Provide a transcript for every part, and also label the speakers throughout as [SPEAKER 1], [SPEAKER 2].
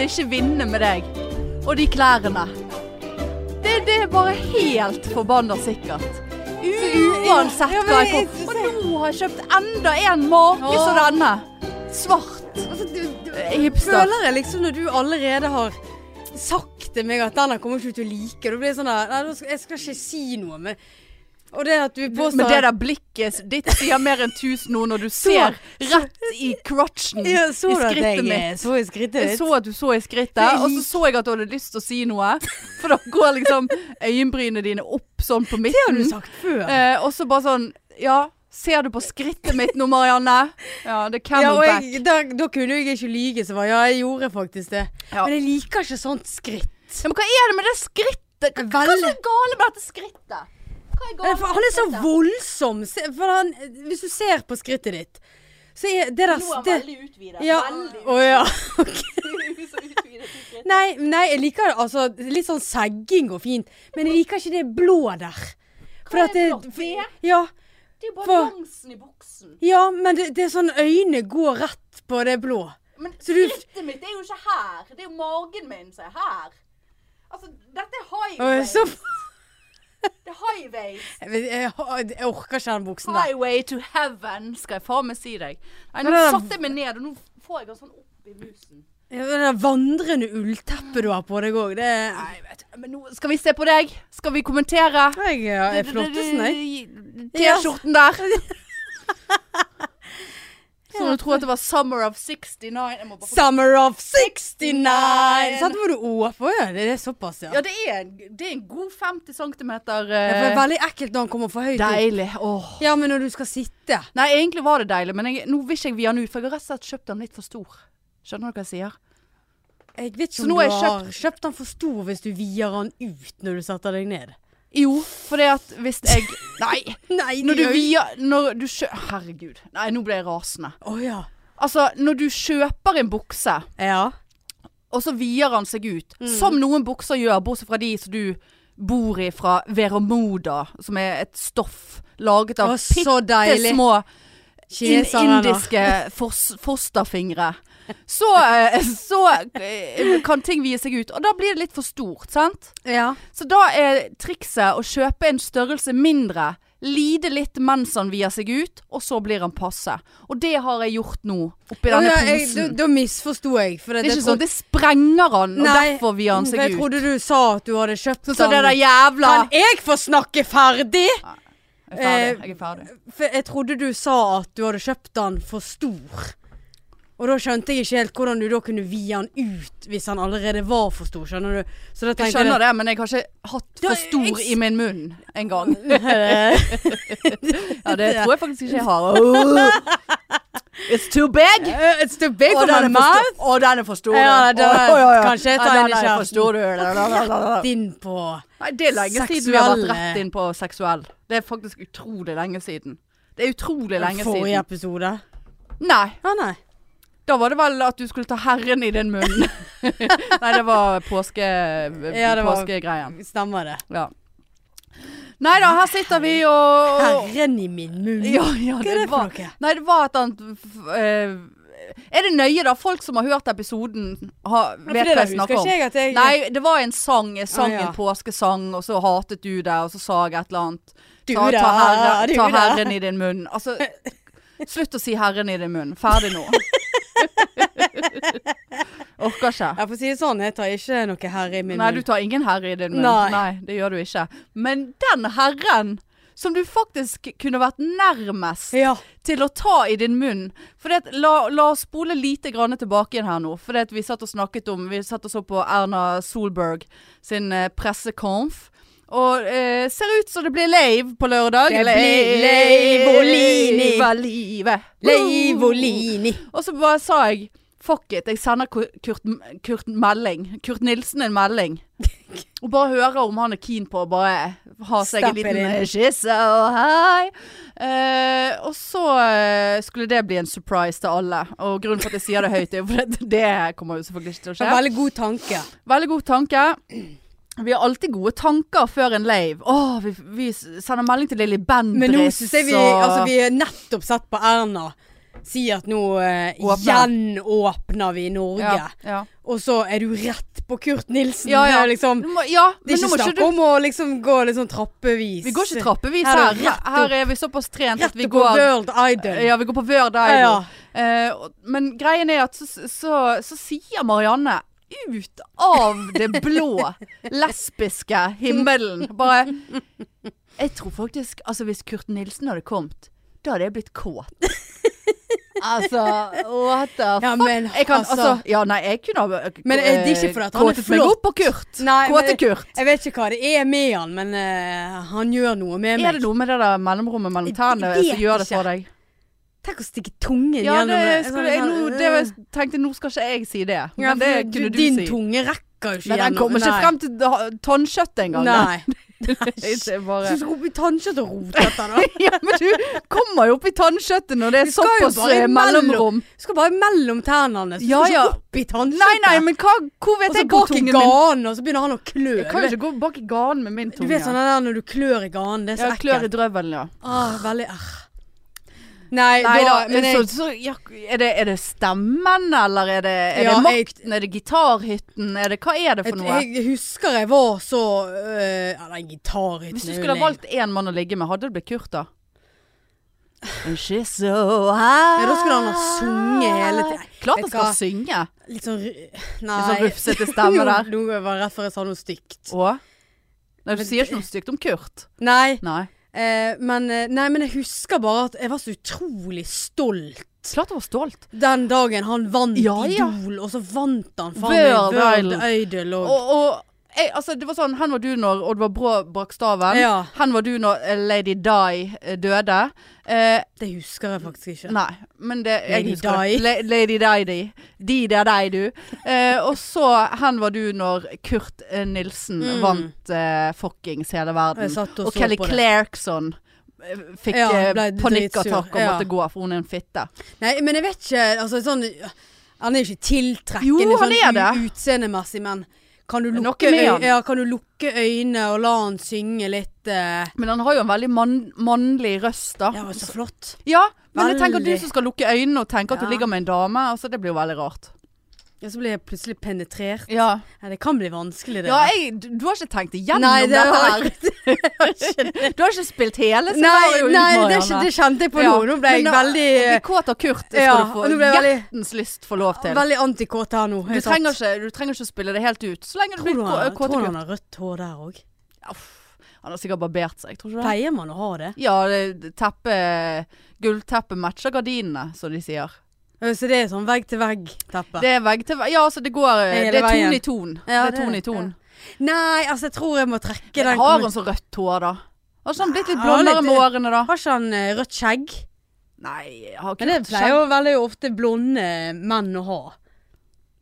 [SPEAKER 1] ikke vinne med deg og de klærne. Det, det er bare helt forbanna sikkert. Uansett
[SPEAKER 2] Ja, men
[SPEAKER 1] hva jeg
[SPEAKER 2] jeg-
[SPEAKER 1] får. Og nå har jeg kjøpt enda en make som
[SPEAKER 2] Åh.
[SPEAKER 1] denne. Svart.
[SPEAKER 2] Altså, du, du
[SPEAKER 1] Eh, Hipster.
[SPEAKER 2] føler jeg liksom når du allerede har sagt til meg at den her kommer ikke du til å like. Da blir jeg sånn der Nei, da skal- jeg skal ikke si noe, men Og det at du påstår
[SPEAKER 1] Men det der blikket ditt sier mer enn tusen ord når du ser rett i crutchen i
[SPEAKER 2] ja, så du at jeg
[SPEAKER 1] skrittet mitt.
[SPEAKER 2] Så i skrittet
[SPEAKER 1] Jeg
[SPEAKER 2] ditt.
[SPEAKER 1] så at du så i skrittet,
[SPEAKER 2] Jeg
[SPEAKER 1] og så
[SPEAKER 2] lik-
[SPEAKER 1] så jeg at du hadde lyst til å si noe. For da går liksom øyenbrynene dine opp sånn på midten.
[SPEAKER 2] Det har du sagt før.
[SPEAKER 1] Eh, og så bare sånn Ja, ser du på skrittet mitt nå, Marianne? Ja, det er
[SPEAKER 2] ja, og
[SPEAKER 1] camelback.
[SPEAKER 2] jeg, da, da kunne jeg ikke lyge så var ja, jeg gjorde faktisk det.
[SPEAKER 1] Ja.
[SPEAKER 2] Men jeg liker ikke sånt skritt.
[SPEAKER 1] Ja, men hva er det med det skrittet? Hva, hva er
[SPEAKER 2] Veldig.
[SPEAKER 1] så gale med dette skrittet? Hva er
[SPEAKER 2] Nei,
[SPEAKER 1] gale
[SPEAKER 2] For
[SPEAKER 1] med
[SPEAKER 2] han er så
[SPEAKER 1] skrittet?
[SPEAKER 2] voldsom. Se- For han, hvis du ser på skrittet ditt, så er det
[SPEAKER 1] Nå
[SPEAKER 2] der
[SPEAKER 1] er han
[SPEAKER 2] det,
[SPEAKER 1] veldig utvidet.
[SPEAKER 2] ja,
[SPEAKER 1] Veldig
[SPEAKER 2] Å ja.
[SPEAKER 1] utvidet. Så utvidet i skrittet.
[SPEAKER 2] Nei, nei, jeg liker det. Altså, litt sånn segging og fint. Men jeg liker ikke det blå der.
[SPEAKER 1] Hva er blått?
[SPEAKER 2] for-
[SPEAKER 1] Det?
[SPEAKER 2] ja,
[SPEAKER 1] Det er jo bare
[SPEAKER 2] For-
[SPEAKER 1] glansen i buksen.
[SPEAKER 2] ja, men det, det er sånn øynene går rett på det blå.
[SPEAKER 1] Men
[SPEAKER 2] Så du-
[SPEAKER 1] skrittet mitt er jo ikke her. Det er jo magen min som er her. Altså, dette er high
[SPEAKER 2] Og
[SPEAKER 1] waist.
[SPEAKER 2] så
[SPEAKER 1] Det er high waist.
[SPEAKER 2] Jeg, vet- jeg, jeg orker ikke den buksen der.
[SPEAKER 1] Highway to heaven, skal jeg faen meg si deg. Nei, nå
[SPEAKER 2] Men-
[SPEAKER 1] satte jeg meg ned, og nå får jeg den sånn opp i musen.
[SPEAKER 2] Ja, Det der vandrende ullteppet du har på deg òg, det
[SPEAKER 1] Nei, vet du. Men nå skal vi se på deg. Skal vi kommentere?
[SPEAKER 2] Jeg er flottesten, jeg.
[SPEAKER 1] T-skjorten der. Så du tror at det var Summer of 69. Jeg må bare...
[SPEAKER 2] Summer of 69! Sånn var du overfor, ja. Det er såpass, ja.
[SPEAKER 1] Ja, det er, en- det er en god 50 cm.
[SPEAKER 2] Det er veldig ekkelt når han kommer for høyt opp.
[SPEAKER 1] Deilig. Åh.
[SPEAKER 2] Ja, men når du skal sitte.
[SPEAKER 1] Nei, egentlig var det deilig, men jeg, nå vil ikke jeg vie den ut, for jeg har rett og slett kjøpt den litt for stor. Skjønner du hva jeg sier?
[SPEAKER 2] Jeg vet
[SPEAKER 1] Så
[SPEAKER 2] ikke om
[SPEAKER 1] nå
[SPEAKER 2] du
[SPEAKER 1] har jeg
[SPEAKER 2] har kjøpt den for stor hvis du vier den ut når du setter deg ned.
[SPEAKER 1] Jo, for det at hvis jeg Nei!
[SPEAKER 2] Nei,
[SPEAKER 1] Når du vier Når du kjø... Herregud. Nei, nå ble jeg rasende.
[SPEAKER 2] Å ja.
[SPEAKER 1] Altså, når du kjøper en bukse,
[SPEAKER 2] Ja.
[SPEAKER 1] og så vier han seg ut,
[SPEAKER 2] Mm.
[SPEAKER 1] som noen bukser gjør, bortsett fra de som du bor i fra Veromoda, som er et stoff laget av
[SPEAKER 2] Å, så deilig.
[SPEAKER 1] små in
[SPEAKER 2] Kineserne.
[SPEAKER 1] indiske fos fosterfingre. Så, eh, så eh, kan ting vie seg ut, og da blir det litt for stort, sant?
[SPEAKER 2] Ja.
[SPEAKER 1] Så da er trikset å kjøpe en størrelse mindre, lide litt mens han vier seg ut, og så blir han passe. Og det har jeg gjort nå, oppi
[SPEAKER 2] ja
[SPEAKER 1] denne
[SPEAKER 2] jeg, da,
[SPEAKER 1] posen.
[SPEAKER 2] da misforsto jeg. For
[SPEAKER 1] Det er ikke sånn, det sprenger han, og derfor vier han seg
[SPEAKER 2] Jeg
[SPEAKER 1] ut. Sånn.
[SPEAKER 2] trodde du sa at du hadde kjøpt
[SPEAKER 1] Så, så det der jævla eh,
[SPEAKER 2] Kan jeg få snakke ferdig?
[SPEAKER 1] Jeg er ferdig. Jeg er ferdig.
[SPEAKER 2] For jeg trodde du sa at du hadde kjøpt den for stor. Og da skjønte jeg ikke helt hvordan du da kunne vie han ut hvis han allerede var for stor. Skjønner du? Så da
[SPEAKER 1] Jeg
[SPEAKER 2] tenkte
[SPEAKER 1] skjønner det, men jeg har ikke hatt
[SPEAKER 2] Da-
[SPEAKER 1] for stor
[SPEAKER 2] jeg-
[SPEAKER 1] i min munn en gang.
[SPEAKER 2] det.
[SPEAKER 1] Ja, det tror jeg faktisk ikke jeg har. It's too big!
[SPEAKER 2] It's too big
[SPEAKER 1] Å,
[SPEAKER 2] for
[SPEAKER 1] den
[SPEAKER 2] my
[SPEAKER 1] er for
[SPEAKER 2] mouth.
[SPEAKER 1] stor. Å, den er for stor.
[SPEAKER 2] Ja,
[SPEAKER 1] du.
[SPEAKER 2] den er-
[SPEAKER 1] Å, ja, ja.
[SPEAKER 2] kanskje jeg tar
[SPEAKER 1] Ja,
[SPEAKER 2] den i
[SPEAKER 1] er for
[SPEAKER 2] kjeften.
[SPEAKER 1] stor, du.
[SPEAKER 2] Inn på
[SPEAKER 1] Nei, det er lenge siden vi har vært
[SPEAKER 2] Seksuelle.
[SPEAKER 1] rett inn på seksuell. Det er faktisk utrolig lenge siden. Det er utrolig lenge
[SPEAKER 2] forrige
[SPEAKER 1] siden.
[SPEAKER 2] episode.
[SPEAKER 1] Nei,
[SPEAKER 2] Å nei.
[SPEAKER 1] da var det vel at du skulle ta herren i din munn. Nei, det var påske, eh,
[SPEAKER 2] det var-
[SPEAKER 1] påskegreien.
[SPEAKER 2] Stemmer det.
[SPEAKER 1] Ja. Nei da, her sitter vi og og-
[SPEAKER 2] Herren i min munn.
[SPEAKER 1] Ja, ja,
[SPEAKER 2] Hva er det
[SPEAKER 1] det
[SPEAKER 2] for
[SPEAKER 1] var
[SPEAKER 2] noe?
[SPEAKER 1] Nei, det var et annet f- eh, Er det nøye, da? Folk som har hørt episoden, har,
[SPEAKER 2] Ja, for
[SPEAKER 1] vet
[SPEAKER 2] det
[SPEAKER 1] hva
[SPEAKER 2] der
[SPEAKER 1] jeg
[SPEAKER 2] husker
[SPEAKER 1] snakker om.
[SPEAKER 2] ikke jeg at jeg
[SPEAKER 1] Nei, det var en sang. Jeg sang
[SPEAKER 2] Å, ja.
[SPEAKER 1] en påskesang, og så hatet du det, og så sa jeg et eller annet.
[SPEAKER 2] Du
[SPEAKER 1] Ta,
[SPEAKER 2] da,
[SPEAKER 1] ta, herre,
[SPEAKER 2] du
[SPEAKER 1] ta
[SPEAKER 2] da.
[SPEAKER 1] herren i din munn. Altså, slutt å si herren i din munn. Ferdig nå. Orker ikke.
[SPEAKER 2] Jeg får si det sånn, jeg tar ikke noe herre i min
[SPEAKER 1] Nei, du
[SPEAKER 2] munn.
[SPEAKER 1] tar ingen herre i din munn.
[SPEAKER 2] Nei.
[SPEAKER 1] det gjør du ikke. Men den herren som du faktisk kunne vært nærmest
[SPEAKER 2] Ja.
[SPEAKER 1] til å ta i din munn. For det, at- la, la oss spole lite grann tilbake igjen her nå. For det, at vi satt og snakket om Vi satt og så på Erna Solberg sin eh, pressekonf. Og eh, ser ut som det blir lave på lørdag.
[SPEAKER 2] Det blir lave og Lini.
[SPEAKER 1] Lave og livet.
[SPEAKER 2] Leivolini.
[SPEAKER 1] Og så bare sa jeg fuck it, jeg sender Ku- Kurt, Kurt melding. Kurt Nilsen en melding. Og bare høre om han er keen på å bare ha seg
[SPEAKER 2] Stappe
[SPEAKER 1] en liten
[SPEAKER 2] det inn.
[SPEAKER 1] eh, kysse og hei. Eh, og så eh, skulle det bli en surprise til alle. Og grunnen for at jeg sier det høyt, er jo fordi det kommer jo selvfølgelig ikke til å
[SPEAKER 2] Det
[SPEAKER 1] skje.
[SPEAKER 2] var Veldig god tanke.
[SPEAKER 1] Veldig god tanke. Vi har alltid gode tanker før en lave. Åh, vi, vi sender melding til Lilly Bendriss.
[SPEAKER 2] Men nå syns jeg vi
[SPEAKER 1] og-
[SPEAKER 2] Altså, vi har nettopp sett på Erna Si at nå eh,
[SPEAKER 1] Åpner.
[SPEAKER 2] gjenåpner vi Norge.
[SPEAKER 1] Ja, ja.
[SPEAKER 2] Og så er du rett på Kurt Nilsen.
[SPEAKER 1] Ja, ja.
[SPEAKER 2] Det er liksom
[SPEAKER 1] Du må, ja men
[SPEAKER 2] det er
[SPEAKER 1] nå
[SPEAKER 2] ikke
[SPEAKER 1] må ikke
[SPEAKER 2] snakk
[SPEAKER 1] du
[SPEAKER 2] om å liksom gå litt sånn trappevis.
[SPEAKER 1] Vi går ikke trappevis
[SPEAKER 2] Her er
[SPEAKER 1] her.
[SPEAKER 2] det
[SPEAKER 1] Her,
[SPEAKER 2] rett
[SPEAKER 1] er vi såpass trent at
[SPEAKER 2] Rett
[SPEAKER 1] vi
[SPEAKER 2] opp på
[SPEAKER 1] går
[SPEAKER 2] World Idol.
[SPEAKER 1] Ja, vi går på Vør
[SPEAKER 2] Ja,
[SPEAKER 1] der.
[SPEAKER 2] ja.
[SPEAKER 1] Eh, og- men greien er at så, så, så sier Marianne ut av det blå lesbiske himmelen bare Jeg tror faktisk Altså, hvis Kurt Nilsen hadde kommet, da hadde jeg blitt kåt. Altså, what the
[SPEAKER 2] Ja, men
[SPEAKER 1] Jeg kan, altså,
[SPEAKER 2] altså
[SPEAKER 1] Ja, nei, jeg kunne ha eh,
[SPEAKER 2] Men er det ikke fordi at han er
[SPEAKER 1] kåtet meg
[SPEAKER 2] flott?
[SPEAKER 1] opp på Kurt.
[SPEAKER 2] Nei, men-
[SPEAKER 1] Kåte Kurt.
[SPEAKER 2] Jeg vet ikke hva det er med han, men eh, han gjør noe med
[SPEAKER 1] Er
[SPEAKER 2] meg.
[SPEAKER 1] det noe med det der mellomrommet mellom
[SPEAKER 2] Jeg
[SPEAKER 1] tærne
[SPEAKER 2] vet
[SPEAKER 1] som gjør det
[SPEAKER 2] ikke.
[SPEAKER 1] for deg?
[SPEAKER 2] Tenk å stikke tungen
[SPEAKER 1] Ja,
[SPEAKER 2] gjennom
[SPEAKER 1] det
[SPEAKER 2] det. Sånn,
[SPEAKER 1] skulle jeg nå Det var- tenkte jeg, nå skal ikke jeg si det.
[SPEAKER 2] eh, Ja,
[SPEAKER 1] Men det
[SPEAKER 2] for
[SPEAKER 1] kunne du
[SPEAKER 2] din
[SPEAKER 1] si.
[SPEAKER 2] tunge rekker jo ikke
[SPEAKER 1] Men den kommer ikke frem til da- tannkjøttet engang. da.
[SPEAKER 2] Nei.
[SPEAKER 1] Det er
[SPEAKER 2] Jeg
[SPEAKER 1] bare
[SPEAKER 2] syns tannkjøtt og rot dette, da.
[SPEAKER 1] Ja, men du kommer jo opp i tannkjøttet når det er
[SPEAKER 2] Du skal jo
[SPEAKER 1] såpass
[SPEAKER 2] bare
[SPEAKER 1] eh,
[SPEAKER 2] imellom.
[SPEAKER 1] mellomrom.
[SPEAKER 2] Skal bare mellom tærne. Så
[SPEAKER 1] Ja,
[SPEAKER 2] skal
[SPEAKER 1] ja.
[SPEAKER 2] ikke opp i tannkjøttet.
[SPEAKER 1] Nei, nei, men hva, hvor
[SPEAKER 2] Og
[SPEAKER 1] vet
[SPEAKER 2] så
[SPEAKER 1] jeg hvor
[SPEAKER 2] bak i
[SPEAKER 1] tungen min
[SPEAKER 2] ganen, og så begynner han å klø.
[SPEAKER 1] Jeg kan jo ikke gå bak i ganen med min
[SPEAKER 2] Du
[SPEAKER 1] tunge.
[SPEAKER 2] vet sånn der når du klør i ganen, det er så
[SPEAKER 1] ja, klør i
[SPEAKER 2] ekkelt.
[SPEAKER 1] drøvelen, ja.
[SPEAKER 2] Ah, veldig ah. Nei,
[SPEAKER 1] Nei
[SPEAKER 2] da,
[SPEAKER 1] da,
[SPEAKER 2] men jeg,
[SPEAKER 1] så, så, ja, er, det, er det stemmen, eller er det, er
[SPEAKER 2] Ja,
[SPEAKER 1] det
[SPEAKER 2] jeg-
[SPEAKER 1] makten? Er det gitarhytten? Er det, hva er det for noe?
[SPEAKER 2] jeg, jeg husker jeg var så øh, Eller gitarhytten
[SPEAKER 1] Hvis du
[SPEAKER 2] er jo
[SPEAKER 1] skulle ha
[SPEAKER 2] lame.
[SPEAKER 1] valgt én mann å ligge med, hadde det blitt Kurt, da? And She's so high.
[SPEAKER 2] Ja, da skulle han ha sunget hele tiden.
[SPEAKER 1] Klart
[SPEAKER 2] Vet
[SPEAKER 1] han
[SPEAKER 2] du hva?
[SPEAKER 1] skal synge.
[SPEAKER 2] Litt sånn ru- Nei.
[SPEAKER 1] Litt sånn rufsete stemme der.
[SPEAKER 2] Nå, nå var jeg rett før jeg sa noe stygt.
[SPEAKER 1] Og Nei, du
[SPEAKER 2] Men
[SPEAKER 1] sier ikke noe stygt om Kurt.
[SPEAKER 2] Nei,
[SPEAKER 1] Nei.
[SPEAKER 2] eh, men, eh, nei, men jeg husker bare at jeg var så utrolig stolt
[SPEAKER 1] Klart han var stolt.
[SPEAKER 2] den dagen han vant
[SPEAKER 1] Ja, ja.
[SPEAKER 2] Idol, og så vant han faen
[SPEAKER 1] World
[SPEAKER 2] meg
[SPEAKER 1] Idol.
[SPEAKER 2] Idol og,
[SPEAKER 1] Og, og jeg, altså, det var sånn Hen var du når Oddvar Brå brakk staven.
[SPEAKER 2] Ja.
[SPEAKER 1] Hen var du når eh, Lady Di eh, døde. Eh,
[SPEAKER 2] Det husker jeg faktisk ikke.
[SPEAKER 1] Nei, men det jeg
[SPEAKER 2] Lady
[SPEAKER 1] husker
[SPEAKER 2] Di.
[SPEAKER 1] det. La, Lady Di Di. De der deg, du. Eh, og så hen var du når Kurt eh, Nilsen
[SPEAKER 2] Mm.
[SPEAKER 1] vant eh, fuckings hele
[SPEAKER 2] Og Jeg
[SPEAKER 1] verden.
[SPEAKER 2] satt og,
[SPEAKER 1] Og
[SPEAKER 2] så
[SPEAKER 1] Kelly
[SPEAKER 2] på det.
[SPEAKER 1] Clarkson eh, fikk
[SPEAKER 2] Ja,
[SPEAKER 1] eh,
[SPEAKER 2] ble dritsur.
[SPEAKER 1] panikkattakk og
[SPEAKER 2] Ja.
[SPEAKER 1] måtte gå, for hun er en fitte.
[SPEAKER 2] Nei, men jeg vet ikke altså, sånn, Han er ikke
[SPEAKER 1] Jo,
[SPEAKER 2] tiltrekkende
[SPEAKER 1] han
[SPEAKER 2] sånn
[SPEAKER 1] er det.
[SPEAKER 2] u- utseendemessig, men kan du,
[SPEAKER 1] er
[SPEAKER 2] lukke
[SPEAKER 1] noe med
[SPEAKER 2] øy-
[SPEAKER 1] han.
[SPEAKER 2] ja, kan du lukke øynene og la han synge litt? eh,
[SPEAKER 1] Men han har jo en veldig mann, mannlig røst, da.
[SPEAKER 2] Ja, men så flott.
[SPEAKER 1] Ja, men jeg tenker at du
[SPEAKER 2] Veldig.
[SPEAKER 1] som skal lukke øynene og tenke at
[SPEAKER 2] Ja.
[SPEAKER 1] du ligger med en dame, altså det blir jo veldig rart.
[SPEAKER 2] Ja, så ble jeg plutselig penetrert.
[SPEAKER 1] Ja,
[SPEAKER 2] Nei, det kan bli vanskelig, det.
[SPEAKER 1] ja jeg, du du har ikke tenkt igjennom
[SPEAKER 2] Nei, det
[SPEAKER 1] dette
[SPEAKER 2] har
[SPEAKER 1] her. Du har ikke spilt hele
[SPEAKER 2] Nei,
[SPEAKER 1] scenarioet ut,
[SPEAKER 2] nei det, er
[SPEAKER 1] Marianne.
[SPEAKER 2] ikke, det kjente jeg på
[SPEAKER 1] Ja.
[SPEAKER 2] nå. Nå ble jeg
[SPEAKER 1] Men nå- Vi
[SPEAKER 2] veldig
[SPEAKER 1] kåter Kurt, det skal
[SPEAKER 2] Ja,
[SPEAKER 1] du få
[SPEAKER 2] og nå ble jeg veldig-
[SPEAKER 1] hjertens lyst få lov til.
[SPEAKER 2] Veldig antikåt her nå.
[SPEAKER 1] Du
[SPEAKER 2] Jeg
[SPEAKER 1] trenger,
[SPEAKER 2] satt-
[SPEAKER 1] ikke, du trenger ikke å spille det helt ut, så lenge du
[SPEAKER 2] Tror
[SPEAKER 1] blir
[SPEAKER 2] du han,
[SPEAKER 1] kå-
[SPEAKER 2] tror
[SPEAKER 1] kåte
[SPEAKER 2] du
[SPEAKER 1] Kurt.
[SPEAKER 2] han har rødt hår der òg?
[SPEAKER 1] Uff, Han har sikkert barbert seg, tror du ikke det?
[SPEAKER 2] Pleier man å ha det?
[SPEAKER 1] Ja, det- teppe, gullteppet matcher gardinene, som de sier.
[SPEAKER 2] Ja, Så det er sånn vegg-til-vegg-teppe?
[SPEAKER 1] Det er vegg til vegg, ja altså det går,
[SPEAKER 2] Hele
[SPEAKER 1] det er ton
[SPEAKER 2] veien.
[SPEAKER 1] i ton.
[SPEAKER 2] Ja,
[SPEAKER 1] det er ton i ton.
[SPEAKER 2] Nei, altså jeg tror jeg må trekke den.
[SPEAKER 1] Har han så rødt hår da? Har ikke han blitt litt
[SPEAKER 2] Ja, han er
[SPEAKER 1] blondere med årene da?
[SPEAKER 2] Har ikke han eh, rødt skjegg?
[SPEAKER 1] Nei, har
[SPEAKER 2] Men det
[SPEAKER 1] Kurt
[SPEAKER 2] pleier
[SPEAKER 1] skjegg?
[SPEAKER 2] jo veldig ofte blonde menn å ha.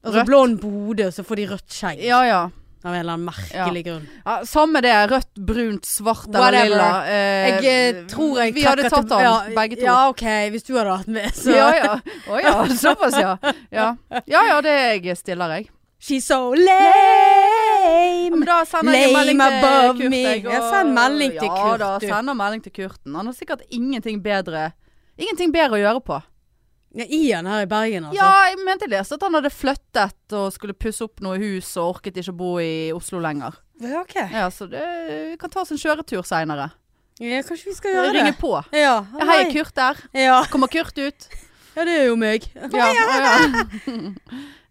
[SPEAKER 2] Altså
[SPEAKER 1] Rødt?
[SPEAKER 2] blond på hodet, og så får de rødt skjegg.
[SPEAKER 1] Ja, ja.
[SPEAKER 2] Av en eller annen merkelig grunn.
[SPEAKER 1] ja. Samme det, rødt, brunt, svart eller
[SPEAKER 2] Whatever.
[SPEAKER 1] lilla. Eh,
[SPEAKER 2] Jeg eh, tror jeg
[SPEAKER 1] Vi hadde
[SPEAKER 2] trekker til-
[SPEAKER 1] tatt han,
[SPEAKER 2] ja,
[SPEAKER 1] begge to.
[SPEAKER 2] Ja, OK, hvis du hadde vært med, så
[SPEAKER 1] Ja ja. Å ja, såpass ja. ja. Ja ja, det er jeg stiller, jeg.
[SPEAKER 2] She's so lame.
[SPEAKER 1] Men da sender jeg en
[SPEAKER 2] Lame
[SPEAKER 1] melding til
[SPEAKER 2] above
[SPEAKER 1] Kurt.
[SPEAKER 2] me.
[SPEAKER 1] jeg, og-
[SPEAKER 2] Ja, send melding til Kurt,
[SPEAKER 1] Ja da,
[SPEAKER 2] du.
[SPEAKER 1] sender melding til Kurten. Han har sikkert ingenting bedre Ingenting bedre å gjøre på.
[SPEAKER 2] Ja, Ian her i Bergen, altså.
[SPEAKER 1] Ja, jeg mente jeg leste at han hadde flyttet og skulle pusse opp noe hus og orket ikke å bo i Oslo lenger.
[SPEAKER 2] Ja, OK.
[SPEAKER 1] Ja, Så det kan tas en kjøretur seinere.
[SPEAKER 2] Ja, kanskje vi skal gjøre
[SPEAKER 1] Ringe
[SPEAKER 2] det.
[SPEAKER 1] på.
[SPEAKER 2] Ja.
[SPEAKER 1] Ja, hei, er Kurt der.
[SPEAKER 2] Ja.
[SPEAKER 1] Kommer Kurt ut?
[SPEAKER 2] ja, det er jo meg.
[SPEAKER 1] Ja. ja.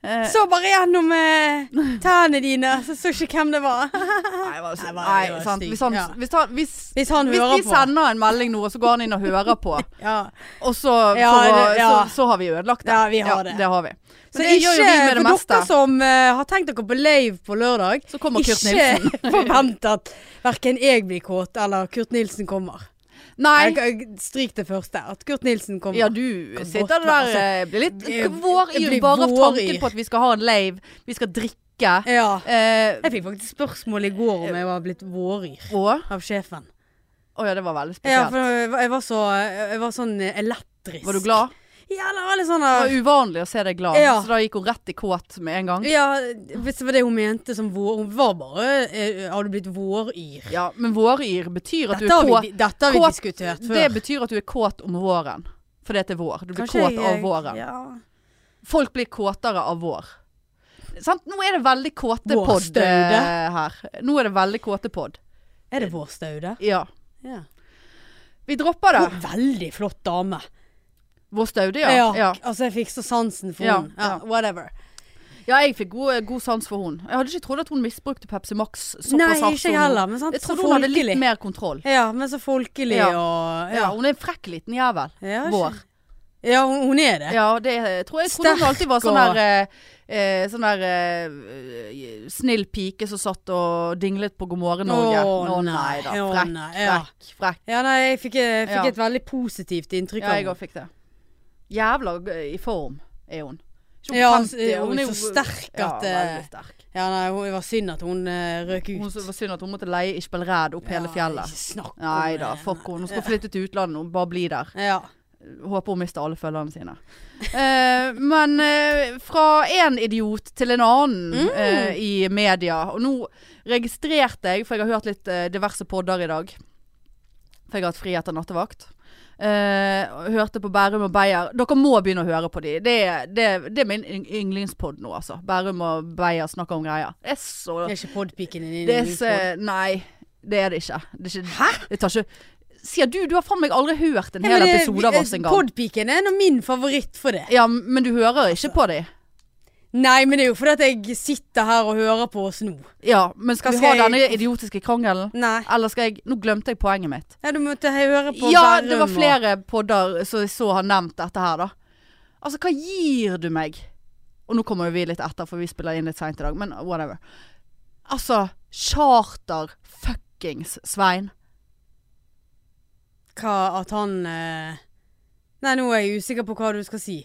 [SPEAKER 1] Eh,
[SPEAKER 2] Så bare gjennom eh, tærne dine, så så ikke hvem det var.
[SPEAKER 1] Nei, hva-
[SPEAKER 2] Nei, hva- det
[SPEAKER 1] nei
[SPEAKER 2] var
[SPEAKER 1] sant.
[SPEAKER 2] stygt,
[SPEAKER 1] Hvis han,
[SPEAKER 2] ja.
[SPEAKER 1] sånn, hvis han hvis,
[SPEAKER 2] Hvis han
[SPEAKER 1] Hvis
[SPEAKER 2] hører
[SPEAKER 1] de
[SPEAKER 2] på.
[SPEAKER 1] sender en melding nå, og så går han inn og hører på,
[SPEAKER 2] Ja.
[SPEAKER 1] og så,
[SPEAKER 2] Ja,
[SPEAKER 1] for å-
[SPEAKER 2] det- ja.
[SPEAKER 1] så, så har vi ødelagt det.
[SPEAKER 2] Ja, vi har det.
[SPEAKER 1] har vi. Men
[SPEAKER 2] Så
[SPEAKER 1] det
[SPEAKER 2] ikke
[SPEAKER 1] gjør jo vi med det
[SPEAKER 2] for
[SPEAKER 1] meste.
[SPEAKER 2] dere som eh, har tenkt dere på Lave på lørdag,
[SPEAKER 1] Så kommer Kurt Nilsen.
[SPEAKER 2] ikke forvent at verken jeg blir kåt eller Kurt Nilsen kommer.
[SPEAKER 1] Nei.
[SPEAKER 2] Jeg- jeg- Stryk det første. At Kurt Nilsen kommer.
[SPEAKER 1] Ja, du
[SPEAKER 2] Kan
[SPEAKER 1] sitter
[SPEAKER 2] godt
[SPEAKER 1] der
[SPEAKER 2] være.
[SPEAKER 1] eh, blir litt
[SPEAKER 2] Jeg-
[SPEAKER 1] våryr
[SPEAKER 2] jeg blir
[SPEAKER 1] bare av tanken
[SPEAKER 2] våryr.
[SPEAKER 1] på at vi skal ha en lave, vi skal drikke.
[SPEAKER 2] Ja.
[SPEAKER 1] Eh,
[SPEAKER 2] Jeg fikk faktisk spørsmål i går om jeg var blitt våryr
[SPEAKER 1] og Å
[SPEAKER 2] av sjefen.
[SPEAKER 1] ja, det var veldig
[SPEAKER 2] Ja,
[SPEAKER 1] spesielt.
[SPEAKER 2] for jeg var- jeg var så, jeg var sånn elektrisk.
[SPEAKER 1] Var du glad?
[SPEAKER 2] Ja, det var litt sånn
[SPEAKER 1] Det
[SPEAKER 2] eh,
[SPEAKER 1] var uvanlig å se deg glad,
[SPEAKER 2] Ja.
[SPEAKER 1] så da gikk hun rett i kåt med en gang.
[SPEAKER 2] eh, Ja, hvis det var det hun mente som vår Hun var bare eh, Har du blitt våryr?
[SPEAKER 1] Ja, men våryr betyr at
[SPEAKER 2] Dette har
[SPEAKER 1] du er
[SPEAKER 2] vi,
[SPEAKER 1] kåt.
[SPEAKER 2] di- dette har vi
[SPEAKER 1] kåt-
[SPEAKER 2] diskutert før.
[SPEAKER 1] Det betyr at du er kåt om våren. Fordi at det er vår. Du blir
[SPEAKER 2] Kanskje
[SPEAKER 1] kåt av
[SPEAKER 2] jeg-
[SPEAKER 1] våren.
[SPEAKER 2] Ja.
[SPEAKER 1] Folk blir kåtere av vår. Sant? Nå er det veldig kåte podd
[SPEAKER 2] Vårstaude.
[SPEAKER 1] eh, her. Nå er det veldig kåte podd.
[SPEAKER 2] Er det vårstaude?
[SPEAKER 1] Ja.
[SPEAKER 2] Ja.
[SPEAKER 1] Vi dropper det.
[SPEAKER 2] Veldig flott dame.
[SPEAKER 1] Vår staude,
[SPEAKER 2] Ja.
[SPEAKER 1] ja. ja.
[SPEAKER 2] Altså, jeg fikk så sansen for
[SPEAKER 1] Ja,
[SPEAKER 2] henne. Ja,
[SPEAKER 1] ja.
[SPEAKER 2] whatever.
[SPEAKER 1] Ja, jeg fikk god, eh, god sans for hun. Jeg hadde ikke trodd at hun misbrukte Pepsi Max såpass
[SPEAKER 2] Nei,
[SPEAKER 1] hardt.
[SPEAKER 2] ikke
[SPEAKER 1] som
[SPEAKER 2] jeg
[SPEAKER 1] hun-
[SPEAKER 2] heller, men sant.
[SPEAKER 1] Jeg
[SPEAKER 2] så
[SPEAKER 1] trodde hun hadde litt
[SPEAKER 2] folkelig.
[SPEAKER 1] mer kontroll.
[SPEAKER 2] Ja, men så folkelig
[SPEAKER 1] Ja.
[SPEAKER 2] og
[SPEAKER 1] Ja, hun er en frekk liten jævel.
[SPEAKER 2] Ja,
[SPEAKER 1] Vår.
[SPEAKER 2] Ja, hun, hun er det.
[SPEAKER 1] Ja, det jeg tror jeg. Trodde hun
[SPEAKER 2] Sterk
[SPEAKER 1] alltid var sånn
[SPEAKER 2] og-
[SPEAKER 1] der, eh, eh, sånn der eh, eh, snill pike som satt og dinglet på God morgen Norge.
[SPEAKER 2] Å,
[SPEAKER 1] Å,
[SPEAKER 2] nei.
[SPEAKER 1] da.
[SPEAKER 2] Å,
[SPEAKER 1] Frekk,
[SPEAKER 2] nei, ja.
[SPEAKER 1] frekk, frekk.
[SPEAKER 2] Ja, nei, jeg fikk, jeg fikk
[SPEAKER 1] Ja.
[SPEAKER 2] et veldig positivt inntrykk
[SPEAKER 1] Ja,
[SPEAKER 2] av
[SPEAKER 1] jeg òg
[SPEAKER 2] henne.
[SPEAKER 1] fikk det. Jævla g- i form er hun. Ikke hun
[SPEAKER 2] Ja,
[SPEAKER 1] 50,
[SPEAKER 2] s- hun er
[SPEAKER 1] jo-
[SPEAKER 2] så sterk
[SPEAKER 1] Ja,
[SPEAKER 2] at, eh,
[SPEAKER 1] veldig sterk.
[SPEAKER 2] Ja, nei, hun, det var synd at hun eh, røk ut.
[SPEAKER 1] Hun så- det var synd at hun måtte leie Ishbel Ræd opp hele
[SPEAKER 2] Ja,
[SPEAKER 1] fjellet.
[SPEAKER 2] ikke snakk om
[SPEAKER 1] Nei
[SPEAKER 2] det.
[SPEAKER 1] da, fuck henne. Hun skal flytte til utlandet og bare bli der.
[SPEAKER 2] Ja.
[SPEAKER 1] Håper hun mister alle følgerne sine. Eh, men eh, fra én idiot til en annen eh, i media. Og nå registrerte jeg, for jeg har hørt litt eh, diverse podder i dag. For jeg har hatt fri etter nattevakt. Eh, og hørte på Bærum og Beyer. Dere må begynne å høre på de. Det, er- det, er- det er min yng- yndlingspodd nå, altså. Bærum og Beyer snakker om greier. Det er så
[SPEAKER 2] Er ikke podpiken din
[SPEAKER 1] det er
[SPEAKER 2] din
[SPEAKER 1] så, Nei, det er det ikke. Det er ikke Hæ? Det tar ikke Sier du, du har faen meg aldri hørt en hel episode av oss en gang.
[SPEAKER 2] Podpiken er nå min favoritt for det.
[SPEAKER 1] Ja, men du hører ikke på dem.
[SPEAKER 2] Nei, men det er jo fordi at jeg sitter her og hører på oss nå.
[SPEAKER 1] Ja, men skal,
[SPEAKER 2] Skal
[SPEAKER 1] vi ha
[SPEAKER 2] jeg-
[SPEAKER 1] denne idiotiske krangelen?
[SPEAKER 2] Nei.
[SPEAKER 1] Eller skal jeg Nå glemte jeg poenget mitt.
[SPEAKER 2] Ja, du måtte høre på
[SPEAKER 1] Ja,
[SPEAKER 2] Bærum
[SPEAKER 1] det var
[SPEAKER 2] og-
[SPEAKER 1] flere podder som jeg så har nevnt dette her, da. Altså, hva gir du meg? Og nå kommer jo vi litt etter, for vi spiller inn litt seint i dag, men whatever. Altså, charter fuckings Svein.
[SPEAKER 2] Hva at han eh, Nei, nå er jeg usikker på hva du skal si.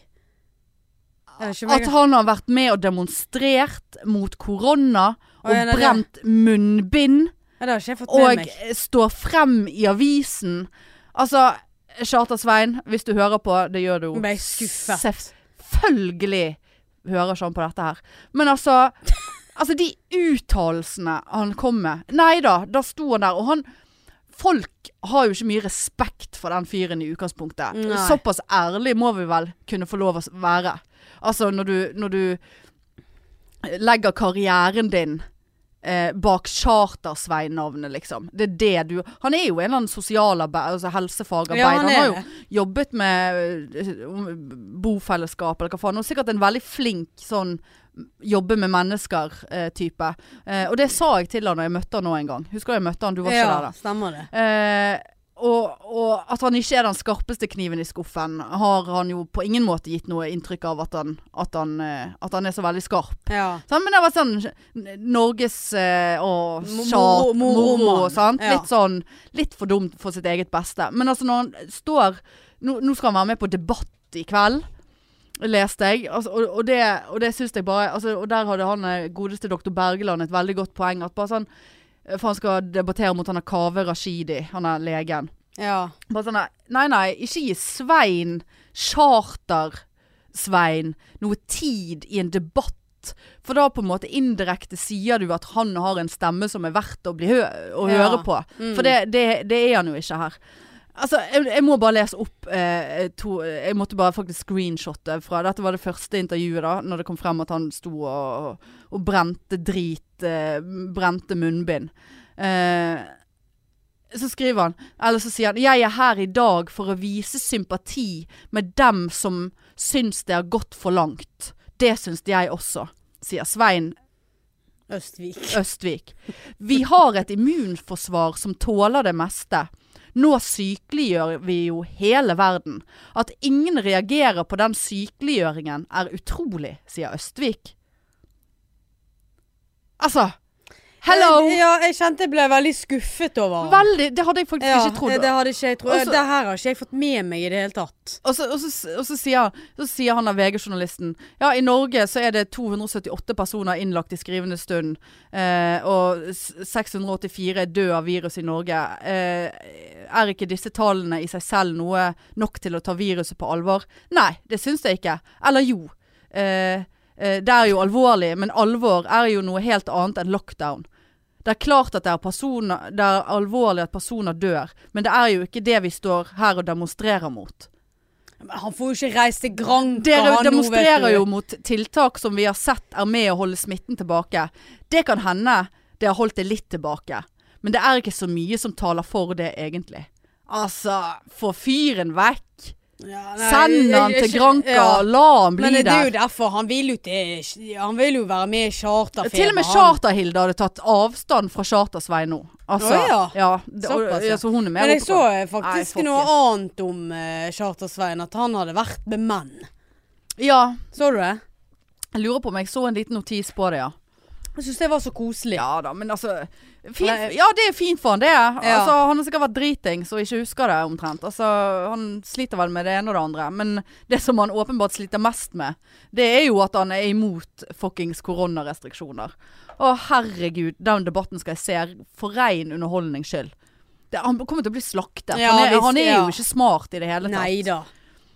[SPEAKER 2] Jeg vet ikke om
[SPEAKER 1] At
[SPEAKER 2] jeg-
[SPEAKER 1] han har vært med og demonstrert mot korona,
[SPEAKER 2] Å,
[SPEAKER 1] og
[SPEAKER 2] ja, nei, det-
[SPEAKER 1] brent munnbind.
[SPEAKER 2] Ja, det har ikke jeg fått med
[SPEAKER 1] og
[SPEAKER 2] meg.
[SPEAKER 1] står frem i avisen. Altså, Charter-Svein, hvis du hører på, det gjør du jo.
[SPEAKER 2] Nå ble jeg skuffet.
[SPEAKER 1] Selvfølgelig hører ikke han på dette her. Men altså, altså de uttalelsene han kom med. Nei da, da sto han der, og han Folk har jo ikke mye respekt for den fyren i utgangspunktet.
[SPEAKER 2] Nei.
[SPEAKER 1] Såpass ærlig må vi vel kunne få lov å s- være. Altså når du, når du legger karrieren din eh, bak Charter-Svein-navnet, liksom. Det er det du Han er jo en eller annen sosialarbeider, altså helsefagarbeider.
[SPEAKER 2] Ja, han
[SPEAKER 1] han,
[SPEAKER 2] er
[SPEAKER 1] har jo
[SPEAKER 2] det.
[SPEAKER 1] jobbet med eh, bofellesskap eller hva faen. Og sikkert en veldig flink sånn jobbe med mennesker-type. Eh, og det sa jeg til han da jeg møtte han nå en gang. Husker du jeg møtte han, du var ikke
[SPEAKER 2] ja,
[SPEAKER 1] der da.
[SPEAKER 2] stemmer det.
[SPEAKER 1] Eh, og, og at han ikke er den skarpeste kniven i skuffen, har han jo på ingen måte gitt noe inntrykk av at han, at han, eh, at han er så veldig skarp.
[SPEAKER 2] Ja.
[SPEAKER 1] Sant? Men det var sånn eh, Norges eh, og
[SPEAKER 2] Mo-
[SPEAKER 1] tjat,
[SPEAKER 2] moro- moro-
[SPEAKER 1] moro,
[SPEAKER 2] mann.
[SPEAKER 1] sant?
[SPEAKER 2] Ja.
[SPEAKER 1] Litt sånn Litt for dumt for sitt eget beste. Men altså, når han står Nå, nå skal han være med på debatt i kveld. Leste jeg. Altså, og, og det, og det syns jeg bare altså, Og der hadde han eh, godeste doktor Bergeland et veldig godt poeng. At bare sånn eh, For han skal debattere mot han der Kaveh Rashidi, han er legen.
[SPEAKER 2] ja.
[SPEAKER 1] Bare sånn der, Nei, nei, ikke gi Svein, Charter-Svein, noe tid i en debatt. For da på en måte indirekte sier du at han har en stemme som er verdt å, bli hø å
[SPEAKER 2] Ja.
[SPEAKER 1] høre på.
[SPEAKER 2] Mm.
[SPEAKER 1] For det, det, det er han jo ikke her. Altså, jeg, jeg må bare lese opp eh, to, Jeg måtte bare faktisk screenshotte fra Dette var det første intervjuet, da, når det kom frem at han sto og, og brente drit, eh, brente munnbind. Eh, så skriver han, eller så sier han Jeg er her i dag for å vise sympati med dem som syns det har gått for langt. Det syns jeg også, sier Svein
[SPEAKER 2] Østvik.
[SPEAKER 1] Østvik. Vi har et immunforsvar som tåler det meste. Nå sykeliggjør vi jo hele verden. At ingen reagerer på den sykeliggjøringen er utrolig, sier Østvik. Altså Hello!
[SPEAKER 2] Ja, jeg kjente jeg ble veldig skuffet over han.
[SPEAKER 1] Veldig Det hadde jeg faktisk
[SPEAKER 2] ja,
[SPEAKER 1] ikke trodd.
[SPEAKER 2] Det hadde ikke jeg trodd.
[SPEAKER 1] Også-
[SPEAKER 2] det her har ikke jeg fått med meg i det hele tatt.
[SPEAKER 1] Og så, og, så, og så sier han, så sier han av VG-journalisten Ja, i Norge så er det 278 personer innlagt i skrivende stund. Eh, og s- 684 er død av virus i Norge. Eh, er ikke disse tallene i seg selv noe nok til å ta viruset på alvor? Nei, det syns jeg ikke. Eller jo. Eh, eh, det er jo alvorlig, men alvor er jo noe helt annet enn lockdown. Det er klart at det er, personer, det er alvorlig at personer dør, men det er jo ikke det vi står her og demonstrerer mot.
[SPEAKER 2] Men han får jo ikke reist til Granca.
[SPEAKER 1] Dere
[SPEAKER 2] han nå,
[SPEAKER 1] demonstrerer
[SPEAKER 2] vet du.
[SPEAKER 1] jo mot tiltak som vi har sett er med å holde smitten tilbake. Det kan hende det har holdt det litt tilbake. Men det er ikke så mye som taler for det, egentlig. Altså, få fyren vekk.
[SPEAKER 2] Ja, nei,
[SPEAKER 1] Send
[SPEAKER 2] jeg-
[SPEAKER 1] han
[SPEAKER 2] jeg-
[SPEAKER 1] til
[SPEAKER 2] jeg-
[SPEAKER 1] Granca.
[SPEAKER 2] ja.
[SPEAKER 1] La han bli
[SPEAKER 2] Men det er jo
[SPEAKER 1] der.
[SPEAKER 2] derfor. Han vil jo, til, han vil jo være med i charterfeber.
[SPEAKER 1] Til og med
[SPEAKER 2] han.
[SPEAKER 1] Charter-Hilde hadde tatt avstand fra Charter-Svein nå. Altså,
[SPEAKER 2] Å ja.
[SPEAKER 1] det- og-
[SPEAKER 2] Såpass, ja.
[SPEAKER 1] ja, så hun er med
[SPEAKER 2] Men jeg
[SPEAKER 1] oppe
[SPEAKER 2] så
[SPEAKER 1] på-
[SPEAKER 2] eh, faktisk
[SPEAKER 1] Nei,
[SPEAKER 2] noe
[SPEAKER 1] folkens.
[SPEAKER 2] annet om eh, Charter-Svein. At han hadde vært med menn.
[SPEAKER 1] Ja,
[SPEAKER 2] Så du det?
[SPEAKER 1] jeg lurer på om jeg så en liten notis på det, ja.
[SPEAKER 2] Jeg syns det var så koselig.
[SPEAKER 1] Ja da, men altså fin,
[SPEAKER 2] Nei.
[SPEAKER 1] Ja, det er fint for han det. Altså, han har sikkert vært driting så ikke husker det omtrent. Altså, han sliter vel med det ene og det andre. Men det som han åpenbart sliter mest med, det er jo at han er imot fuckings koronarestriksjoner. Å herregud, den debatten skal jeg se for ren underholdnings skyld. Det, han kommer til å bli slaktet.
[SPEAKER 2] Ja,
[SPEAKER 1] han, er,
[SPEAKER 2] visst,
[SPEAKER 1] han er
[SPEAKER 2] ja.
[SPEAKER 1] jo ikke smart i det hele tatt.
[SPEAKER 2] Nei da.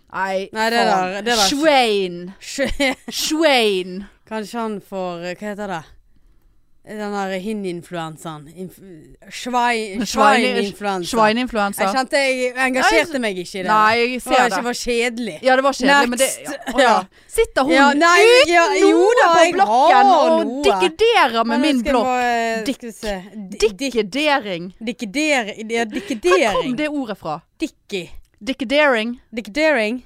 [SPEAKER 1] Nei,
[SPEAKER 2] Nei, det
[SPEAKER 1] faen.
[SPEAKER 2] der- det der-
[SPEAKER 1] Schwein.
[SPEAKER 2] Kanskje
[SPEAKER 1] Schwein.
[SPEAKER 2] han får eh, Hva heter det? Den der hininfluensaen. Inf Schwein- Schweininfluensa. Jeg
[SPEAKER 1] Schwein-influensa.
[SPEAKER 2] kjente jeg engasjerte meg ikke i det.
[SPEAKER 1] Nei, jeg
[SPEAKER 2] det var,
[SPEAKER 1] ser det.
[SPEAKER 2] ikke, var kjedelig.
[SPEAKER 1] Ja, det var kjedelig, men det
[SPEAKER 2] Next.
[SPEAKER 1] ja. Å, ja. Sitter hun
[SPEAKER 2] Ja, nei,
[SPEAKER 1] uten
[SPEAKER 2] ja, jo
[SPEAKER 1] noe
[SPEAKER 2] da,
[SPEAKER 1] på
[SPEAKER 2] jeg
[SPEAKER 1] blokken
[SPEAKER 2] har
[SPEAKER 1] og
[SPEAKER 2] noe.
[SPEAKER 1] dikkederer med
[SPEAKER 2] Men
[SPEAKER 1] min
[SPEAKER 2] skal
[SPEAKER 1] blokk?
[SPEAKER 2] bare- eh,
[SPEAKER 1] Dikk-
[SPEAKER 2] skal vi se. Di- dik-
[SPEAKER 1] Dikkedering.
[SPEAKER 2] Dikkedering ja,
[SPEAKER 1] Hvor kom
[SPEAKER 2] Dikkedering.
[SPEAKER 1] det ordet fra?
[SPEAKER 2] Dikki.
[SPEAKER 1] Dikkedering.
[SPEAKER 2] Dikkedering.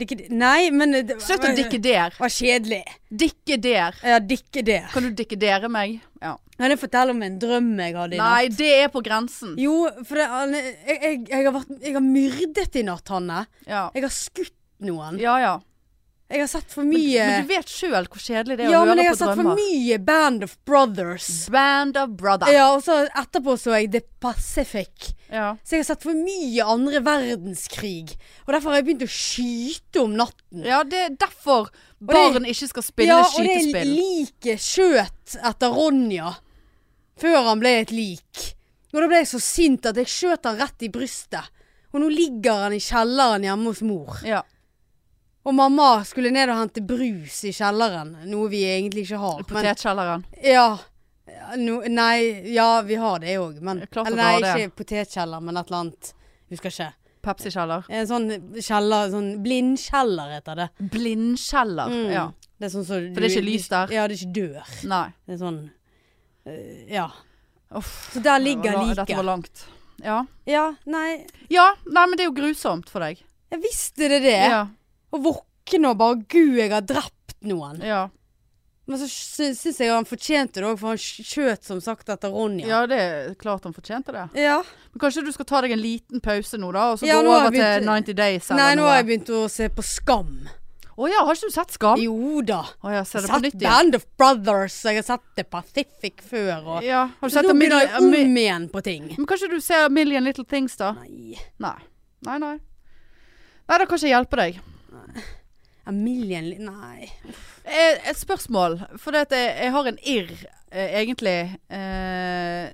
[SPEAKER 2] Dikked- Nei, men det-
[SPEAKER 1] Slutt å dikkeder.
[SPEAKER 2] var kjedelig.
[SPEAKER 1] Dikkeder.
[SPEAKER 2] Ja, dikkeder.
[SPEAKER 1] Kan du dikkedere meg? Ja.
[SPEAKER 2] Kan jeg fortelle om en drøm jeg hadde i natt?
[SPEAKER 1] Nei, det er på grensen.
[SPEAKER 2] Jo, for det, Anne, jeg, jeg, jeg, har vært, jeg har myrdet i natt, Hanne.
[SPEAKER 1] Ja
[SPEAKER 2] Jeg har skutt noen.
[SPEAKER 1] ja. ja.
[SPEAKER 2] Jeg har sett for
[SPEAKER 1] Men,
[SPEAKER 2] mye
[SPEAKER 1] men du vet sjøl hvor kjedelig det er
[SPEAKER 2] Ja,
[SPEAKER 1] å
[SPEAKER 2] men jeg
[SPEAKER 1] høre
[SPEAKER 2] har
[SPEAKER 1] på
[SPEAKER 2] sett for
[SPEAKER 1] drømmer.
[SPEAKER 2] mye Band of Brothers.
[SPEAKER 1] Band of brother.
[SPEAKER 2] Ja, og så etterpå så jeg The Pacific.
[SPEAKER 1] Ja.
[SPEAKER 2] Så jeg har sett for mye andre verdenskrig. Og derfor har jeg begynt å skyte om natten.
[SPEAKER 1] ja, det er derfor
[SPEAKER 2] det-
[SPEAKER 1] barn ikke skal spille
[SPEAKER 2] ja, og det
[SPEAKER 1] skytespill.
[SPEAKER 2] liket skjøt etter Ronja. Før han ble et lik. Og da ble jeg så sint at jeg skjøt han rett i brystet. Og nå ligger han i kjelleren hjemme hos mor.
[SPEAKER 1] Ja.
[SPEAKER 2] Og mamma skulle ned og hente brus i kjelleren. Noe vi egentlig ikke har. men-
[SPEAKER 1] Potetkjelleren.
[SPEAKER 2] Ja. No, nei, ja, vi har det òg, men
[SPEAKER 1] Ja, klart
[SPEAKER 2] Eller
[SPEAKER 1] dere har
[SPEAKER 2] nei,
[SPEAKER 1] det.
[SPEAKER 2] ikke potetkjeller, men et eller annet. Husker ikke.
[SPEAKER 1] Pepsi-kjeller.
[SPEAKER 2] En sånn kjeller, sånn blindkjeller heter det.
[SPEAKER 1] Blindkjeller.
[SPEAKER 2] Mm.
[SPEAKER 1] Ja.
[SPEAKER 2] Det er sånn så
[SPEAKER 1] For det er ikke lys der?
[SPEAKER 2] Ja, det er ikke dør.
[SPEAKER 1] Nei.
[SPEAKER 2] Det er sånn eh, Ja.
[SPEAKER 1] Uff.
[SPEAKER 2] Så der
[SPEAKER 1] Det
[SPEAKER 2] ligger
[SPEAKER 1] var la- Dette var
[SPEAKER 2] liket.
[SPEAKER 1] langt. Ja.
[SPEAKER 2] Ja, nei,
[SPEAKER 1] ja. Nei, men det er jo grusomt for deg.
[SPEAKER 2] jeg visste det det.
[SPEAKER 1] Ja.
[SPEAKER 2] Å våkne og bare Gud, jeg har drept noen.
[SPEAKER 1] Ja,
[SPEAKER 2] Men så sy- syns jeg han fortjente det òg, for han skjøt som sagt etter Ronja.
[SPEAKER 1] ja det er klart han fortjente det.
[SPEAKER 2] ja.
[SPEAKER 1] Men kanskje du skal ta deg en liten pause nå, da? Og så
[SPEAKER 2] Ja,
[SPEAKER 1] gå
[SPEAKER 2] nå har
[SPEAKER 1] over
[SPEAKER 2] jeg
[SPEAKER 1] til
[SPEAKER 2] begynt-
[SPEAKER 1] 90 Days eller
[SPEAKER 2] Nei, nå har jeg
[SPEAKER 1] noe?
[SPEAKER 2] begynt å se på Skam.
[SPEAKER 1] Å ja, har ikke du sett Skam?
[SPEAKER 2] Jo da.
[SPEAKER 1] Å ja, ser det på
[SPEAKER 2] sett
[SPEAKER 1] nytt igjen?
[SPEAKER 2] Band of Brothers, og jeg har sett The Pacific før. Og,
[SPEAKER 1] Ja. Har du
[SPEAKER 2] så
[SPEAKER 1] sett
[SPEAKER 2] nå
[SPEAKER 1] A
[SPEAKER 2] begynner jeg
[SPEAKER 1] Million,
[SPEAKER 2] om
[SPEAKER 1] A Mi-
[SPEAKER 2] igjen på ting.
[SPEAKER 1] Men kanskje du ser A Million Little Things, da?
[SPEAKER 2] Nei.
[SPEAKER 1] Nei. Nei, nei. Nei, da kan ikke jeg hjelpe deg.
[SPEAKER 2] A million li- Nei.
[SPEAKER 1] Eh, Et spørsmål. For det at jeg, jeg har en irr, eh, egentlig. Eh,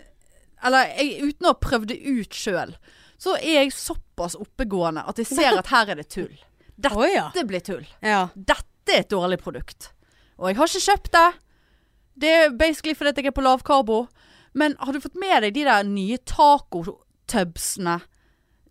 [SPEAKER 1] eller jeg, uten å ha prøvd det ut sjøl, så er jeg såpass oppegående at jeg ser at her er det tull.
[SPEAKER 2] Å ja.
[SPEAKER 1] Dette blir tull.
[SPEAKER 2] ja.
[SPEAKER 1] Dette er et dårlig produkt. Og jeg har ikke kjøpt det. Det er basically fordi at jeg er på lavkarbo. Men har du fått med deg de der nye tacotubsene?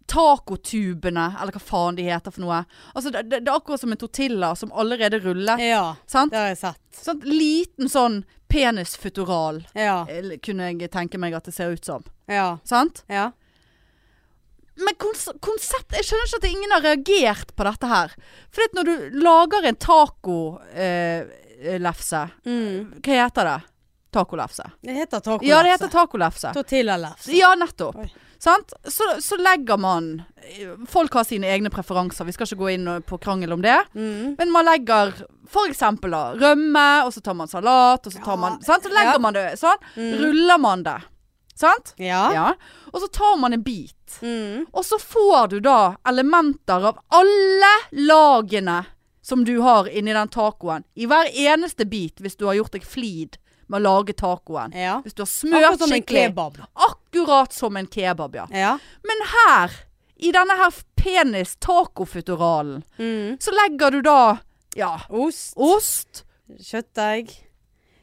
[SPEAKER 1] Tacotubene, eller hva faen de heter for noe. Altså, det, det, det er akkurat som en tortilla som allerede ruller.
[SPEAKER 2] Ja.
[SPEAKER 1] Sant?
[SPEAKER 2] Det har jeg sett.
[SPEAKER 1] Sånn liten sånn penisfutural
[SPEAKER 2] Ja.
[SPEAKER 1] eh, kunne jeg tenke meg at det ser ut som.
[SPEAKER 2] Ja.
[SPEAKER 1] Sant?
[SPEAKER 2] Ja.
[SPEAKER 1] Men kons konsept Jeg skjønner ikke at ingen har reagert på dette her. For at når du lager en tacolefse eh, lefse,
[SPEAKER 2] Mm.
[SPEAKER 1] Hva heter det? Tacolefse.
[SPEAKER 2] Det heter altså. tacolefse.
[SPEAKER 1] Ja, det heter tacolefse.
[SPEAKER 2] Tortillalefse.
[SPEAKER 1] Ja, nettopp.
[SPEAKER 2] Oi.
[SPEAKER 1] Sant? Så, så legger man Folk har sine egne preferanser, vi skal ikke gå inn på krangel om det.
[SPEAKER 2] Mm.
[SPEAKER 1] Men man legger for eksempel da, rømme, og så tar man salat, og så tar
[SPEAKER 2] Ja.
[SPEAKER 1] man sant? Så legger
[SPEAKER 2] Ja.
[SPEAKER 1] man det sånn.
[SPEAKER 2] Mm.
[SPEAKER 1] Ruller man det. Sant?
[SPEAKER 2] Ja.
[SPEAKER 1] Ja. Og så tar man en bit.
[SPEAKER 2] Mm.
[SPEAKER 1] Og så får du da elementer av alle lagene som du har inni den tacoen. I hver eneste bit, hvis du har gjort deg flid med å lage tacoen.
[SPEAKER 2] ja.
[SPEAKER 1] Hvis du har
[SPEAKER 2] Akkurat
[SPEAKER 1] smørt
[SPEAKER 2] som en
[SPEAKER 1] skikkelig.
[SPEAKER 2] kebab.
[SPEAKER 1] Akkurat som en kebab, ja.
[SPEAKER 2] Ja.
[SPEAKER 1] Men her, i denne her penis-tacofuturalen,
[SPEAKER 2] Mm.
[SPEAKER 1] så legger du da ja,
[SPEAKER 2] Ost.
[SPEAKER 1] ost,
[SPEAKER 2] Kjøttdeig.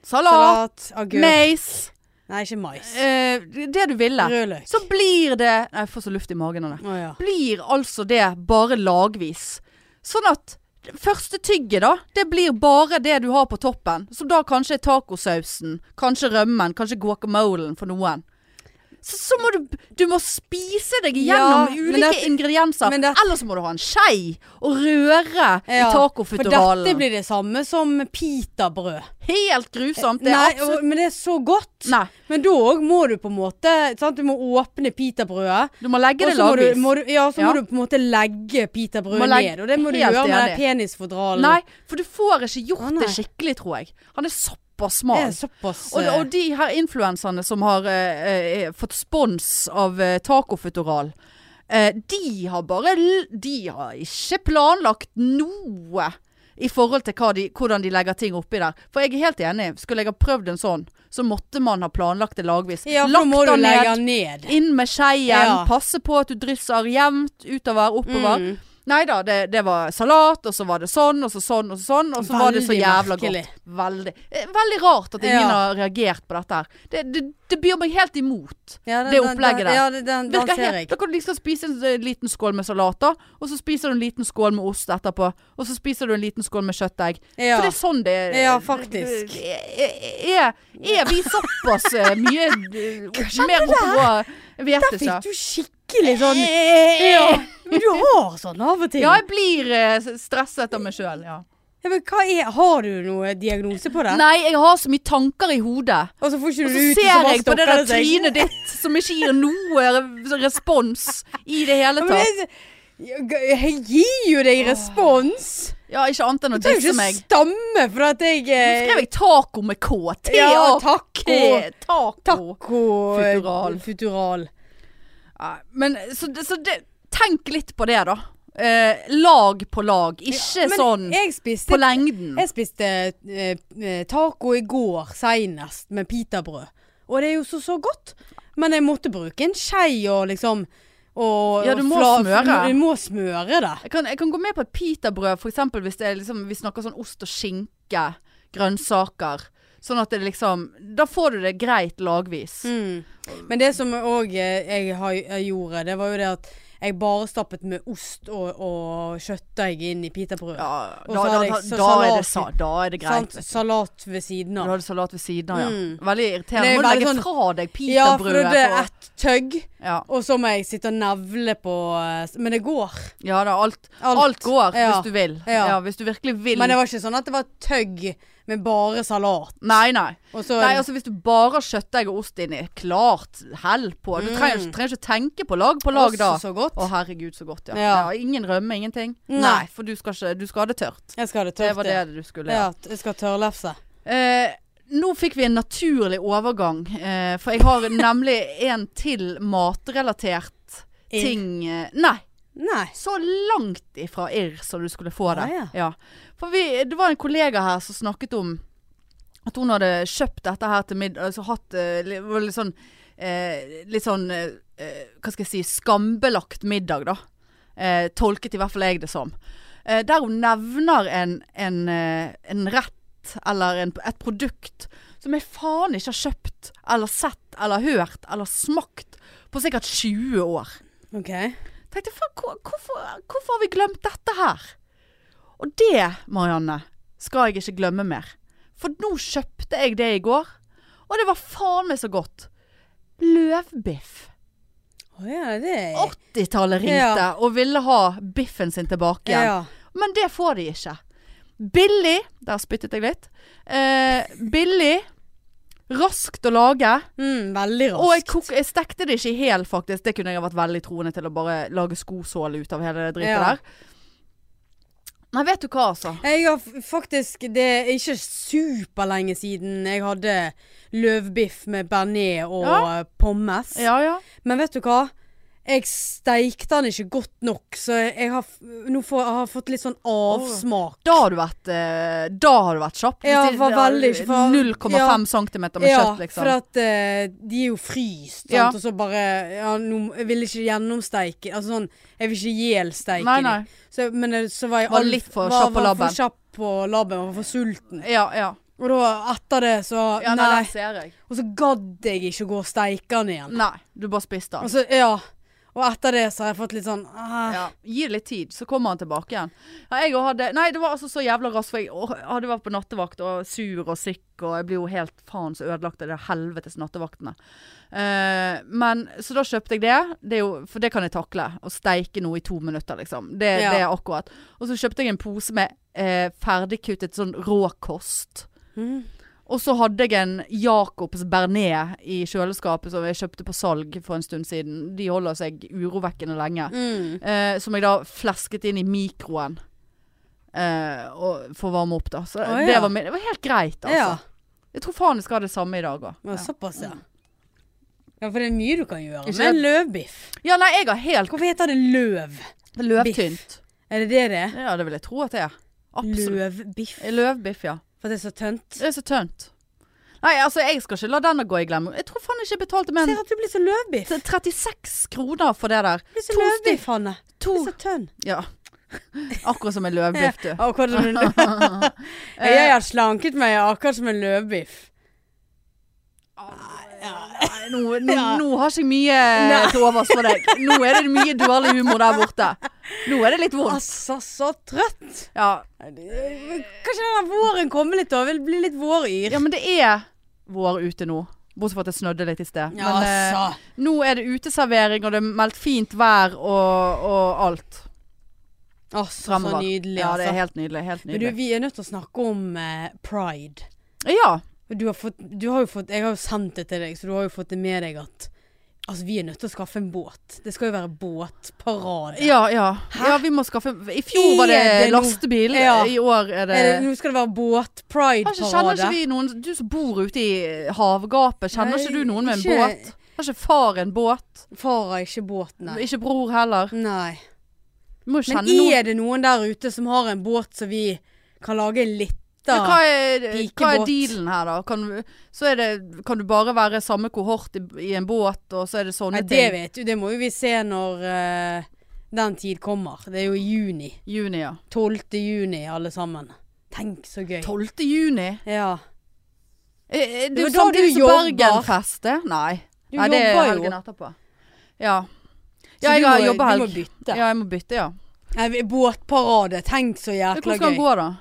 [SPEAKER 1] salat,
[SPEAKER 2] Salat. Agurk.
[SPEAKER 1] mais,
[SPEAKER 2] Nei, ikke mais.
[SPEAKER 1] eh, det du ville,
[SPEAKER 2] Rødløk.
[SPEAKER 1] så blir det Nei, jeg får så luft i magen av det.
[SPEAKER 2] Å ja.
[SPEAKER 1] blir altså det bare lagvis. Sånn at det første tygget da, det blir bare det du har på toppen. Som da kanskje er tacosausen, kanskje rømmen, kanskje guacamolen for noen. Så, så må du, du må spise deg
[SPEAKER 2] Ja,
[SPEAKER 1] gjennom
[SPEAKER 2] men
[SPEAKER 1] ulike
[SPEAKER 2] dette-
[SPEAKER 1] ingredienser.
[SPEAKER 2] men dette-
[SPEAKER 1] Ellers må du ha en skei og røre
[SPEAKER 2] Ja,
[SPEAKER 1] i
[SPEAKER 2] For dette
[SPEAKER 1] tacofutteralen.
[SPEAKER 2] blir det samme som pitabrød.
[SPEAKER 1] Helt grusomt. Det er
[SPEAKER 2] Nei,
[SPEAKER 1] absolutt
[SPEAKER 2] og, men det er så godt.
[SPEAKER 1] Nei.
[SPEAKER 2] Men da òg må du på en måte sant? Du må åpne pitabrødet.
[SPEAKER 1] Du må legge
[SPEAKER 2] Og
[SPEAKER 1] det
[SPEAKER 2] så må du,
[SPEAKER 1] lagvis.
[SPEAKER 2] må du, ja, så
[SPEAKER 1] Ja.
[SPEAKER 2] må du på en måte legge
[SPEAKER 1] Må
[SPEAKER 2] pitabrødet
[SPEAKER 1] legge-
[SPEAKER 2] ned. Og det må du
[SPEAKER 1] Helt
[SPEAKER 2] gjøre med
[SPEAKER 1] enig.
[SPEAKER 2] den penisfodralen.
[SPEAKER 1] Nei, for du får ikke gjort
[SPEAKER 2] Å, nei.
[SPEAKER 1] det skikkelig, tror jeg. Han er såpass
[SPEAKER 2] det
[SPEAKER 1] smal.
[SPEAKER 2] er såpass
[SPEAKER 1] Og,
[SPEAKER 2] eh,
[SPEAKER 1] og de her influenserne som har eh, eh, fått spons av eh, Tacofutural, eh, de har bare l- De har ikke planlagt noe i forhold til hva de, hvordan de legger ting oppi der. For jeg er helt enig. Skulle jeg ha prøvd en sånn, så måtte man ha planlagt det lagvis.
[SPEAKER 2] eh, Ja, for da
[SPEAKER 1] Lagt
[SPEAKER 2] må du
[SPEAKER 1] den ned,
[SPEAKER 2] legge den ned.
[SPEAKER 1] inn med skeien,
[SPEAKER 2] Ja.
[SPEAKER 1] passe på at du drysser jevnt utover, oppover.
[SPEAKER 2] Mm.
[SPEAKER 1] Nei da, det, det var salat, og så var det sånn, og så sånn, og så sånn. Og så var det så
[SPEAKER 2] Veldig
[SPEAKER 1] jævla godt.
[SPEAKER 2] merkelig.
[SPEAKER 1] Veldig, eh, veldig rart at ingen
[SPEAKER 2] Ja.
[SPEAKER 1] har reagert på dette her. Det, det, det byr meg helt imot.
[SPEAKER 2] Ja,
[SPEAKER 1] det opplegget der.
[SPEAKER 2] Ja, den, den, den
[SPEAKER 1] Virker
[SPEAKER 2] ser
[SPEAKER 1] helt,
[SPEAKER 2] jeg.
[SPEAKER 1] da kan du liksom spise en eh, liten skål med salat, da. Og så spiser du en liten skål med ost etterpå. Og så spiser du en liten skål med kjøttdeig.
[SPEAKER 2] Ja.
[SPEAKER 1] For det er sånn det er.
[SPEAKER 2] Ja, faktisk.
[SPEAKER 1] Er, er vi såpass eh, mye eh, mer oppå
[SPEAKER 2] Der
[SPEAKER 1] hveteser?
[SPEAKER 2] fikk du skikkelig sånn Ja,
[SPEAKER 1] Ja.
[SPEAKER 2] men du har sånn av og til.
[SPEAKER 1] Eh, ja, jeg blir eh, stresset av meg sjøl, ja.
[SPEAKER 2] Ja, men hva er, har du noe diagnose på det?
[SPEAKER 1] Nei, jeg har så mye tanker i hodet.
[SPEAKER 2] Og så får ikke
[SPEAKER 1] Og
[SPEAKER 2] du
[SPEAKER 1] så
[SPEAKER 2] det ut, og så
[SPEAKER 1] ser
[SPEAKER 2] bare
[SPEAKER 1] jeg på det
[SPEAKER 2] stokker
[SPEAKER 1] der
[SPEAKER 2] det seg.
[SPEAKER 1] trynet ditt som ikke gir noe re- respons i det hele
[SPEAKER 2] Ja,
[SPEAKER 1] tatt.
[SPEAKER 2] men det- Jeg jeg gir jo deg respons.
[SPEAKER 1] Ja, ikke annet enn å
[SPEAKER 2] Du trenger
[SPEAKER 1] disse
[SPEAKER 2] ikke
[SPEAKER 1] meg.
[SPEAKER 2] stamme for at jeg
[SPEAKER 1] Nå
[SPEAKER 2] eh,
[SPEAKER 1] skrev jeg taco med K. T
[SPEAKER 2] Ja,
[SPEAKER 1] a
[SPEAKER 2] takk.
[SPEAKER 1] k Taco.
[SPEAKER 2] Taco eh,
[SPEAKER 1] Futural.
[SPEAKER 2] Futural.
[SPEAKER 1] Nei, Men så, det- så det, tenk litt på det, da. Eh, lag på lag. Ikke
[SPEAKER 2] Men
[SPEAKER 1] sånn
[SPEAKER 2] jeg spiste,
[SPEAKER 1] på lengden.
[SPEAKER 2] jeg spiste eh, eh, taco i går seinest med pitabrød. Og det er jo så så godt. Men jeg måtte bruke en skei og liksom og,
[SPEAKER 1] Ja, du må
[SPEAKER 2] og
[SPEAKER 1] smøre.
[SPEAKER 2] Du må smøre det.
[SPEAKER 1] Jeg kan, jeg kan gå med på et pitabrød, for eksempel hvis det er liksom, vi snakker sånn ost og skinke, grønnsaker. Sånn at det liksom Da får du det greit lagvis.
[SPEAKER 2] Mm. Men det som òg jeg, har- jeg gjorde, det var jo det at jeg bare stappet med ost og, og kjøttdeig inn i pitabrødet.
[SPEAKER 1] Ja,
[SPEAKER 2] Og
[SPEAKER 1] da,
[SPEAKER 2] så
[SPEAKER 1] da,
[SPEAKER 2] hadde jeg
[SPEAKER 1] da,
[SPEAKER 2] så
[SPEAKER 1] da, er det,
[SPEAKER 2] salat-
[SPEAKER 1] sa- da er det greit.
[SPEAKER 2] Sant? Salat ved siden
[SPEAKER 1] Du
[SPEAKER 2] av.
[SPEAKER 1] hadde salat ved siden av, ja.
[SPEAKER 2] Mm.
[SPEAKER 1] Veldig irriterende.
[SPEAKER 2] Det er
[SPEAKER 1] Må du legge
[SPEAKER 2] veldig sånn-
[SPEAKER 1] fra deg
[SPEAKER 2] Ja, for
[SPEAKER 1] pitabrødet.
[SPEAKER 2] det er
[SPEAKER 1] for-
[SPEAKER 2] ett tøgg,
[SPEAKER 1] ja.
[SPEAKER 2] og så må jeg sitte og nevle på eh, Men det går.
[SPEAKER 1] ja da, alt, alt. går
[SPEAKER 2] Ja.
[SPEAKER 1] hvis du vil. Ja.
[SPEAKER 2] Ja.
[SPEAKER 1] Hvis du virkelig vil.
[SPEAKER 2] Men det var ikke sånn at det var tøgg med bare salat.
[SPEAKER 1] Nei, nei.
[SPEAKER 2] Og så
[SPEAKER 1] Nei, altså Hvis du bare har kjøttdeig og ost inni, klart hell på. Du
[SPEAKER 2] Mm.
[SPEAKER 1] trenger, ikke- trenger ikke tenke på lag på lag da.
[SPEAKER 2] Også så godt.
[SPEAKER 1] Å herregud, så godt, ja.
[SPEAKER 2] Ja.
[SPEAKER 1] ja. ingen rømme, ingenting.
[SPEAKER 2] Nei.
[SPEAKER 1] for du skal, ikke, du skal ha det tørt.
[SPEAKER 2] Jeg skal ha det
[SPEAKER 1] Det
[SPEAKER 2] tørt.
[SPEAKER 1] var det du skulle.
[SPEAKER 2] Ja,
[SPEAKER 1] Ja.
[SPEAKER 2] jeg skal ha tørrlefse.
[SPEAKER 1] Eh, nå fikk vi en naturlig overgang, eh, for jeg har nemlig en til matrelatert
[SPEAKER 2] Irr.
[SPEAKER 1] ting eh, Nei,
[SPEAKER 2] Nei.
[SPEAKER 1] så langt ifra irr som du skulle få det.
[SPEAKER 2] Ah, ja.
[SPEAKER 1] For vi, det var en kollega her som snakket om at hun hadde kjøpt dette her til middag, altså hatt eh, li- var litt sånn, eh, litt sånn eh, eh, hva skal jeg si, skambelagt middag da. Eh, tolket i hvert fall jeg det som. Eh, der hun nevner en, en, eh, en rett eller en, et produkt som jeg faen ikke har kjøpt eller sett eller hørt eller smakt på sikkert 20 år
[SPEAKER 2] OK.
[SPEAKER 1] tenkte faen, hvor- hvorfor, hvorfor har vi glemt dette her? Og det, Marianne, skal jeg ikke glemme mer. For nå kjøpte jeg det i går, og det var faen meg så godt. Løvbiff.
[SPEAKER 2] Å ja, det er
[SPEAKER 1] 80-tallet ringte
[SPEAKER 2] Eh. Ja.
[SPEAKER 1] og ville ha biffen sin tilbake igjen.
[SPEAKER 2] ja.
[SPEAKER 1] Men det får de ikke. Billig Der spyttet jeg litt. Eh, billig. Raskt å lage.
[SPEAKER 2] Mm, veldig raskt.
[SPEAKER 1] Og jeg, kok jeg stekte det ikke i hel, faktisk. Det kunne jeg ha vært veldig troende til å bare lage skosåle ut av hele det dritet
[SPEAKER 2] Ja.
[SPEAKER 1] der. Nei, vet du hva, altså.
[SPEAKER 2] Jeg har f- faktisk Det er ikke superlenge siden jeg hadde løvbiff med bearnés og
[SPEAKER 1] Ja.
[SPEAKER 2] eh, pommes.
[SPEAKER 1] Ja, ja.
[SPEAKER 2] Men vet du hva? Jeg steikte den ikke godt nok, så jeg har, f- nå får, jeg har fått litt sånn avsmak.
[SPEAKER 1] Da har du vært, eh, da har du vært kjapp. Hvis
[SPEAKER 2] Ja,
[SPEAKER 1] de-
[SPEAKER 2] var veldig ikke for-
[SPEAKER 1] 0,5
[SPEAKER 2] Ja.
[SPEAKER 1] cm med
[SPEAKER 2] ja,
[SPEAKER 1] kjøtt, liksom.
[SPEAKER 2] for at eh, de er jo fryst, sant?
[SPEAKER 1] Ja.
[SPEAKER 2] og så bare ja, nå, Jeg vil ikke gjennomsteike Altså sånn, jeg vil ikke gjelsteike
[SPEAKER 1] Nei,
[SPEAKER 2] de.
[SPEAKER 1] nei.
[SPEAKER 2] Så, men eh, så var jeg
[SPEAKER 1] Var
[SPEAKER 2] all-
[SPEAKER 1] litt for
[SPEAKER 2] var-
[SPEAKER 1] kjapp på
[SPEAKER 2] var
[SPEAKER 1] labben.
[SPEAKER 2] for kjapp på labben og for sulten.
[SPEAKER 1] Ja, ja.
[SPEAKER 2] Og da, etter det, så
[SPEAKER 1] Ja, nei, Mm.
[SPEAKER 2] Nei.
[SPEAKER 1] den ser jeg.
[SPEAKER 2] Og så gadd jeg ikke å gå og steike den igjen.
[SPEAKER 1] Nei, du bare spiste den.
[SPEAKER 2] Og så, ja. Og etter det så har jeg fått litt sånn ah,
[SPEAKER 1] Ja. Gi det litt tid, så kommer han tilbake igjen. Ja, jeg også hadde, nei, det var altså så jævla raskt, for jeg åh, hadde vært på nattevakt og sur og syk, og jeg blir jo helt faen så ødelagt av det helvetes nattevaktene. Eh, men, så da kjøpte jeg det, det er jo, for det kan jeg takle, å steike noe i to minutter, liksom. Det,
[SPEAKER 2] Ja.
[SPEAKER 1] det er akkurat. Og så kjøpte jeg en pose med eh, ferdigkuttet sånn råkost.
[SPEAKER 2] mm.
[SPEAKER 1] Og så hadde jeg en Jacobs Bernet i kjøleskapet som jeg kjøpte på salg for en stund siden. De holder seg urovekkende lenge.
[SPEAKER 2] Mm.
[SPEAKER 1] Eh, som jeg da flesket inn i mikroen eh, og for å varme opp, da. Så
[SPEAKER 2] Å, ja.
[SPEAKER 1] det, var, min- det var helt greit,
[SPEAKER 2] Ja.
[SPEAKER 1] altså. Jeg tror faen jeg skal ha det samme i dag òg.
[SPEAKER 2] ja. Såpass, ja. Ja, for det er mye du kan gjøre.
[SPEAKER 1] Mm. Ikke
[SPEAKER 2] Men løvbiff.
[SPEAKER 1] Ja, nei, jeg har helt
[SPEAKER 2] Hvorfor heter det løv?
[SPEAKER 1] løvtynt.
[SPEAKER 2] Er det det det er?
[SPEAKER 1] Ja, det vil jeg tro at det er. Absolutt.
[SPEAKER 2] Løvbiff.
[SPEAKER 1] Løvbiff, ja.
[SPEAKER 2] For det er så tønt.
[SPEAKER 1] Det er så tønt. Nei, altså, jeg skal ikke la denne gå i glemme. Jeg tror faen ikke jeg betalte mer
[SPEAKER 2] Ser
[SPEAKER 1] enn
[SPEAKER 2] at du blir så løvbiff.
[SPEAKER 1] 36 kroner for det der.
[SPEAKER 2] Du blir så
[SPEAKER 1] to
[SPEAKER 2] løvbiff, Hanne. Du
[SPEAKER 1] To
[SPEAKER 2] blir så tønn.
[SPEAKER 1] Ja. Akkurat som en løvbiff, du.
[SPEAKER 2] Akkurat som en løv. Jeg har slanket meg akkurat som en løvbiff.
[SPEAKER 1] Ah, Nei, nå, nå,
[SPEAKER 2] Ja.
[SPEAKER 1] nå har ikke jeg mye til overs for deg. Nå er det mye dårlig humor der borte. Nå er det litt vondt.
[SPEAKER 2] Altså, så trøtt.
[SPEAKER 1] Ja,
[SPEAKER 2] Kanskje denne våren kommer litt, da. Vil bli litt våryr.
[SPEAKER 1] ja men det er vår ute nå. Bortsett fra at det snødde litt i sted. Men eh, nå er det uteservering, og det er meldt fint vær og, og alt.
[SPEAKER 2] altså så
[SPEAKER 1] Fremover.
[SPEAKER 2] nydelig,
[SPEAKER 1] Ja, det
[SPEAKER 2] altså.
[SPEAKER 1] er helt nydelig. Helt
[SPEAKER 2] Men du,
[SPEAKER 1] nydelig.
[SPEAKER 2] vi er nødt til å snakke om eh, pride.
[SPEAKER 1] Ja.
[SPEAKER 2] Du har fått, du har jo fått, jeg har jo sendt det til deg, så du har jo fått det med deg at Altså, vi er nødt til å skaffe en båt. Det skal jo være båtparade.
[SPEAKER 1] Ja, ja.
[SPEAKER 2] Hæ?
[SPEAKER 1] ja vi må skaffe I fjor var det
[SPEAKER 2] Er det noe-
[SPEAKER 1] lastebil,
[SPEAKER 2] Ja.
[SPEAKER 1] i år er det
[SPEAKER 2] Er det, nå skal det være
[SPEAKER 1] Har ikke, eh, altså, kjenner ikke
[SPEAKER 2] båtpride-parade.
[SPEAKER 1] vi noen Du som bor ute i havgapet, kjenner
[SPEAKER 2] Nei,
[SPEAKER 1] ikke du noen med en
[SPEAKER 2] ikke-
[SPEAKER 1] båt? Har ikke far en båt?
[SPEAKER 2] Far har ikke båt, nei.
[SPEAKER 1] Ikke bror heller.
[SPEAKER 2] nei.
[SPEAKER 1] Du må jo
[SPEAKER 2] Men
[SPEAKER 1] kjenne noen.
[SPEAKER 2] er det noen der ute som har en båt som vi kan lage litt
[SPEAKER 1] Ja,
[SPEAKER 2] av?
[SPEAKER 1] hva, er, hva er
[SPEAKER 2] Pikebåt.
[SPEAKER 1] dealen her, da? Kan, så er det, kan du bare være samme kohort i, i en båt, og så er det sånne
[SPEAKER 2] Nei, det
[SPEAKER 1] ting?
[SPEAKER 2] vet du. Det må jo vi se når eh, den tid kommer. Det er jo i juni.
[SPEAKER 1] Juni, ja.
[SPEAKER 2] 12. juni, alle sammen. Tenk så gøy.
[SPEAKER 1] 12. juni?
[SPEAKER 2] Ja.
[SPEAKER 1] Eh, eh, Det er
[SPEAKER 2] Det
[SPEAKER 1] jo
[SPEAKER 2] var da du
[SPEAKER 1] samtidig som
[SPEAKER 2] jobber.
[SPEAKER 1] Bergenfest, det. Nei.
[SPEAKER 2] Du
[SPEAKER 1] Nei, det er
[SPEAKER 2] jobber jo.
[SPEAKER 1] helgen etterpå. Ja.
[SPEAKER 2] Så
[SPEAKER 1] Ja, jeg
[SPEAKER 2] du
[SPEAKER 1] har
[SPEAKER 2] må-
[SPEAKER 1] jobba
[SPEAKER 2] Du må
[SPEAKER 1] helg.
[SPEAKER 2] bytte.
[SPEAKER 1] Ja, jeg må bytte, ja.
[SPEAKER 2] Nei, vi- båtparade. Tenk så jækla
[SPEAKER 1] Hvordan skal
[SPEAKER 2] gøy.
[SPEAKER 1] den gå, da?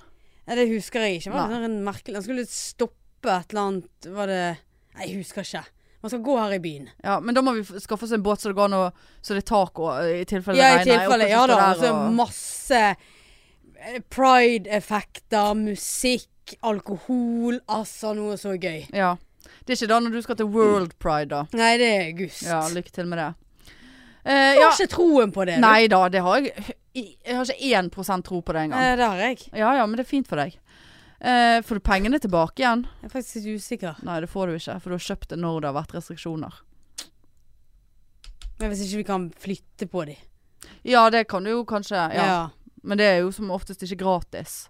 [SPEAKER 2] Nei, det husker jeg ikke. Var det
[SPEAKER 1] Nei.
[SPEAKER 2] sånn en merkelig Han skulle stoppe et eller annet Var det Nei, jeg husker ikke. Man skal gå her i byen.
[SPEAKER 1] Ja, men da må vi f- skaffe oss en båt så det går an å Så det er tak og, i tilfelle
[SPEAKER 2] Ja,
[SPEAKER 1] det regner. Jeg
[SPEAKER 2] i
[SPEAKER 1] orker
[SPEAKER 2] tilfelle.
[SPEAKER 1] ikke
[SPEAKER 2] Ja
[SPEAKER 1] stå
[SPEAKER 2] da.
[SPEAKER 1] der
[SPEAKER 2] Altså
[SPEAKER 1] og-
[SPEAKER 2] masse eh, pride-effekter, musikk, alkohol. Altså noe så gøy.
[SPEAKER 1] ja. Det er ikke da når du skal til World Pride, da.
[SPEAKER 2] Nei, det er august.
[SPEAKER 1] Ja, lykke til med det. Eh,
[SPEAKER 2] Jeg
[SPEAKER 1] ja.
[SPEAKER 2] har ikke troen på det. du.
[SPEAKER 1] Nei da, det har jeg i- Jeg har ikke 1 tro på det engang.
[SPEAKER 2] Eh, det har jeg.
[SPEAKER 1] Ja ja, men det er fint for deg. Eh, får du pengene tilbake igjen?
[SPEAKER 2] Jeg er faktisk litt usikker.
[SPEAKER 1] Nei, det får du ikke, for du har kjøpt det når det har vært restriksjoner.
[SPEAKER 2] Men hvis ikke vi kan flytte på de.
[SPEAKER 1] Ja, det kan du jo kanskje. Ja. Men det er jo som oftest ikke gratis.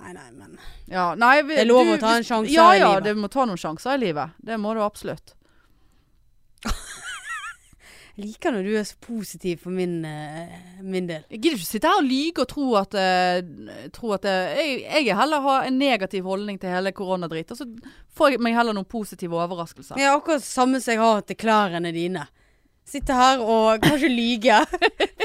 [SPEAKER 2] Nei, nei, men
[SPEAKER 1] Ja, nei, vi,
[SPEAKER 2] Det er lov å
[SPEAKER 1] du-
[SPEAKER 2] ta en
[SPEAKER 1] hvis-
[SPEAKER 2] sjanse
[SPEAKER 1] ja,
[SPEAKER 2] i
[SPEAKER 1] Ja,
[SPEAKER 2] livet.
[SPEAKER 1] du må ta noen sjanser i livet. Det må du absolutt.
[SPEAKER 2] Jeg liker når du er så positiv for min, eh, min del.
[SPEAKER 1] Jeg gidder ikke sitte her og lyge og tro at, eh, tro at eh, jeg, jeg heller har en negativ holdning til hele koronadrit. Og så får jeg meg heller noen positive overraskelser.
[SPEAKER 2] Jeg er akkurat samme som jeg har til klærne dine. Sitte her og kanskje lyge.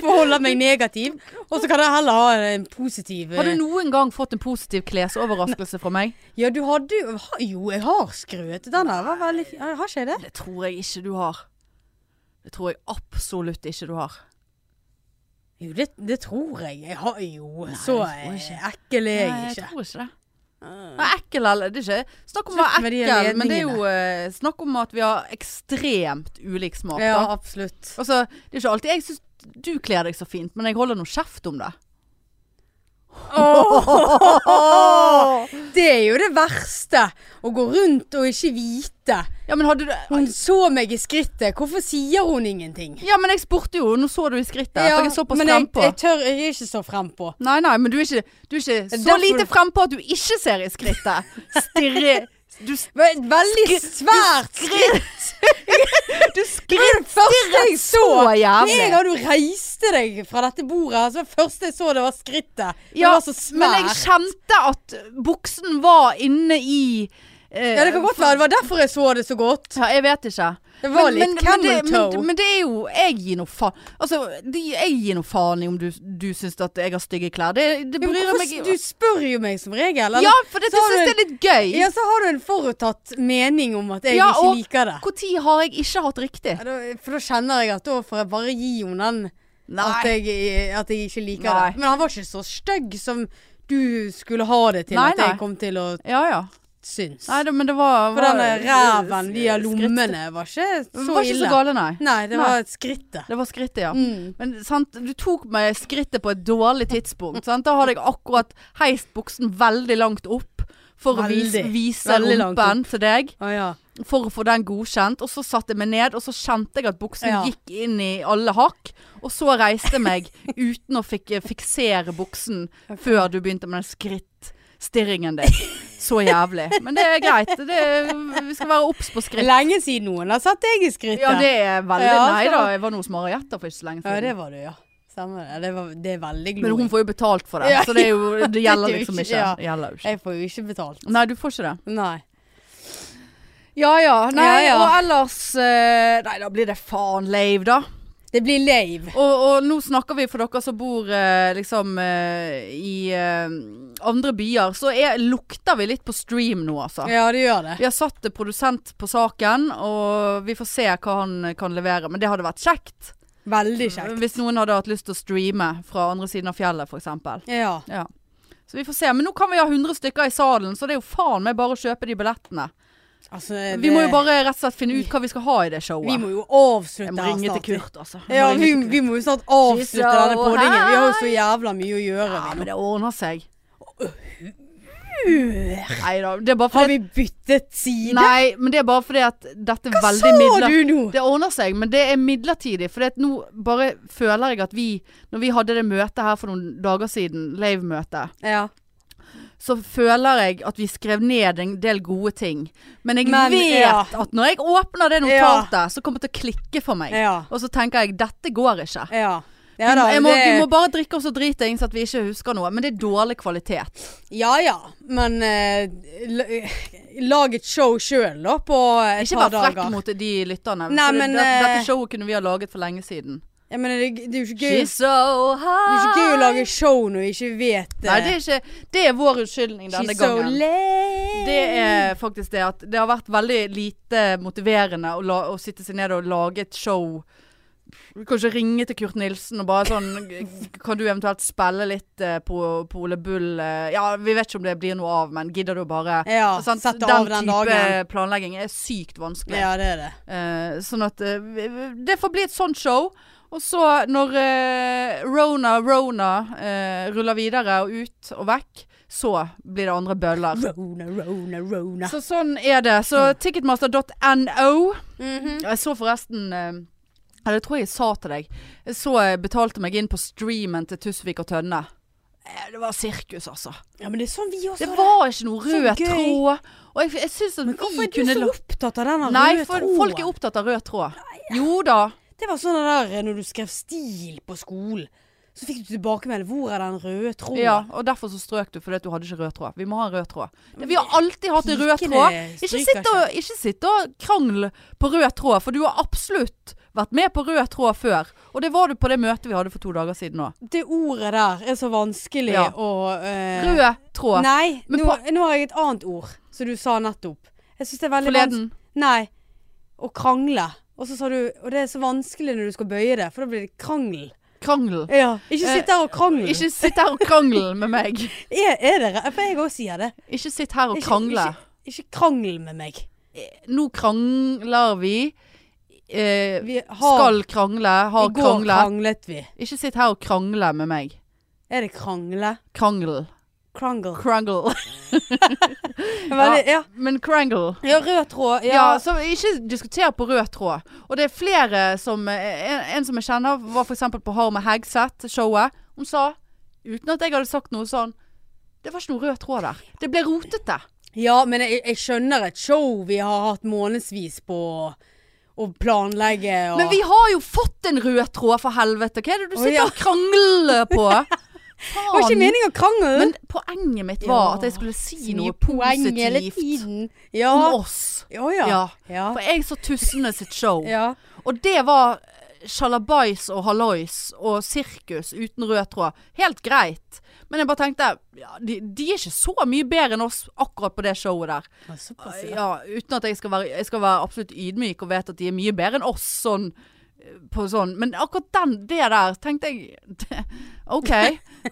[SPEAKER 2] Forholde meg negativ. Og så kan jeg heller ha en positiv eh,
[SPEAKER 1] Har du noen gang fått en positiv klesoverraskelse fra meg?
[SPEAKER 2] Ja, du hadde jo ha- Jo, jeg har skrøt. Den der var veldig fin. Har ikke jeg det?
[SPEAKER 1] Det tror jeg ikke du har. Det tror jeg absolutt ikke du har.
[SPEAKER 2] Jo, det, det tror jeg. Jeg har jo Så
[SPEAKER 1] det tror jeg
[SPEAKER 2] eh, ekkel er jeg
[SPEAKER 1] Nei,
[SPEAKER 2] ikke.
[SPEAKER 1] tror ikke det. Nei, ekkel eller Det er ikke snakk om å
[SPEAKER 2] Slutt
[SPEAKER 1] være
[SPEAKER 2] med de
[SPEAKER 1] ekkel, men det er
[SPEAKER 2] ledningene.
[SPEAKER 1] jo eh, snakk om at vi har ekstremt ulik smak.
[SPEAKER 2] Ja,
[SPEAKER 1] Da.
[SPEAKER 2] absolutt.
[SPEAKER 1] Altså, det er ikke alltid jeg syns du kler deg så fint, men jeg holder nå kjeft om det.
[SPEAKER 2] Det er jo det verste. Å gå rundt og ikke vite.
[SPEAKER 1] Ja, men hadde du
[SPEAKER 2] Hun så meg i skrittet. Hvorfor sier hun ingenting?
[SPEAKER 1] Ja, men jeg spurte jo, nå så du i skrittet. for jeg er såpass
[SPEAKER 2] men jeg,
[SPEAKER 1] frempå.
[SPEAKER 2] jeg tør jeg er ikke så frempå.
[SPEAKER 1] Nei, nei, men du er ikke, du er ikke så
[SPEAKER 2] derfor-
[SPEAKER 1] lite frempå at du ikke ser i skrittet. Stirre Du, s-
[SPEAKER 2] Ve- Veldig svært skritt.
[SPEAKER 1] du skritt
[SPEAKER 2] Første jeg så
[SPEAKER 1] så jævlig.
[SPEAKER 2] Meg har du reist reiste deg fra dette bordet. Så det første jeg så, det var skrittet. Det
[SPEAKER 1] Ja,
[SPEAKER 2] var så
[SPEAKER 1] men jeg
[SPEAKER 2] svært.
[SPEAKER 1] kjente at buksen var inne i eh,
[SPEAKER 2] Ja, det kan godt være. Det var derfor jeg så det så godt.
[SPEAKER 1] Ja, jeg vet ikke.
[SPEAKER 2] Det var litt camel
[SPEAKER 1] det- men,
[SPEAKER 2] toe.
[SPEAKER 1] men det er jo Jeg gir nå faen. Altså, det, jeg gir nå faen i om du, du syns at jeg har stygge klær. Det, det
[SPEAKER 2] Men
[SPEAKER 1] bryr jeg
[SPEAKER 2] hvorfor-
[SPEAKER 1] meg
[SPEAKER 2] Du spør jo meg som regel.
[SPEAKER 1] Ja, for det,
[SPEAKER 2] så har
[SPEAKER 1] syns
[SPEAKER 2] du
[SPEAKER 1] det er litt gøy.
[SPEAKER 2] Ja, så har du en forutatt mening om at jeg
[SPEAKER 1] Ja,
[SPEAKER 2] ikke
[SPEAKER 1] og-
[SPEAKER 2] liker det.
[SPEAKER 1] Når har jeg ikke hatt riktig?
[SPEAKER 2] Ja, da, for da kjenner jeg at da får jeg bare gi henne den at
[SPEAKER 1] Nei.
[SPEAKER 2] jeg, eh, at jeg ikke liker
[SPEAKER 1] Nei.
[SPEAKER 2] det. Men han var ikke så stygg som du skulle ha det til
[SPEAKER 1] Nei,
[SPEAKER 2] at jeg
[SPEAKER 1] nei.
[SPEAKER 2] kom til å
[SPEAKER 1] Ja ja.
[SPEAKER 2] synes.
[SPEAKER 1] Nei, det, men det var,
[SPEAKER 2] for
[SPEAKER 1] var
[SPEAKER 2] denne ræven, de her
[SPEAKER 1] skritt-
[SPEAKER 2] lommene, var ikke
[SPEAKER 1] Det
[SPEAKER 2] så
[SPEAKER 1] var ikke
[SPEAKER 2] ille.
[SPEAKER 1] så gale, nei.
[SPEAKER 2] Nei, det
[SPEAKER 1] Nei.
[SPEAKER 2] var et skrittet.
[SPEAKER 1] Det var skrittet, ja.
[SPEAKER 2] Mm.
[SPEAKER 1] Men sant, du tok meg skrittet på et dårlig tidspunkt. Sant? Da hadde jeg akkurat heist buksen veldig langt opp for å vise,
[SPEAKER 2] Veldig.
[SPEAKER 1] vise
[SPEAKER 2] Veldig langt
[SPEAKER 1] rumpen til deg.
[SPEAKER 2] Å ja.
[SPEAKER 1] For å få den godkjent. Og så satte jeg meg ned, og så kjente jeg at buksen
[SPEAKER 2] Ja.
[SPEAKER 1] gikk inn i alle hakk. Og så reiste jeg meg uten å fikk eh, fiksere buksen før du begynte med den skrittstirringen din. Så jævlig. Men det er greit. Det er, vi skal være obs på skritt.
[SPEAKER 2] Lenge siden noen har satt deg i skrittet.
[SPEAKER 1] Ja, det er veldig
[SPEAKER 2] Ja,
[SPEAKER 1] Nei
[SPEAKER 2] skal-
[SPEAKER 1] da, jeg var nå hos Marietta for ikke så lenge
[SPEAKER 2] Ja,
[SPEAKER 1] siden.
[SPEAKER 2] det var du, ja. Stemmer det. Det, var, det er veldig
[SPEAKER 1] Men hun
[SPEAKER 2] glorig.
[SPEAKER 1] får jo betalt for det,
[SPEAKER 2] Ja,
[SPEAKER 1] så det, er jo, det gjelder
[SPEAKER 2] det er jo
[SPEAKER 1] liksom
[SPEAKER 2] ikke-
[SPEAKER 1] ikke.
[SPEAKER 2] ja.
[SPEAKER 1] Det Gjelder jo ikke.
[SPEAKER 2] Jeg får jo ikke betalt.
[SPEAKER 1] Nei, du får ikke det.
[SPEAKER 2] Nei.
[SPEAKER 1] Ja ja. Nei,
[SPEAKER 2] Ja, ja.
[SPEAKER 1] og ellers eh, Nei, da blir det faen lave, da.
[SPEAKER 2] Det blir lave.
[SPEAKER 1] Og, og nå snakker vi for dere som bor eh, liksom eh, i eh, andre byer, så er, lukter vi litt på stream nå, altså.
[SPEAKER 2] Ja, det gjør det.
[SPEAKER 1] Vi har satt eh, produsent på saken, og vi får se hva han eh, kan levere. Men det hadde vært kjekt.
[SPEAKER 2] Veldig kjekt.
[SPEAKER 1] Hvis noen hadde hatt lyst til å streame fra andre siden av fjellet, f.eks.
[SPEAKER 2] Ja.
[SPEAKER 1] Ja. Så vi får se. Men nå kan vi ha 100 stykker i salen, så det er jo faen meg bare å kjøpe de billettene.
[SPEAKER 2] Altså,
[SPEAKER 1] Vi må jo bare rett og slett finne ut hva vi skal ha i det showet.
[SPEAKER 2] Vi må jo avslutte
[SPEAKER 1] jeg må
[SPEAKER 2] her
[SPEAKER 1] ringe til
[SPEAKER 2] snart.
[SPEAKER 1] Kurt, altså. Jeg må
[SPEAKER 2] Ja,
[SPEAKER 1] ringe
[SPEAKER 2] vi,
[SPEAKER 1] til Kurt.
[SPEAKER 2] vi må jo snart avslutte
[SPEAKER 1] She's so
[SPEAKER 2] denne poddingen. Vi har jo så jævla mye å gjøre.
[SPEAKER 1] Ja,
[SPEAKER 2] vi nå.
[SPEAKER 1] men det ordner seg. Nei da, det er bare
[SPEAKER 2] Har
[SPEAKER 1] fordi
[SPEAKER 2] vi byttet side?
[SPEAKER 1] Nei, men det er bare fordi at dette er veldig
[SPEAKER 2] Sa
[SPEAKER 1] midler...
[SPEAKER 2] du nå?
[SPEAKER 1] Det ordner seg, men det er midlertidig. For nå bare føler jeg at vi Når vi hadde det møtet her for noen dager siden, Lave-møtet,
[SPEAKER 2] Ja.
[SPEAKER 1] så føler jeg at vi skrev ned en del gode ting. Men jeg
[SPEAKER 2] Men,
[SPEAKER 1] vet
[SPEAKER 2] ja.
[SPEAKER 1] at når jeg åpner det notatet, så kommer det til å klikke for meg.
[SPEAKER 2] Ja.
[SPEAKER 1] Og så tenker jeg dette går ikke.
[SPEAKER 2] Ja.
[SPEAKER 1] Vi
[SPEAKER 2] Ja
[SPEAKER 1] må,
[SPEAKER 2] da,
[SPEAKER 1] jeg må,
[SPEAKER 2] det-
[SPEAKER 1] vi må bare drikke oss og drite inn så at vi ikke husker noe. Men det er dårlig kvalitet.
[SPEAKER 2] ja ja, men eh, la- lag et show sjøl, da, på et
[SPEAKER 1] Ikke
[SPEAKER 2] par
[SPEAKER 1] vær frekk
[SPEAKER 2] dager.
[SPEAKER 1] mot de lytterne.
[SPEAKER 2] Nei,
[SPEAKER 1] for det-
[SPEAKER 2] men,
[SPEAKER 1] det,
[SPEAKER 2] eh,
[SPEAKER 1] dette showet kunne vi ha laget for lenge siden.
[SPEAKER 2] Jeg mener, det, det er jo ikke gøy,
[SPEAKER 1] She's so
[SPEAKER 2] det er jo
[SPEAKER 1] high.
[SPEAKER 2] ikke gøy å lage show når vi ikke vet eh,
[SPEAKER 1] Nei, det er, ikke, det er vår unnskyldning denne
[SPEAKER 2] She's so
[SPEAKER 1] gangen.
[SPEAKER 2] late.
[SPEAKER 1] Det er faktisk det at det har vært veldig lite motiverende å, la, å sitte seg ned og lage et show. Kanskje ringe til Kurt Nilsen og bare sånn Kan du eventuelt spille litt eh, på, på Ole Bull? eh, Ja, vi vet ikke om det blir noe av, men gidder du bare
[SPEAKER 2] Ja,
[SPEAKER 1] Sant?
[SPEAKER 2] sett
[SPEAKER 1] Den
[SPEAKER 2] av den
[SPEAKER 1] type
[SPEAKER 2] dagen.
[SPEAKER 1] planlegging er sykt vanskelig.
[SPEAKER 2] Ja, det er det.
[SPEAKER 1] Eh, sånn at eh, vi- vi- Det får bli et sånt show. Og så når eh, Rona Rona eh, ruller videre og ut og vekk, så blir det andre bøller.
[SPEAKER 2] Rona, rona, rona.
[SPEAKER 1] Så sånn er det. Så
[SPEAKER 2] Mm.
[SPEAKER 1] ticketmaster.no
[SPEAKER 2] Mhm.
[SPEAKER 1] Jeg så forresten eh, Eller det tror jeg jeg sa til deg. Jeg så jeg betalte meg inn på streamen til Tusvik og Tønne. Eh, Det var sirkus, altså.
[SPEAKER 2] Ja, men det er sånn vi også
[SPEAKER 1] Det
[SPEAKER 2] har
[SPEAKER 1] var ikke noe
[SPEAKER 2] Så
[SPEAKER 1] rød
[SPEAKER 2] gøy.
[SPEAKER 1] tråd. Og jeg, jeg syns at
[SPEAKER 2] Hvorfor
[SPEAKER 1] vi
[SPEAKER 2] er du
[SPEAKER 1] kunne
[SPEAKER 2] så
[SPEAKER 1] la-
[SPEAKER 2] opptatt av denne
[SPEAKER 1] Nei,
[SPEAKER 2] røde
[SPEAKER 1] for
[SPEAKER 2] tråden?
[SPEAKER 1] folk er opptatt av rød tråd. Jo da.
[SPEAKER 2] Det var sånn det der eh, når du skrev stil på skolen. Så fikk du tilbakemelding. Hvor er den røde tråden?
[SPEAKER 1] Ja, og derfor så strøk du fordi at du hadde ikke rød tråd. Vi må ha en rød tråd. Vi har alltid hatt en rød
[SPEAKER 2] Pikene
[SPEAKER 1] tråd. Ikke
[SPEAKER 2] stryker
[SPEAKER 1] sitt, og, ikke sitt og krangl på rød tråd, for du har absolutt vært med på rød tråd før. Og det var du på det møtet vi hadde for to dager siden òg.
[SPEAKER 2] Det ordet der er så vanskelig
[SPEAKER 1] Ja.
[SPEAKER 2] å eh,
[SPEAKER 1] Rød tråd.
[SPEAKER 2] Nei,
[SPEAKER 1] Men
[SPEAKER 2] nå, nå har jeg et annet ord som du sa nettopp. Jeg syns det er veldig
[SPEAKER 1] Forleden.
[SPEAKER 2] vans- Nei. Å krangle. Og så sa du Og det er så vanskelig når du skal bøye det, for da blir det krangel.
[SPEAKER 1] Krangel.
[SPEAKER 2] Ja. Ikke
[SPEAKER 1] Eh,
[SPEAKER 2] sitt der og krangle.
[SPEAKER 1] Ikke sitt her og krangel med meg.
[SPEAKER 2] er, er det re- For jeg òg sier det.
[SPEAKER 1] Ikke sitt her og
[SPEAKER 2] Ikke-
[SPEAKER 1] krangle.
[SPEAKER 2] Ikke, ikke krangel med meg.
[SPEAKER 1] Nå krangler vi. Eh,
[SPEAKER 2] Vi har
[SPEAKER 1] skal krangle.
[SPEAKER 2] I
[SPEAKER 1] Har
[SPEAKER 2] går
[SPEAKER 1] kranglet.
[SPEAKER 2] kranglet vi.
[SPEAKER 1] Ikke sitt her og krangle med meg.
[SPEAKER 2] Er det krangle?
[SPEAKER 1] Krangel.
[SPEAKER 2] Krangle.
[SPEAKER 1] Krangle.
[SPEAKER 2] Veldig, ja.
[SPEAKER 1] Men krangle.
[SPEAKER 2] ja, rød tråd. Ja.
[SPEAKER 1] Ja, så ikke diskuter på rød tråd. Og det er flere som eh, En, en som jeg kjenner, var f.eks. på Harme Hegseth-showet. Hun sa, uten at jeg hadde sagt noe sånn Det var ikke noe rød tråd der. Det ble rotete.
[SPEAKER 2] ja men jeg, jeg skjønner et show vi har hatt månedsvis på å og planlegge og
[SPEAKER 1] Men vi har jo fått en rød tråd, for helvete. Hva er det du
[SPEAKER 2] Å,
[SPEAKER 1] sitter
[SPEAKER 2] ja.
[SPEAKER 1] og krangler på?
[SPEAKER 2] Det var ikke
[SPEAKER 1] Faen.
[SPEAKER 2] meningen å krangle!
[SPEAKER 1] Men poenget mitt var
[SPEAKER 2] Ja,
[SPEAKER 1] at jeg skulle si
[SPEAKER 2] Så mye
[SPEAKER 1] noe
[SPEAKER 2] poeng hele
[SPEAKER 1] positivt
[SPEAKER 2] tiden. Ja.
[SPEAKER 1] om oss.
[SPEAKER 2] Ja,
[SPEAKER 1] Ja.
[SPEAKER 2] ja. Ja.
[SPEAKER 1] For jeg så Tussene sitt show.
[SPEAKER 2] ja.
[SPEAKER 1] Og det var eh, sjalabais og hallois og sirkus uten rød tråd. Helt greit. Men jeg bare tenkte ja, de, de er ikke så mye bedre enn oss akkurat på det showet der.
[SPEAKER 2] Ja, Såpass, ja.
[SPEAKER 1] Ja, uten at jeg skal være Jeg skal være absolutt ydmyk og vet at de er mye bedre enn oss sånn eh, på sånn. Men akkurat den, det der tenkte jeg det, OK,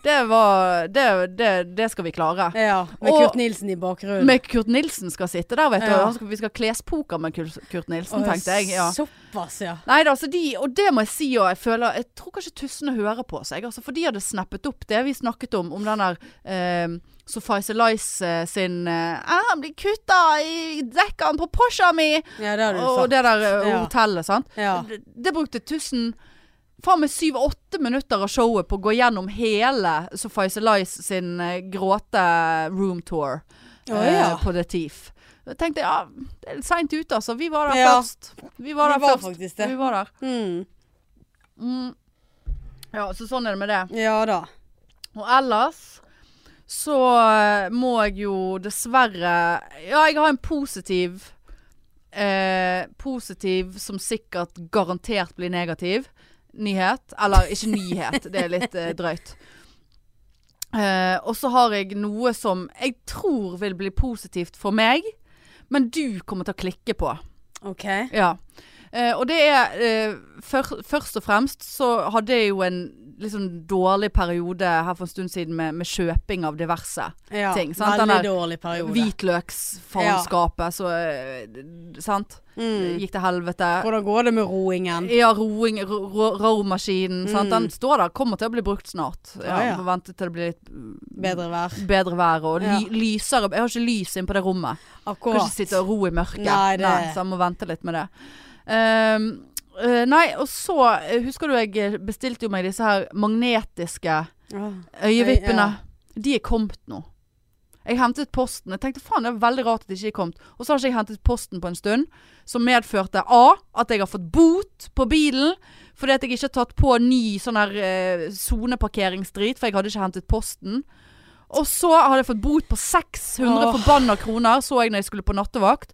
[SPEAKER 1] det var det, det, det skal vi klare.
[SPEAKER 2] Ja, med
[SPEAKER 1] Og-
[SPEAKER 2] Kurt Nilsen i bakgrunnen.
[SPEAKER 1] Men Kurt Nilsen skal sitte der, vet du.
[SPEAKER 2] Ja.
[SPEAKER 1] Han skal, vi skal klespoker med Kurt Kurt Nilsen,
[SPEAKER 2] Å,
[SPEAKER 1] tenkte jeg. Ja.
[SPEAKER 2] Såpass, ja.
[SPEAKER 1] Nei da, altså de, og det må jeg si og jeg føler Jeg tror kanskje Tussene hører på seg, altså, for de hadde snappet opp det vi snakket om, om den der eh, Suffice Elice eh, sin eh, «Ah, Han blir kutta i dekkene på Porscha mi!
[SPEAKER 2] Ja, det har du
[SPEAKER 1] Og
[SPEAKER 2] sagt.
[SPEAKER 1] det der eh,
[SPEAKER 2] Ja.
[SPEAKER 1] hotellet, sant.
[SPEAKER 2] Ja.
[SPEAKER 1] Det, det brukte Tussen faen meg syv-åtte minutter av showet på å gå gjennom hele Suffice Elice sin eh, gråte room tour
[SPEAKER 2] Å, ja.
[SPEAKER 1] eh, på The Thief. Jeg tenkte ja, det er litt seint ute, altså. Vi var der
[SPEAKER 2] Ja.
[SPEAKER 1] først. Vi var der
[SPEAKER 2] Vi var
[SPEAKER 1] først.
[SPEAKER 2] faktisk det.
[SPEAKER 1] Vi var der.
[SPEAKER 2] Mm.
[SPEAKER 1] Mm. Ja, så sånn er det med det.
[SPEAKER 2] Ja da.
[SPEAKER 1] Og ellers så eh, må jeg jo dessverre Ja, jeg har en positiv eh, Positiv som sikkert garantert blir negativ nyhet. Eller ikke nyhet, det er litt eh, drøyt. Eh, og så har jeg noe som jeg tror vil bli positivt for meg, men du kommer til å klikke på.
[SPEAKER 2] OK.
[SPEAKER 1] Ja. Eh, og det er eh, før, Først og fremst så hadde jeg jo en litt sånn dårlig periode her for en stund siden med, med kjøping av diverse.
[SPEAKER 2] Ja.
[SPEAKER 1] Ting, sant, den
[SPEAKER 2] Veldig
[SPEAKER 1] der
[SPEAKER 2] dårlig periode.
[SPEAKER 1] Hvitløksfaenskapet, så eh, d- Sant?
[SPEAKER 2] Mm.
[SPEAKER 1] Gikk til helvete.
[SPEAKER 2] Hvordan går det med roingen?
[SPEAKER 1] Ja, roing, ro- ro- romaskinen. sant? Den
[SPEAKER 2] Mm.
[SPEAKER 1] står der, kommer til å bli brukt snart. Ja,
[SPEAKER 2] Ja, ja.
[SPEAKER 1] Må vente til det blir litt
[SPEAKER 2] Bedre vær.
[SPEAKER 1] bedre vær og
[SPEAKER 2] Ja.
[SPEAKER 1] ly, lysere Jeg har ikke lys inne på det rommet. Kan
[SPEAKER 2] Akkurat.
[SPEAKER 1] ikke sitte og ro i mørket.
[SPEAKER 2] Nei, det-
[SPEAKER 1] så jeg må vente litt med det. Ehm, eh, nei, og så eh, husker du jeg bestilte jo meg disse her magnetiske
[SPEAKER 2] Ja.
[SPEAKER 1] øyevippene.
[SPEAKER 2] Ja.
[SPEAKER 1] De er kommet nå. Jeg hentet posten. Jeg tenkte faen, det er veldig rart at de ikke er kommet. Og så har ikke jeg hentet posten på en stund, som medførte A. At jeg har fått bot på bilen fordi at jeg ikke har tatt på ny sånn her eh, soneparkeringsdrit, for jeg hadde ikke hentet posten. Og så hadde jeg fått bot på 600
[SPEAKER 2] Åh.
[SPEAKER 1] forbanna kroner, så jeg når jeg skulle på nattevakt.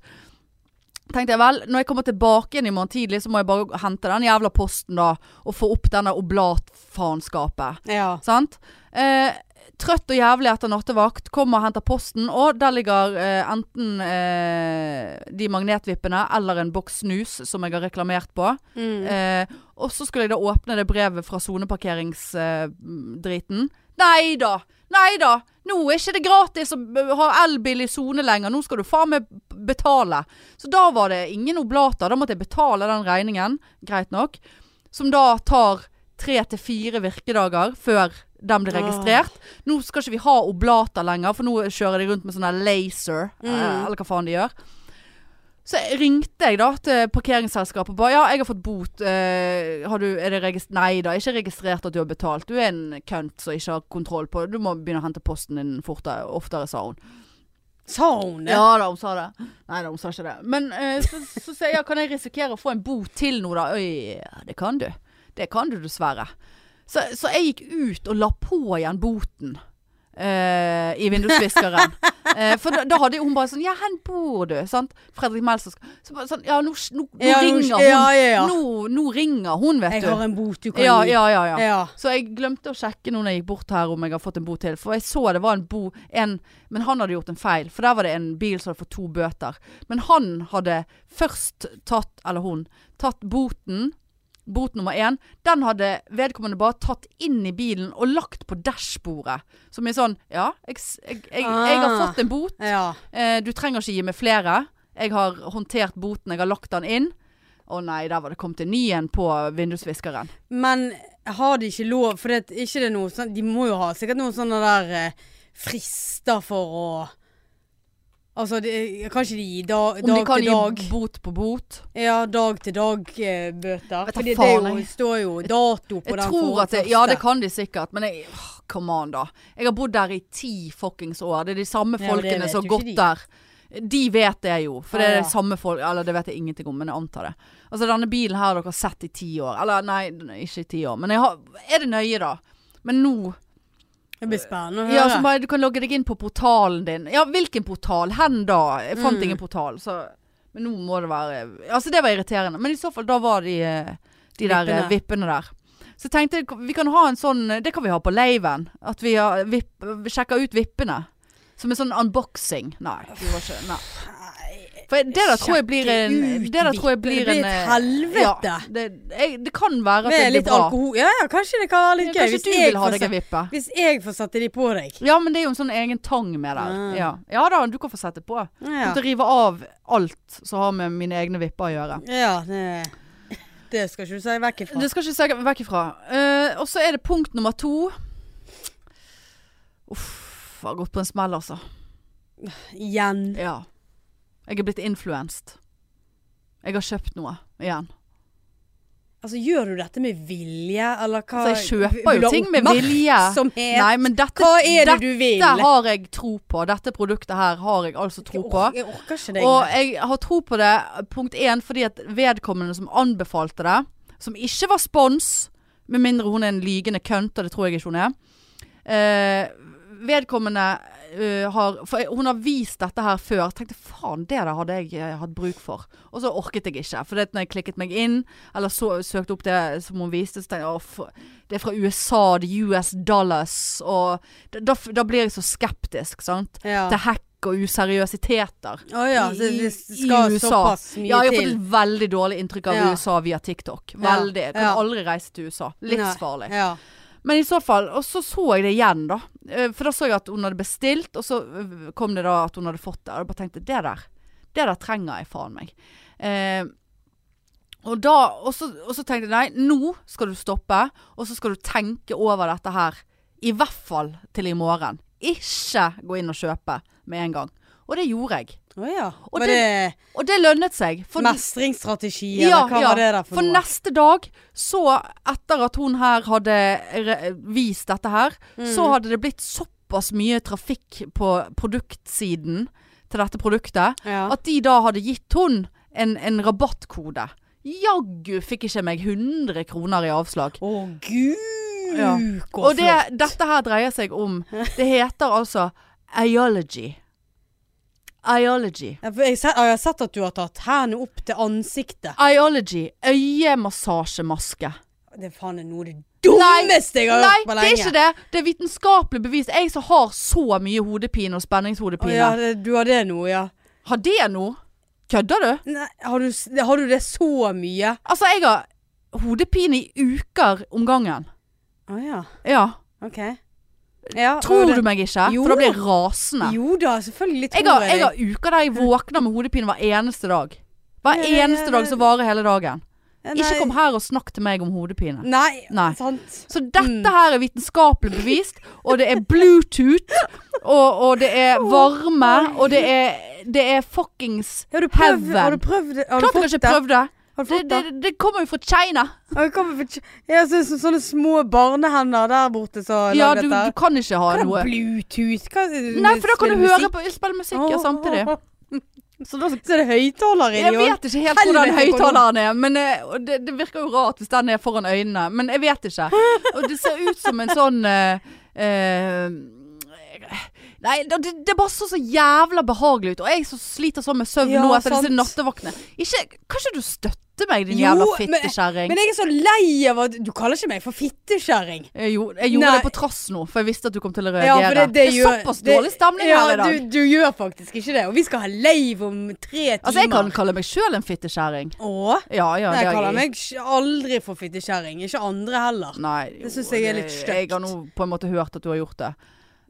[SPEAKER 1] Tenkte jeg vel, når jeg kommer tilbake igjen i morgen tidlig, så må jeg bare hente den jævla posten da, og få opp denne oblatfaenskapet.
[SPEAKER 2] ja.
[SPEAKER 1] Sant? Eh, trøtt og jævlig etter nattevakt, kommer og henter posten, og der ligger eh, enten eh, de magnetvippene eller en boks snus som jeg har reklamert på.
[SPEAKER 2] Mm.
[SPEAKER 1] Eh, og så skulle jeg da åpne det brevet fra soneparkeringsdriten. Eh, driten. Nei da! Nei da! Nå er ikke det gratis å b- ha elbil i sone lenger, nå skal du faen meg b- betale. Så da var det ingen oblater, da måtte jeg betale den regningen, greit nok. Som da tar tre til fire virkedager før den blir
[SPEAKER 2] Åh.
[SPEAKER 1] registrert. Nå skal ikke vi ha oblater lenger, for nå kjører de rundt med sånne laser, eh,
[SPEAKER 2] Mm.
[SPEAKER 1] eller hva faen de gjør. Så ringte jeg da til parkeringsselskapet og ba ja, jeg har fått bot. Eh, har du, er det regist Nei da, ikke registrert at du har betalt. Du er en kønt som ikke har kontroll på Du må begynne å hente posten din fortere, oftere, sa hun.
[SPEAKER 2] Sa hun det?
[SPEAKER 1] Ja da, hun sa det. Nei da, hun sa ikke det. Men eh, så så sier jeg ja, kan jeg risikere å få en bot til nå da? Øy, ja, det kan du. Det kan du dessverre. Så, så jeg gikk ut og la på igjen boten eh, i vindusviskeren. Eh, for da, da hadde hun bare sånn Ja, hen bor du? Sant? Fredrik Melser sk- så bare sånn, Ja, nå, s- nå, nå
[SPEAKER 2] Ja,
[SPEAKER 1] ringer hun.
[SPEAKER 2] Ja, ja, ja.
[SPEAKER 1] Nå, nå ringer hun, vet
[SPEAKER 2] Jeg
[SPEAKER 1] du.
[SPEAKER 2] har en bot du kan
[SPEAKER 1] Ja,
[SPEAKER 2] gi.
[SPEAKER 1] ja, ja, ja.
[SPEAKER 2] ja.
[SPEAKER 1] Så jeg glemte å sjekke nå når jeg gikk bort her om jeg har fått en bot til. For jeg så det var en bo... En, men han hadde gjort en feil. For der var det en bil som hadde fått to bøter. Men han hadde først tatt, eller hun, tatt boten. Bot nummer én. Den hadde vedkommende bare tatt inn i bilen og lagt på dashbordet. Som i sånn Ja, jeg, s- jeg, jeg, jeg har
[SPEAKER 2] Ah.
[SPEAKER 1] fått en bot.
[SPEAKER 2] Ja.
[SPEAKER 1] Eh, du trenger ikke gi meg flere. Jeg har håndtert boten. Jeg har lagt den inn. Å nei, der var det kommet en ny en på vindusviskeren.
[SPEAKER 2] Men har de ikke lov For det, ikke det er noe sånn De må jo ha sikkert noen sånne der eh, frister for å Altså, det, kan ikke de gi
[SPEAKER 1] Om
[SPEAKER 2] dag,
[SPEAKER 1] de
[SPEAKER 2] dag
[SPEAKER 1] kan
[SPEAKER 2] til
[SPEAKER 1] gi
[SPEAKER 2] dag?
[SPEAKER 1] bot på bot?
[SPEAKER 2] Ja, dag til dag-bøter.
[SPEAKER 1] Vet da
[SPEAKER 2] Fordi det er
[SPEAKER 1] faen,
[SPEAKER 2] jo,
[SPEAKER 1] jeg-
[SPEAKER 2] står jo dato på
[SPEAKER 1] Jeg
[SPEAKER 2] den
[SPEAKER 1] tror
[SPEAKER 2] for-
[SPEAKER 1] at det,
[SPEAKER 2] første.
[SPEAKER 1] Ja, det kan de sikkert, men jeg, åh, come on, da. Jeg har bodd der i ti fuckings år. Det er de samme
[SPEAKER 2] Ja, men det
[SPEAKER 1] folkene
[SPEAKER 2] vet
[SPEAKER 1] som har
[SPEAKER 2] jo ikke
[SPEAKER 1] gått
[SPEAKER 2] de.
[SPEAKER 1] der De vet det jo, for det
[SPEAKER 2] Ja,
[SPEAKER 1] er
[SPEAKER 2] ja.
[SPEAKER 1] samme folk Eller det vet jeg ingenting om, men jeg antar det. Altså denne bilen her har dere sett i ti år. Eller nei, ikke i ti år, men jeg har, er det nøye da? Men nå
[SPEAKER 2] Det blir spennende å høre.
[SPEAKER 1] ja, som bare, du kan logge deg inn på portalen din. Ja, hvilken portal? Hen da? Jeg fant
[SPEAKER 2] Mm.
[SPEAKER 1] ingen portal, så Men nå må det være Altså, det var irriterende. Men i så fall, da var de, eh, de der eh,
[SPEAKER 2] Vippene.
[SPEAKER 1] vippene der. Så jeg tenkte k- vi kan ha en sånn eh, Det kan vi ha på laven. At vi, har eh, vipp, vi sjekker ut vippene. Som en sånn unboxing. Nei. Vi var ikke, nei.
[SPEAKER 2] Nei,
[SPEAKER 1] For det der tror jeg blir en
[SPEAKER 2] sjekke ut
[SPEAKER 1] Det der tror jeg
[SPEAKER 2] vippene. Det
[SPEAKER 1] blir en
[SPEAKER 2] blir
[SPEAKER 1] eh,
[SPEAKER 2] et helvete.
[SPEAKER 1] Ja, det, jeg, det kan være at det
[SPEAKER 2] Med
[SPEAKER 1] blir
[SPEAKER 2] litt
[SPEAKER 1] bra.
[SPEAKER 2] alkohol Ja ja, kanskje det kan være litt gøy.
[SPEAKER 1] Kanskje
[SPEAKER 2] Hvis
[SPEAKER 1] du
[SPEAKER 2] jeg
[SPEAKER 1] vil ha
[SPEAKER 2] får
[SPEAKER 1] deg en vippe?
[SPEAKER 2] se- Hvis jeg får sette de på deg.
[SPEAKER 1] Ja, men det er jo en sånn egen tang med der.
[SPEAKER 2] Ah.
[SPEAKER 1] Ja. ja da, du kan få sette på. Ja.
[SPEAKER 2] Ja,
[SPEAKER 1] Måtte rive av alt som har med mine egne vipper å gjøre.
[SPEAKER 2] ja det, det skal ikke du si vekk ifra.
[SPEAKER 1] Det skal ikke se vekk ifra. Eh, og så er det punkt nummer to. Uff, jeg har gått på en smell, altså.
[SPEAKER 2] Igjen.
[SPEAKER 1] Ja. Jeg er blitt influenset. Jeg har kjøpt noe igjen.
[SPEAKER 2] Altså, gjør du dette med vilje, eller hva?
[SPEAKER 1] Så Altså, jeg kjøper jo ting med vilje.
[SPEAKER 2] Oppmerksomhet.
[SPEAKER 1] Nei, men dette,
[SPEAKER 2] Hva er det
[SPEAKER 1] dette
[SPEAKER 2] du vil?
[SPEAKER 1] har jeg tro på. Dette produktet her har jeg altså tro på.
[SPEAKER 2] Jeg orker ikke deg.
[SPEAKER 1] Og jeg har tro på det, punkt én, fordi at vedkommende som anbefalte det, som ikke var spons, med mindre hun er en lygende kønt, og det tror jeg ikke hun er eh, Vedkommende eh, har For jeg- hun har vist dette her før. Jeg tenkte faen, det der hadde jeg eh, hatt bruk for. Og så orket jeg ikke. For det at når jeg klikket meg inn, eller så, søkte opp det som hun viste, så tenkte jeg at det er fra USA, det er US dollars, og da, da, da blir jeg så skeptisk, sant.
[SPEAKER 2] ja.
[SPEAKER 1] Til hack og useriøsiteter.
[SPEAKER 2] Å ja,
[SPEAKER 1] i-
[SPEAKER 2] så det
[SPEAKER 1] i
[SPEAKER 2] skal
[SPEAKER 1] USA.
[SPEAKER 2] såpass mye
[SPEAKER 1] Ja, jeg har fått
[SPEAKER 2] til.
[SPEAKER 1] et veldig dårlig inntrykk av
[SPEAKER 2] Ja.
[SPEAKER 1] USA via TikTok. Veldig. Jeg kan
[SPEAKER 2] Ja.
[SPEAKER 1] aldri reise til USA. Livsfarlig.
[SPEAKER 2] Ja.
[SPEAKER 1] Men i så fall, og så så jeg det igjen da. Eh, For da så jeg at hun hadde bestilt, og så eh, kom det da at hun hadde fått det. Og jeg bare tenkte, det der, det der trenger jeg faen meg. Eh, og da, og så, og så tenkte jeg, nei, nå skal du stoppe, og så skal du tenke over dette her. I hvert fall til i morgen. Ikke gå inn og kjøpe med en gang. Og det gjorde jeg.
[SPEAKER 2] Å ja.
[SPEAKER 1] Og det-
[SPEAKER 2] Var det,
[SPEAKER 1] Og det lønnet seg. For
[SPEAKER 2] mestringsstrategi, eller hva var det der for,
[SPEAKER 1] for
[SPEAKER 2] noe?
[SPEAKER 1] neste dag, så etter at hun her hadde re- vist dette her,
[SPEAKER 2] Mm.
[SPEAKER 1] så hadde det blitt såpass mye trafikk på produktsiden til dette produktet,
[SPEAKER 2] Ja.
[SPEAKER 1] at de da hadde gitt hun en, en rabattkode. Jaggu fikk ikke meg 100 kroner i avslag.
[SPEAKER 2] Å gud,
[SPEAKER 1] Ja.
[SPEAKER 2] hvor
[SPEAKER 1] Og det,
[SPEAKER 2] flott.
[SPEAKER 1] dette her dreier seg om Det heter altså Iology. Iology.
[SPEAKER 2] Ja, for Jeg, se- jeg har sett at du har tatt hendene opp til ansiktet.
[SPEAKER 1] Iology. Øyemassasjemaske.
[SPEAKER 2] Det er faen noe av det dummeste jeg har
[SPEAKER 1] Nei,
[SPEAKER 2] hørt på
[SPEAKER 1] det
[SPEAKER 2] lenge.
[SPEAKER 1] er ikke det. Det er vitenskapelig bevist. Jeg som har så mye hodepine og
[SPEAKER 2] Å,
[SPEAKER 1] spenningshodepine.
[SPEAKER 2] ja, det, du har det nå, ja.
[SPEAKER 1] Har det nå? Kødder du?
[SPEAKER 2] Nei, har, du, s- har du det så mye?
[SPEAKER 1] Altså, jeg har hodepine i uker om gangen.
[SPEAKER 2] Å ja.
[SPEAKER 1] Ja.
[SPEAKER 2] OK. Ja,
[SPEAKER 1] Tror
[SPEAKER 2] og det-
[SPEAKER 1] du meg ikke?
[SPEAKER 2] Jo.
[SPEAKER 1] For da blir jeg rasende.
[SPEAKER 2] Jo da, selvfølgelig
[SPEAKER 1] Jeg
[SPEAKER 2] tror
[SPEAKER 1] har,
[SPEAKER 2] jeg,
[SPEAKER 1] jeg
[SPEAKER 2] deg.
[SPEAKER 1] har uker der jeg våkner med hodepine hver eneste dag. Hver
[SPEAKER 2] Ja, ja, ja,
[SPEAKER 1] eneste
[SPEAKER 2] ja.
[SPEAKER 1] dag som varer hele dagen.
[SPEAKER 2] Ja, nei.
[SPEAKER 1] Ikke kom her og snakk til meg om hodepine.
[SPEAKER 2] Nei, Mm.
[SPEAKER 1] Nei.
[SPEAKER 2] sant.
[SPEAKER 1] Så dette her er vitenskapelig bevist, og det er Bluetooth, og, og det er varme, og det er, det er fuckings
[SPEAKER 2] Har du prøvd, har
[SPEAKER 1] heaven.
[SPEAKER 2] du prøvd det? Har du
[SPEAKER 1] Klart jeg
[SPEAKER 2] fått
[SPEAKER 1] ikke
[SPEAKER 2] det?
[SPEAKER 1] prøvd det.
[SPEAKER 2] Har du
[SPEAKER 1] Det,
[SPEAKER 2] fått det?
[SPEAKER 1] det, det kommer jo fra China.
[SPEAKER 2] Har du kommet for- Ja, så, så, sånne små barnehender der borte som
[SPEAKER 1] Ja,
[SPEAKER 2] lagde
[SPEAKER 1] du, du
[SPEAKER 2] dette.
[SPEAKER 1] kan ikke ha
[SPEAKER 2] Hva er det,
[SPEAKER 1] noe.
[SPEAKER 2] Bluetooth? Hva,
[SPEAKER 1] Nei, for da kan du
[SPEAKER 2] spille
[SPEAKER 1] høre
[SPEAKER 2] musikk?
[SPEAKER 1] på spille musikk ja, samtidig.
[SPEAKER 2] Åh, åh, åh.
[SPEAKER 1] Så da
[SPEAKER 2] Så er det høyttaler
[SPEAKER 1] Jeg
[SPEAKER 2] inni òg?
[SPEAKER 1] vet ikke helt hvordan
[SPEAKER 2] Helvete, hvor
[SPEAKER 1] høyttaleren er, men eh, og det, det virker jo rart hvis den er foran øynene. Men jeg vet ikke. Og det ser ut som en sånn eh, eh, Nei, det, det det bare så så jævla behagelig ut. Og jeg som sliter sånn med søvn
[SPEAKER 2] Ja,
[SPEAKER 1] nå etter disse
[SPEAKER 2] sant.
[SPEAKER 1] nattevaktene. Ikke, kan ikke du støtte meg, din
[SPEAKER 2] Jo,
[SPEAKER 1] jævla
[SPEAKER 2] men-
[SPEAKER 1] fittekjerring?
[SPEAKER 2] Men jeg er så lei av at Du kaller ikke meg for fittekjerring.
[SPEAKER 1] Eh, Jo, jeg gjorde
[SPEAKER 2] Nei.
[SPEAKER 1] det på trass nå, for jeg visste at du kom til å
[SPEAKER 2] Ja,
[SPEAKER 1] reagere.
[SPEAKER 2] for
[SPEAKER 1] det,
[SPEAKER 2] gjør-
[SPEAKER 1] er såpass
[SPEAKER 2] det-
[SPEAKER 1] dårlig stemning
[SPEAKER 2] ja,
[SPEAKER 1] her i dag.
[SPEAKER 2] Du, du gjør faktisk ikke det. Og vi skal ha lave om tre timer.
[SPEAKER 1] Altså, jeg kan kalle meg sjøl en fittekjerring.
[SPEAKER 2] Å?
[SPEAKER 1] Ja, ja.
[SPEAKER 2] Nei,
[SPEAKER 1] det
[SPEAKER 2] jeg
[SPEAKER 1] er
[SPEAKER 2] kaller meg ikke- aldri for fittekjerring. Ikke andre heller.
[SPEAKER 1] Nei,
[SPEAKER 2] Det synes jeg er litt
[SPEAKER 1] det-
[SPEAKER 2] stygt.
[SPEAKER 1] Jeg har nå på en måte hørt at du har gjort det.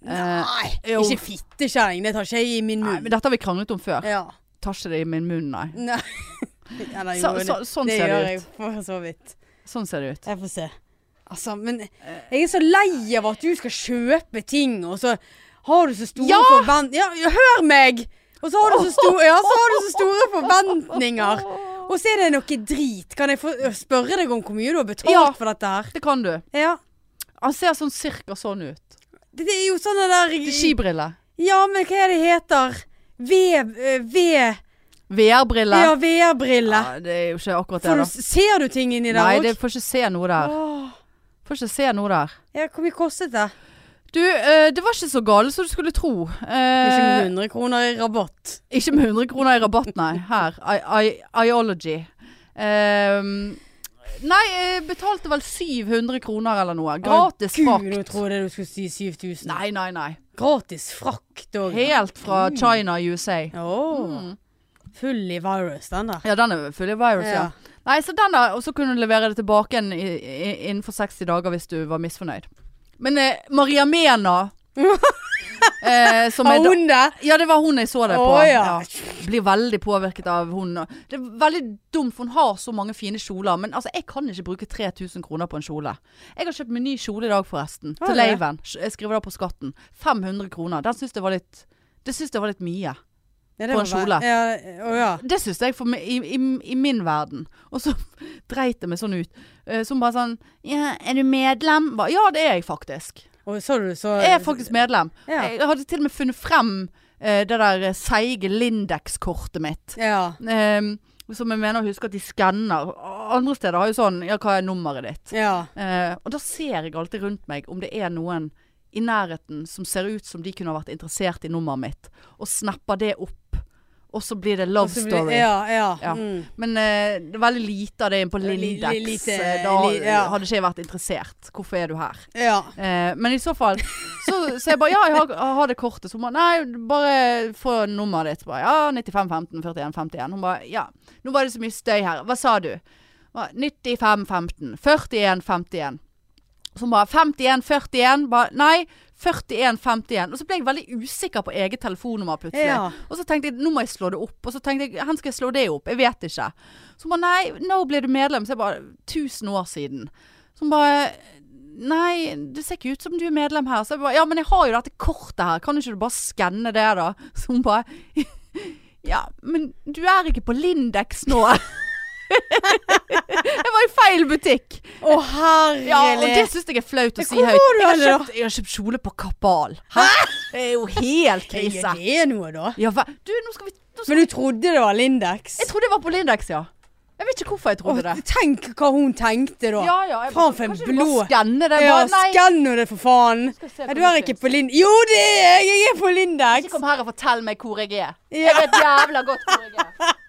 [SPEAKER 1] Eh,
[SPEAKER 2] Nei,
[SPEAKER 1] jo.
[SPEAKER 2] ikke fittekjerring. Det tar ikke jeg i min
[SPEAKER 1] nei,
[SPEAKER 2] munn.
[SPEAKER 1] men dette har vi kranglet om før.
[SPEAKER 2] Ja.
[SPEAKER 1] Tar ikke det i min munn, nei.
[SPEAKER 2] Nei. Eller,
[SPEAKER 1] Så,
[SPEAKER 2] jo, det-
[SPEAKER 1] så, sånn
[SPEAKER 2] det
[SPEAKER 1] ser
[SPEAKER 2] gjør
[SPEAKER 1] det
[SPEAKER 2] jeg
[SPEAKER 1] ut.
[SPEAKER 2] for så vidt.
[SPEAKER 1] Sånn ser det ut.
[SPEAKER 2] Jeg får se. Altså, men
[SPEAKER 1] Eh.
[SPEAKER 2] jeg er så lei av at du skal kjøpe ting, og så har du så store
[SPEAKER 1] Ja!
[SPEAKER 2] forventninger Ja, hør meg! Og så har du så, sto- ja, så har du så store forventninger. Og så er det noe drit. Kan jeg få eh, spørre deg om hvor mye du har betalt
[SPEAKER 1] Ja.
[SPEAKER 2] for dette her?
[SPEAKER 1] Det kan du.
[SPEAKER 2] Ja.
[SPEAKER 1] Han ser sånn cirka sånn ut.
[SPEAKER 2] Det, det er jo sånne der
[SPEAKER 1] Til skibriller.
[SPEAKER 2] Ja, men hva er det heter? Vev... eh, Ved...
[SPEAKER 1] VR-briller.
[SPEAKER 2] Ja, VR-brille.
[SPEAKER 1] Ja, det er jo ikke akkurat det,
[SPEAKER 2] Får du-
[SPEAKER 1] da.
[SPEAKER 2] Ser du ting inni der
[SPEAKER 1] Nei,
[SPEAKER 2] òg?
[SPEAKER 1] det får ikke se noe der. Får ikke se noe der.
[SPEAKER 2] Ja, hvor mye kostet det?
[SPEAKER 1] Du, eh, det var ikke så galt som du skulle tro. Eh,
[SPEAKER 2] Ikke med 100 kroner i rabatt.
[SPEAKER 1] Ikke med 100 kroner i rabatt, nei. Her. I, I, Iology. Ehm, nei, jeg betalte vel 700 kroner eller noe. Gratis
[SPEAKER 2] Å, Gud, nå
[SPEAKER 1] frakt.
[SPEAKER 2] trodde jeg du skulle si 7000.
[SPEAKER 1] Nei, nei, nei.
[SPEAKER 2] Gratis frakt og
[SPEAKER 1] Helt fra China, USA.
[SPEAKER 2] Åh. Full i virus, den der.
[SPEAKER 1] Ja, den er full av Mm. virus, ja.
[SPEAKER 2] Ja.
[SPEAKER 1] Nei, så den der, og så kunne du levere det tilbake igjen i- i- innenfor 60 dager hvis du var misfornøyd. Men eh, Maria Mena eh, som
[SPEAKER 2] Har
[SPEAKER 1] er da,
[SPEAKER 2] hun det?
[SPEAKER 1] Ja, det var hun jeg så det på.
[SPEAKER 2] Å, ja.
[SPEAKER 1] Blir veldig påvirket av hun. Det er veldig dumt, for hun har så mange fine kjoler. Men altså, jeg kan ikke bruke 3000 kroner på en kjole. Jeg har kjøpt meg ny kjole i dag, forresten.
[SPEAKER 2] Har
[SPEAKER 1] Til
[SPEAKER 2] du det?
[SPEAKER 1] Leiven. Jeg skriver det på skatten. 500 kroner. Den syns jeg var litt Det syns jeg var litt mye.
[SPEAKER 2] Ja, det
[SPEAKER 1] På
[SPEAKER 2] var
[SPEAKER 1] en
[SPEAKER 2] bare-
[SPEAKER 1] kjole.
[SPEAKER 2] Ja, å ja.
[SPEAKER 1] Det syns jeg for meg, i, i, i min verden. Og så dreit jeg meg sånn ut. Eh, Så hun bare sånn ja, 'Er du medlem?' Ba, ja, det er jeg faktisk.
[SPEAKER 2] Og så du så
[SPEAKER 1] Jeg er faktisk medlem.
[SPEAKER 2] Ja.
[SPEAKER 1] Jeg hadde til og med funnet frem eh, det der eh, seige Lindex-kortet mitt.
[SPEAKER 2] Ja.
[SPEAKER 1] Ehm, som jeg mener å huske at de skanner. Andre steder har jo sånn Ja, hva er nummeret ditt?
[SPEAKER 2] Ja.
[SPEAKER 1] Eh, og da ser jeg alltid rundt meg om det er noen i nærheten som ser ut som de kunne ha vært interessert i nummeret mitt, og snapper det opp. Og så blir det
[SPEAKER 2] Og
[SPEAKER 1] love
[SPEAKER 2] så blir-
[SPEAKER 1] story.
[SPEAKER 2] Ja, ja.
[SPEAKER 1] Ja.
[SPEAKER 2] Mm.
[SPEAKER 1] Men eh, det er veldig lite av det inne på
[SPEAKER 2] Li- li-
[SPEAKER 1] Lindex.
[SPEAKER 2] lite-
[SPEAKER 1] eh, da
[SPEAKER 2] li- ja.
[SPEAKER 1] hadde ikke jeg vært interessert. Hvorfor er du her?
[SPEAKER 2] ja.
[SPEAKER 1] Eh, men i så fall så, så jeg bare Ja, jeg har, jeg har det kortet. Så hun bare Nei, bare få nummeret ditt. Så Bare, ja, 95 15 41 51. Hun bare Ja, nå var det så mye støy her. Hva sa du? Hun bare, 95 15 41 51. Så hun bare 51 41. Bare Nei, 41 51. Og så ble jeg veldig usikker på eget telefonnummer plutselig.
[SPEAKER 2] Ja.
[SPEAKER 1] Og så tenkte jeg nå må jeg slå det opp. Og så tenkte jeg hvor skal jeg slå det opp? Jeg vet ikke. Så hun bare nei, når ble du medlem? Så jeg bare 1000 år siden. Så hun bare Nei, det ser ikke ut som du er medlem her. Så jeg bare Ja, men jeg har jo dette kortet her, kan ikke du bare skanne det, da? Så hun bare Ja, men du er ikke på Lindex nå. jeg var i feil butikk.
[SPEAKER 2] Å, herlig.
[SPEAKER 1] Ja, og det syns jeg er flaut å si
[SPEAKER 2] Hvor
[SPEAKER 1] høyt.
[SPEAKER 2] var du
[SPEAKER 1] Jeg har,
[SPEAKER 2] henne da?
[SPEAKER 1] kjøpt, jeg har kjøpt kjole på Kapal. Hæ? Det er jo helt krise.
[SPEAKER 2] Ja, det er noe, da.
[SPEAKER 1] Ja, hva? Du, nå skal vi nå skal
[SPEAKER 2] Men du trodde det var Lindex?
[SPEAKER 1] Jeg trodde jeg var på Lindex, ja. Jeg vet ikke hvorfor jeg trodde
[SPEAKER 2] Å,
[SPEAKER 1] det.
[SPEAKER 2] tenk hva hun tenkte da.
[SPEAKER 1] Ja, ja. jeg
[SPEAKER 2] Faen,
[SPEAKER 1] bare-
[SPEAKER 2] for en
[SPEAKER 1] kanskje du bare
[SPEAKER 2] blå-
[SPEAKER 1] Skanne det.
[SPEAKER 2] Ja,
[SPEAKER 1] Bare, nei,
[SPEAKER 2] skann nå det, for faen.
[SPEAKER 1] Skal se
[SPEAKER 2] Nei,
[SPEAKER 1] på
[SPEAKER 2] du er
[SPEAKER 1] Netflix.
[SPEAKER 2] ikke på Lindex. Jo, det er jeg! Jeg er på
[SPEAKER 1] ikke
[SPEAKER 2] Lindex.
[SPEAKER 1] kom her og fortell meg hvor jeg er.
[SPEAKER 2] Ja.
[SPEAKER 1] Jeg vet jævla godt hvor jeg er.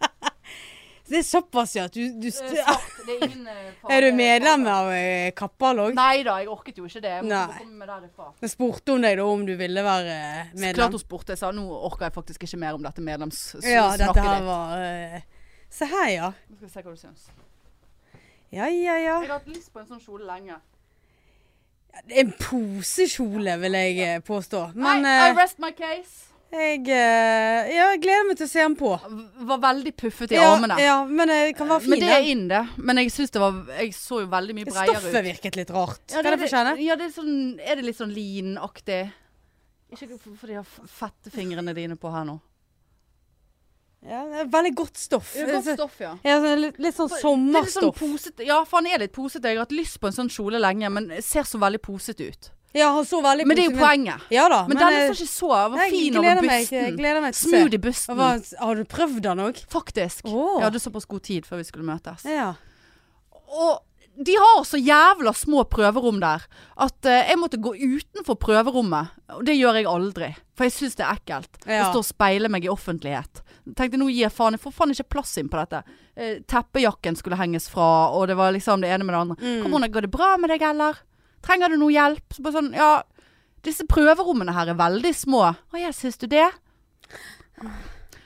[SPEAKER 2] Det er såpass, ja. at Du, du
[SPEAKER 1] Det
[SPEAKER 2] st
[SPEAKER 1] er svart, det er ingen eh, farge.
[SPEAKER 2] er du medlem av eh, Kappal òg?
[SPEAKER 1] Nei da, jeg orket jo ikke det. Jeg måtte
[SPEAKER 2] Nei.
[SPEAKER 1] bare komme meg derifra.
[SPEAKER 2] Jeg spurte hun deg da om du ville være eh,
[SPEAKER 1] Så Klart
[SPEAKER 2] medlem.
[SPEAKER 1] hun spurte. Jeg sa nå orker jeg faktisk ikke mer om dette medlemssnakket
[SPEAKER 2] Ja, dette her
[SPEAKER 1] ditt.
[SPEAKER 2] var eh, Se her, ja.
[SPEAKER 1] Nå Skal vi se hva du syns.
[SPEAKER 2] Ja, ja, ja.
[SPEAKER 1] Jeg har hatt lyst på en sånn kjole lenge.
[SPEAKER 2] En posekjole, vil jeg eh, påstå. Men
[SPEAKER 1] nei, I
[SPEAKER 2] eh,
[SPEAKER 1] rest my case.
[SPEAKER 2] jeg eh, Ja, jeg gleder meg til å se den på.
[SPEAKER 1] V- Var veldig puffet i
[SPEAKER 2] Ja,
[SPEAKER 1] armene.
[SPEAKER 2] ja, men eh, den kan være
[SPEAKER 1] Men
[SPEAKER 2] fin.
[SPEAKER 1] det er
[SPEAKER 2] den.
[SPEAKER 1] inn, det. Men jeg syns det var Jeg så jo veldig mye bredere ut.
[SPEAKER 2] Stoffet virket litt rart.
[SPEAKER 1] Ja,
[SPEAKER 2] Kan jeg
[SPEAKER 1] det-
[SPEAKER 2] få kjenne?
[SPEAKER 1] Ja, det er, sånn, er det litt sånn linaktig? Ikke for- for de har f- fette fingrene dine på her nå.
[SPEAKER 2] Ja, det er veldig godt stoff.
[SPEAKER 1] Det er godt stoff, ja.
[SPEAKER 2] Ja, sånn litt, litt sånn
[SPEAKER 1] Det er litt sånn
[SPEAKER 2] sommerstoff.
[SPEAKER 1] posete. Ja, for han er litt posete. Jeg har hatt lyst på en sånn kjole lenge, men ser så veldig posete ut.
[SPEAKER 2] Ja, han så veldig
[SPEAKER 1] Men det er jo
[SPEAKER 2] positiv-
[SPEAKER 1] poenget.
[SPEAKER 2] Ja da.
[SPEAKER 1] Men denne
[SPEAKER 2] eh,
[SPEAKER 1] så ikke så Han var
[SPEAKER 2] jeg
[SPEAKER 1] fin
[SPEAKER 2] gleder
[SPEAKER 1] over
[SPEAKER 2] meg- Jeg
[SPEAKER 1] busten.
[SPEAKER 2] gleder meg til å se.
[SPEAKER 1] Smooth i
[SPEAKER 2] Og
[SPEAKER 1] busten.
[SPEAKER 2] hva- Har du prøvd den òg?
[SPEAKER 1] Faktisk.
[SPEAKER 2] Åh.
[SPEAKER 1] Jeg hadde såpass god tid før vi skulle møtes.
[SPEAKER 2] Ja.
[SPEAKER 1] Og de har så jævla små prøverom der at eh, jeg måtte gå utenfor prøverommet. Og det gjør jeg aldri, for jeg syns det er ekkelt
[SPEAKER 2] Ja.
[SPEAKER 1] å stå og speile meg i offentlighet. Tenkte nå gir jeg faen, jeg får faen ikke plass inn på dette. Eh, Teppejakken skulle henges fra, og det var liksom det ene med det andre.
[SPEAKER 2] Mm.
[SPEAKER 1] Kom on, går det bra med deg, eller? Trenger du noe hjelp? Så bare sånn, ja, disse prøverommene her er veldig små. Å ja, syns du det?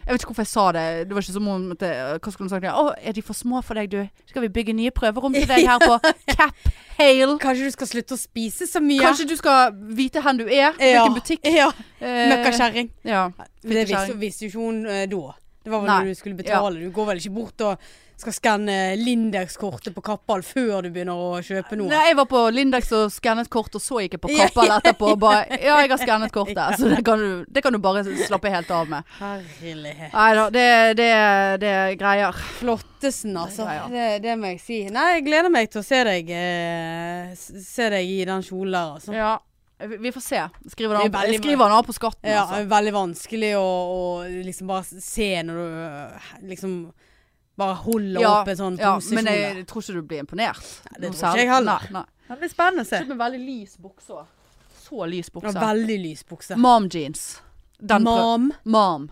[SPEAKER 1] Jeg vet ikke hvorfor jeg sa det. Det var ikke som om at jeg- Hva skulle hun sagt? Å, er de for små for deg, du? Skal vi bygge nye prøverom til deg her på Cap Hale?
[SPEAKER 2] Kanskje du skal slutte å spise så mye?
[SPEAKER 1] sånn. Kanskje du skal vite hvem du er?
[SPEAKER 2] ja.
[SPEAKER 1] Hvilken butikk?
[SPEAKER 2] Ja.
[SPEAKER 1] Eh,
[SPEAKER 2] Møkkakjerring.
[SPEAKER 1] Ja.
[SPEAKER 2] Det visste,
[SPEAKER 1] Fikkekjerring.
[SPEAKER 2] visste jo ikke hun eh, da. Det var vel
[SPEAKER 1] Nei.
[SPEAKER 2] når du skulle betale. Du går vel ikke bort og skal skanne Lindex-kortet på Kappal før du begynner å kjøpe noe?
[SPEAKER 1] Nei, jeg var på Lindex og skannet kort, og så gikk jeg på Kappal etterpå og bare Ja, jeg har skannet kortet, så det kan du, det kan du bare slappe helt av med.
[SPEAKER 2] Herlighet.
[SPEAKER 1] Nei da, det, det, det er greier.
[SPEAKER 2] Flottesen, altså.
[SPEAKER 1] Ja, ja.
[SPEAKER 2] Det, det må jeg si. Nei, jeg gleder meg til å se deg, eh, s- se deg i den kjolen der, altså.
[SPEAKER 1] Ja. Vi vi får se. Skriver han,
[SPEAKER 2] Det er veldig-
[SPEAKER 1] jeg skriver han av på skatten,
[SPEAKER 2] Ja,
[SPEAKER 1] altså.
[SPEAKER 2] veldig vanskelig å, å liksom bare se når du øh, liksom bare holder
[SPEAKER 1] Ja,
[SPEAKER 2] opp en sånn
[SPEAKER 1] ja,
[SPEAKER 2] posisjon.
[SPEAKER 1] men jeg,
[SPEAKER 2] der.
[SPEAKER 1] tror ikke du blir imponert.
[SPEAKER 2] det
[SPEAKER 1] Noe
[SPEAKER 2] tror ikke jeg
[SPEAKER 1] særlig.
[SPEAKER 2] heller.
[SPEAKER 1] Nei, nei.
[SPEAKER 3] Det blir spennende å se.
[SPEAKER 1] Kjøpt med veldig lys bukse også. Så lys
[SPEAKER 2] ja,
[SPEAKER 1] bukse.
[SPEAKER 2] veldig lys bukse.
[SPEAKER 1] Mom jeans. Den prøv-
[SPEAKER 2] Mam,
[SPEAKER 1] Mom.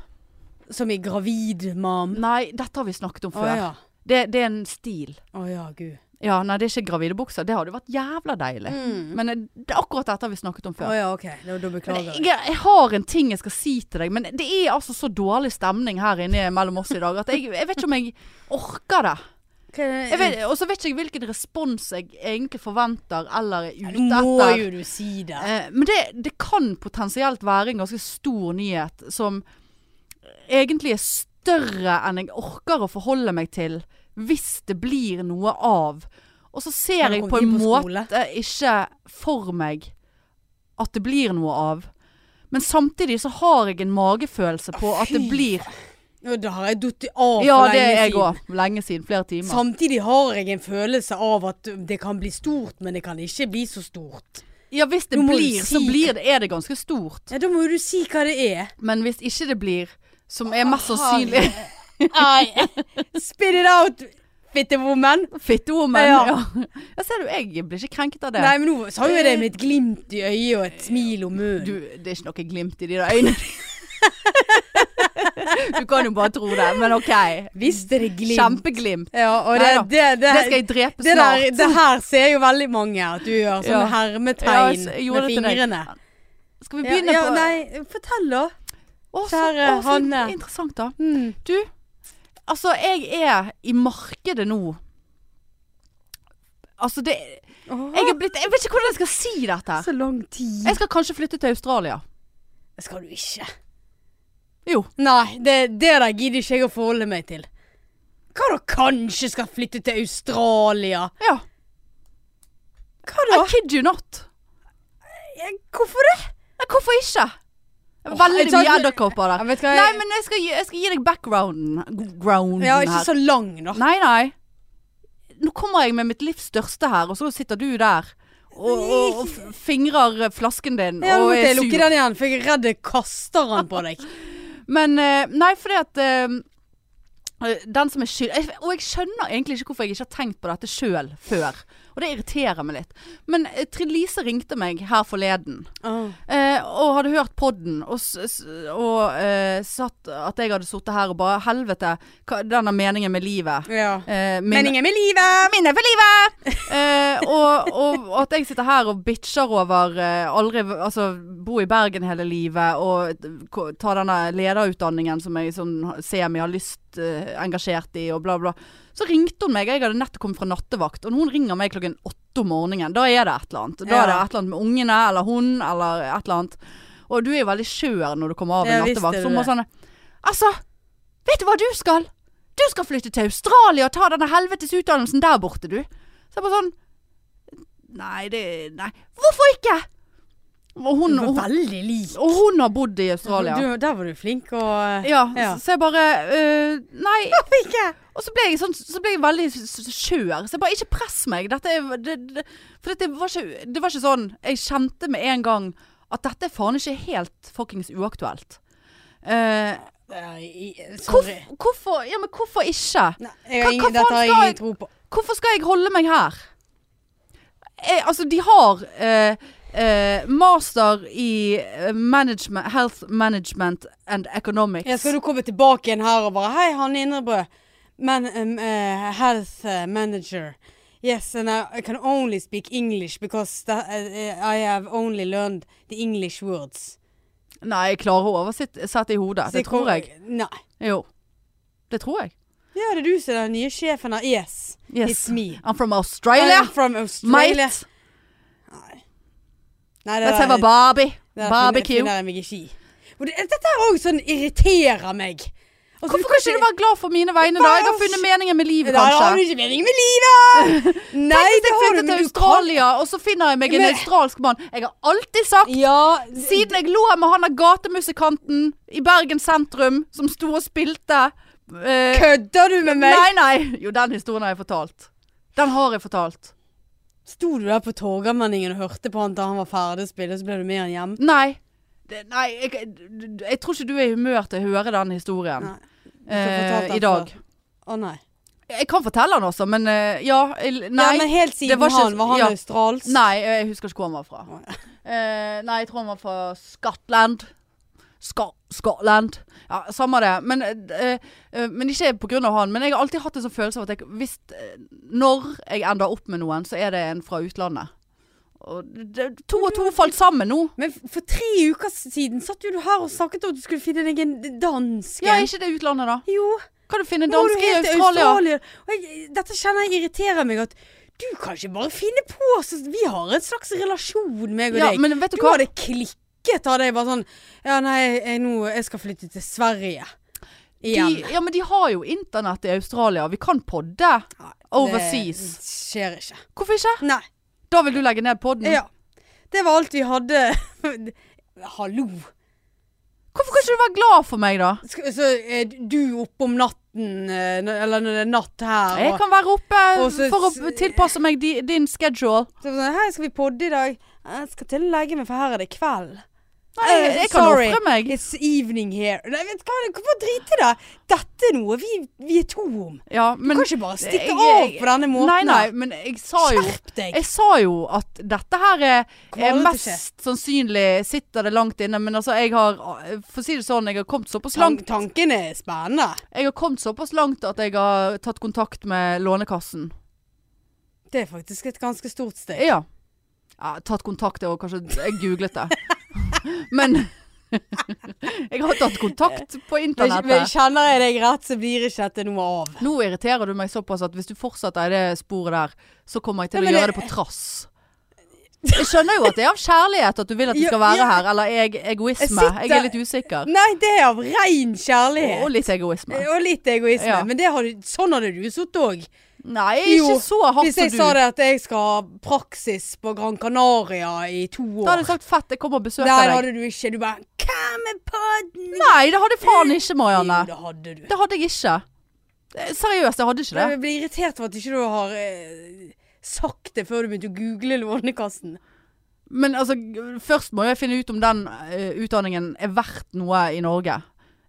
[SPEAKER 2] som i gravid mam.
[SPEAKER 1] Nei, dette har vi snakket om
[SPEAKER 2] Å
[SPEAKER 1] før.
[SPEAKER 2] ja.
[SPEAKER 1] det, det er en stil.
[SPEAKER 2] Å ja, gud.
[SPEAKER 1] Ja, nei, det er ikke gravide bukser. Det hadde jo vært jævla deilig. Men eh, det er akkurat dette har vi snakket om
[SPEAKER 2] Mm. Å
[SPEAKER 1] før.
[SPEAKER 2] ja, OK. Da, da
[SPEAKER 1] Men eh,
[SPEAKER 2] beklager
[SPEAKER 1] jeg,
[SPEAKER 2] jeg.
[SPEAKER 1] jeg har en ting jeg skal si til deg, men det er altså så dårlig stemning her inne mellom oss i dag at jeg, jeg vet ikke om jeg orker det.
[SPEAKER 2] Hva er det-
[SPEAKER 1] Jeg vet- Og så vet ikke jeg hvilken respons jeg egentlig forventer eller er ute
[SPEAKER 2] Nå må
[SPEAKER 1] etter.
[SPEAKER 2] jo du si det.
[SPEAKER 1] Eh, Men det, det kan potensielt være en ganske stor nyhet som egentlig er større enn jeg orker å forholde meg til hvis det blir noe av. Og så
[SPEAKER 2] Når
[SPEAKER 1] ser
[SPEAKER 2] du
[SPEAKER 1] jeg
[SPEAKER 2] kommer
[SPEAKER 1] på en
[SPEAKER 2] inn på skole.
[SPEAKER 1] måte ikke for meg at det blir noe av. Men samtidig så har jeg en magefølelse på at det
[SPEAKER 2] fy
[SPEAKER 1] blir
[SPEAKER 2] Nå, Da har jeg datt av for
[SPEAKER 1] Ja,
[SPEAKER 2] lenge
[SPEAKER 1] det er jeg
[SPEAKER 2] siden. Sånn,
[SPEAKER 1] òg. Lenge siden. Flere timer.
[SPEAKER 2] Samtidig har jeg en følelse av at det kan bli stort, men det kan ikke bli så stort.
[SPEAKER 1] Ja, hvis det
[SPEAKER 2] Nå må du
[SPEAKER 1] blir, så
[SPEAKER 2] si-
[SPEAKER 1] blir det, er det ganske stort.
[SPEAKER 2] Ja, Da må jo du si hva det er.
[SPEAKER 1] Men hvis ikke det blir, som er mest sannsynlig
[SPEAKER 2] Spit it out, fitte woman.
[SPEAKER 1] Fittewoman.
[SPEAKER 2] Ja.
[SPEAKER 1] Ja. Jeg ser du, jeg blir ikke krenket av det.
[SPEAKER 2] Nei, men nå sa jo jeg det med et glimt i øyet og et smil om
[SPEAKER 1] du,
[SPEAKER 2] munnen.
[SPEAKER 1] det er ikke noe glimt i de der øynene dine. du kan jo bare tro det, men OK.
[SPEAKER 2] Visst er det glimt.
[SPEAKER 1] Kjempeglimt.
[SPEAKER 2] Ja, og det,
[SPEAKER 1] Neida.
[SPEAKER 2] det, det,
[SPEAKER 1] Det skal jeg drepe
[SPEAKER 2] det der,
[SPEAKER 1] snart.
[SPEAKER 2] det her ser jo veldig mange at du gjør
[SPEAKER 1] Ja.
[SPEAKER 2] sånne
[SPEAKER 1] Ja, jeg
[SPEAKER 2] hermetegn
[SPEAKER 1] s- jeg gjorde
[SPEAKER 2] med
[SPEAKER 1] det til deg.
[SPEAKER 2] fingrene.
[SPEAKER 1] Skal vi
[SPEAKER 2] Ja,
[SPEAKER 1] begynne
[SPEAKER 2] ja,
[SPEAKER 1] på
[SPEAKER 2] nei, fortell da.
[SPEAKER 1] Å, så,
[SPEAKER 2] kjære
[SPEAKER 1] å, så in-
[SPEAKER 2] Hanne.
[SPEAKER 1] Interessant, da.
[SPEAKER 2] Mm.
[SPEAKER 1] Du, altså, jeg er i markedet nå. Altså, det Jeg er blitt Jeg vet ikke hvordan jeg skal si dette.
[SPEAKER 2] så lang tid.
[SPEAKER 1] Jeg skal kanskje flytte til Australia.
[SPEAKER 2] Det skal du ikke.
[SPEAKER 1] Jo.
[SPEAKER 2] Nei, det, det der gidder ikke jeg å forholde meg til. Hva da kanskje skal flytte til Australia?
[SPEAKER 1] Ja.
[SPEAKER 2] Hva
[SPEAKER 1] I kid you not.
[SPEAKER 2] Hvorfor det?
[SPEAKER 1] Nei, hvorfor ikke?
[SPEAKER 2] Åh,
[SPEAKER 1] Veldig
[SPEAKER 2] jeg tar-
[SPEAKER 1] mye edderkopper der.
[SPEAKER 2] Jeg vet hva, jeg,
[SPEAKER 1] Nei, men jeg skal, gi- jeg skal gi deg backgrounden grounden
[SPEAKER 2] ja, ikke
[SPEAKER 1] her.
[SPEAKER 2] så lang da.
[SPEAKER 1] Nei, nei. Nå kommer jeg med mitt livs største her, og så sitter du der og, og, og f- fingrer flasken din
[SPEAKER 2] Ja, nå
[SPEAKER 1] og
[SPEAKER 2] måtte
[SPEAKER 1] er
[SPEAKER 2] jeg lukke
[SPEAKER 1] sur.
[SPEAKER 2] den igjen, for jeg er redd jeg kaster den på deg.
[SPEAKER 1] Men eh, nei, fordi at eh, den som er skyld jeg- Og jeg skjønner egentlig ikke hvorfor jeg ikke har tenkt på dette sjøl før. Og det irriterer meg litt. Men eh, Trine Lise ringte meg her forleden. Eh, og hadde hørt podden og, s- s- og eh, satt at jeg hadde sittet her og bare Helvete, hva, denne meningen med livet.
[SPEAKER 2] Ja.
[SPEAKER 1] Eh, min-
[SPEAKER 2] Meningen med livet!
[SPEAKER 1] Minne for livet! Eh, og, og, og at jeg sitter her og bitcher over eh, aldri Altså, bo i Bergen hele livet og k- ta denne lederutdanningen som jeg sånn semi har lyst eh, engasjert i, og bla, bla. Så ringte hun meg, jeg hadde nettopp kommet fra nattevakt, og noen ringer meg klokken åtte om morgenen. Da er det et eller annet. Da
[SPEAKER 2] Ja.
[SPEAKER 1] er det et eller annet med ungene eller hun eller et eller annet. Og du er jo veldig skjør når du kommer av en
[SPEAKER 2] Ja, visst er
[SPEAKER 1] nattevakt.
[SPEAKER 2] du
[SPEAKER 1] Så må
[SPEAKER 2] det.
[SPEAKER 1] sånn Altså! Vet du hva du skal? Du skal flytte til Australia og ta denne helvetes utdannelsen der borte, du. Så jeg bare sånn Nei, det Nei. Hvorfor ikke? Og hun,
[SPEAKER 2] Du
[SPEAKER 1] og,
[SPEAKER 2] var veldig lik.
[SPEAKER 1] og hun har bodd i Australia.
[SPEAKER 2] Du, der var du flink og
[SPEAKER 1] Ja,
[SPEAKER 2] Ja.
[SPEAKER 1] så jeg bare øh, Nei.
[SPEAKER 2] ikke?
[SPEAKER 1] Og så ble jeg, sånn, så ble jeg veldig s- s- skjør. Så jeg bare ikke press meg. Dette er, det, det, for dette var ikke, det var ikke sånn Jeg kjente med en gang at dette er faen ikke helt fuckings uaktuelt. Eh,
[SPEAKER 2] Nei,
[SPEAKER 1] hvorf,
[SPEAKER 2] sorry.
[SPEAKER 1] hvorfor Ja, men hvorfor ikke?
[SPEAKER 2] Nei, jeg har
[SPEAKER 1] Hva-
[SPEAKER 2] ingen,
[SPEAKER 1] hva
[SPEAKER 2] dette har jeg
[SPEAKER 1] faen
[SPEAKER 2] ingen tro på.
[SPEAKER 1] Hvorfor skal jeg holde meg her? Jeg, altså, de har eh, eh, master i eh, management, health management and economics.
[SPEAKER 2] Ja, skal du komme tilbake igjen her og bare Hei, Hanne Indrebø. Man, um, eh, health eh, manager. Yes, and I, I can only speak English because tha- eh, I have only learned the English words.
[SPEAKER 1] Nei, jeg klarer å oversette i hodet.
[SPEAKER 2] Så
[SPEAKER 1] Det tror
[SPEAKER 2] kom-
[SPEAKER 1] jeg.
[SPEAKER 2] Nei.
[SPEAKER 1] Jo. Det tror jeg.
[SPEAKER 2] Ja, det er du som er den nye sjefen her. Yes,
[SPEAKER 1] Yes.
[SPEAKER 2] it's me.
[SPEAKER 1] I'm from
[SPEAKER 2] I
[SPEAKER 1] Australia.
[SPEAKER 2] am from
[SPEAKER 1] Mate.
[SPEAKER 2] Australia. Nei, det
[SPEAKER 1] Let's
[SPEAKER 2] der-
[SPEAKER 1] have a barbie.
[SPEAKER 2] det der
[SPEAKER 1] Barbecue.
[SPEAKER 2] finner jeg meg ikke i. Og det, dette her òg sånn irriterer meg. Altså,
[SPEAKER 1] Hvorfor kan ikke du være glad for mine vegne, da? Jeg har funnet meningen med livet,
[SPEAKER 2] Da har du
[SPEAKER 1] kanskje.
[SPEAKER 2] ikke meningen med livet! Nei,
[SPEAKER 1] Hvis
[SPEAKER 2] det
[SPEAKER 1] jeg
[SPEAKER 2] har du,
[SPEAKER 1] flytter
[SPEAKER 2] men
[SPEAKER 1] til
[SPEAKER 2] du kan
[SPEAKER 1] Australia, og så finner jeg meg en
[SPEAKER 2] Men-
[SPEAKER 1] australsk mann. Jeg har alltid sagt
[SPEAKER 2] Ja, si
[SPEAKER 1] Siden jeg lå med han der gatemusikanten i Bergen sentrum som sto og spilte eh,
[SPEAKER 2] Kødder du med meg?
[SPEAKER 1] Nei, nei. Jo, den historien har jeg fortalt. Den har jeg fortalt.
[SPEAKER 2] Sto du der på Torgallmenningen og hørte på han da han var ferdig å spille, så ble du med han hjem?
[SPEAKER 1] Nei. Det, nei, jeg, jeg, jeg tror ikke du er i humør til å høre den historien
[SPEAKER 2] Nei,
[SPEAKER 1] eh,
[SPEAKER 2] fortalt den
[SPEAKER 1] i dag.
[SPEAKER 2] Å nei.
[SPEAKER 1] Jeg kan fortelle den også, men eh, ja jeg, Nei.
[SPEAKER 2] ja, men helt
[SPEAKER 1] det
[SPEAKER 2] siden
[SPEAKER 1] var ikke-
[SPEAKER 2] han, var han
[SPEAKER 1] ja.
[SPEAKER 2] australsk?
[SPEAKER 1] Nei, jeg husker ikke hvor han var fra. Eh, nei, jeg tror han var fra Skottland. Ska Skottland. Ja, samme det. Men, eh, eh, men ikke pga. han. Men jeg har alltid hatt en sånn følelse av at jeg, hvis, eh, når jeg ender opp med noen, så er det en fra utlandet. Og det, to og
[SPEAKER 2] Mm.
[SPEAKER 1] to falt sammen nå.
[SPEAKER 2] Men f- for tre uker siden satt jo du her og snakket om at du skulle finne deg en dansk
[SPEAKER 1] Ja, er
[SPEAKER 2] en.
[SPEAKER 1] ikke det utlandet, da?
[SPEAKER 2] Jo.
[SPEAKER 1] Kan du finne
[SPEAKER 2] Nå er du
[SPEAKER 1] danske i
[SPEAKER 2] helt til
[SPEAKER 1] Australia?
[SPEAKER 2] Og jeg, dette kjenner jeg irriterer meg at du kan ikke bare finne på så Vi har en slags relasjon, meg og
[SPEAKER 1] Ja,
[SPEAKER 2] deg.
[SPEAKER 1] men vet
[SPEAKER 2] du
[SPEAKER 1] du hva?
[SPEAKER 2] hadde klikket av deg bare sånn Ja, nei, jeg, nå, jeg skal flytte til Sverige. Igjen.
[SPEAKER 1] De, ja, men de har jo internett i Australia. Vi kan podde.
[SPEAKER 2] Nei,
[SPEAKER 1] Overseas.
[SPEAKER 2] Det skjer ikke.
[SPEAKER 1] Hvorfor ikke?
[SPEAKER 2] Nei.
[SPEAKER 1] Da vil du legge ned podden?
[SPEAKER 2] Ja. Det var alt vi hadde. Hallo.
[SPEAKER 1] Hvorfor kan ikke du være glad for meg, da?
[SPEAKER 2] Skal, så er du oppe om natten, eh, når- eller når det er natt her
[SPEAKER 1] Jeg kan være oppe
[SPEAKER 2] Og så-
[SPEAKER 1] for å tilpasse meg di, din schedule.
[SPEAKER 2] Så er det sånn, Hei, skal vi podde i dag? Jeg skal til å legge meg, for her er det kveld.
[SPEAKER 1] Nei, jeg,
[SPEAKER 2] Eh,
[SPEAKER 1] jeg kan
[SPEAKER 2] sorry.
[SPEAKER 1] ofre meg.
[SPEAKER 2] It's evening here. Nei, vet du hva, du kan bare drite i det. Dette er noe vi, vi er to om.
[SPEAKER 1] Ja,
[SPEAKER 2] Du
[SPEAKER 1] men
[SPEAKER 2] kan ikke bare stikke
[SPEAKER 1] jeg-
[SPEAKER 2] av
[SPEAKER 1] jeg-
[SPEAKER 2] på denne måten.
[SPEAKER 1] Nei, nei,
[SPEAKER 2] her.
[SPEAKER 1] men jeg sa jo
[SPEAKER 2] Skjerp deg.
[SPEAKER 1] Jeg sa jo at dette her er,
[SPEAKER 2] Kommer
[SPEAKER 1] er
[SPEAKER 2] aldri til å
[SPEAKER 1] mest sannsynlig sitter det langt inne, men altså jeg har For å si det sånn, jeg har kommet såpass
[SPEAKER 2] Tan
[SPEAKER 1] langt
[SPEAKER 2] tanken er spennende.
[SPEAKER 1] Jeg har kommet såpass langt at jeg har tatt kontakt med Lånekassen.
[SPEAKER 2] Det er faktisk et ganske stort steg.
[SPEAKER 1] Ja. ja tatt kontakt, det òg, kanskje jeg googlet det. Men jeg har tatt kontakt på
[SPEAKER 2] Men,
[SPEAKER 1] internettet.
[SPEAKER 2] men kjenner jeg deg rett, så blir ikke dette noe av.
[SPEAKER 1] Nå irriterer du meg såpass at hvis du fortsetter i det sporet der, så kommer jeg til
[SPEAKER 2] Ja,
[SPEAKER 1] å
[SPEAKER 2] men
[SPEAKER 1] gjøre det
[SPEAKER 2] det-
[SPEAKER 1] på trass. Jeg skjønner jo at det er av kjærlighet at du vil at vi skal
[SPEAKER 2] Ja,
[SPEAKER 1] være
[SPEAKER 2] ja.
[SPEAKER 1] her, eller eg egoisme.
[SPEAKER 2] Jeg sitter-
[SPEAKER 1] Jeg er litt usikker.
[SPEAKER 2] Nei, det er av ren
[SPEAKER 1] Og
[SPEAKER 2] kjærlighet. Eh,
[SPEAKER 1] litt egoisme.
[SPEAKER 2] Og litt egoisme.
[SPEAKER 1] Ja.
[SPEAKER 2] Men det har du, sånn hadde du sittet òg.
[SPEAKER 1] Nei,
[SPEAKER 2] Jo,
[SPEAKER 1] ikke så hardt
[SPEAKER 2] Hvis jeg
[SPEAKER 1] som
[SPEAKER 2] sa
[SPEAKER 1] du.
[SPEAKER 2] det at jeg skal ha praksis på Gran Canaria i to
[SPEAKER 1] Da
[SPEAKER 2] år.
[SPEAKER 1] hadde jeg sagt fett, jeg kommer og besøker
[SPEAKER 2] Der
[SPEAKER 1] deg.
[SPEAKER 2] hadde du ikke. Du bare Hva med podden?
[SPEAKER 1] Nei, det hadde jeg faen ikke, Marianne.
[SPEAKER 2] Jo, det hadde du.
[SPEAKER 1] Det hadde jeg ikke. Eh, Seriøst, jeg hadde ikke det.
[SPEAKER 2] Jeg blir irritert over at ikke du har eh, sagt det før du begynte å google Lånekassen.
[SPEAKER 1] Men altså, g- først må jeg finne ut om den eh, utdanningen er verdt noe i Norge.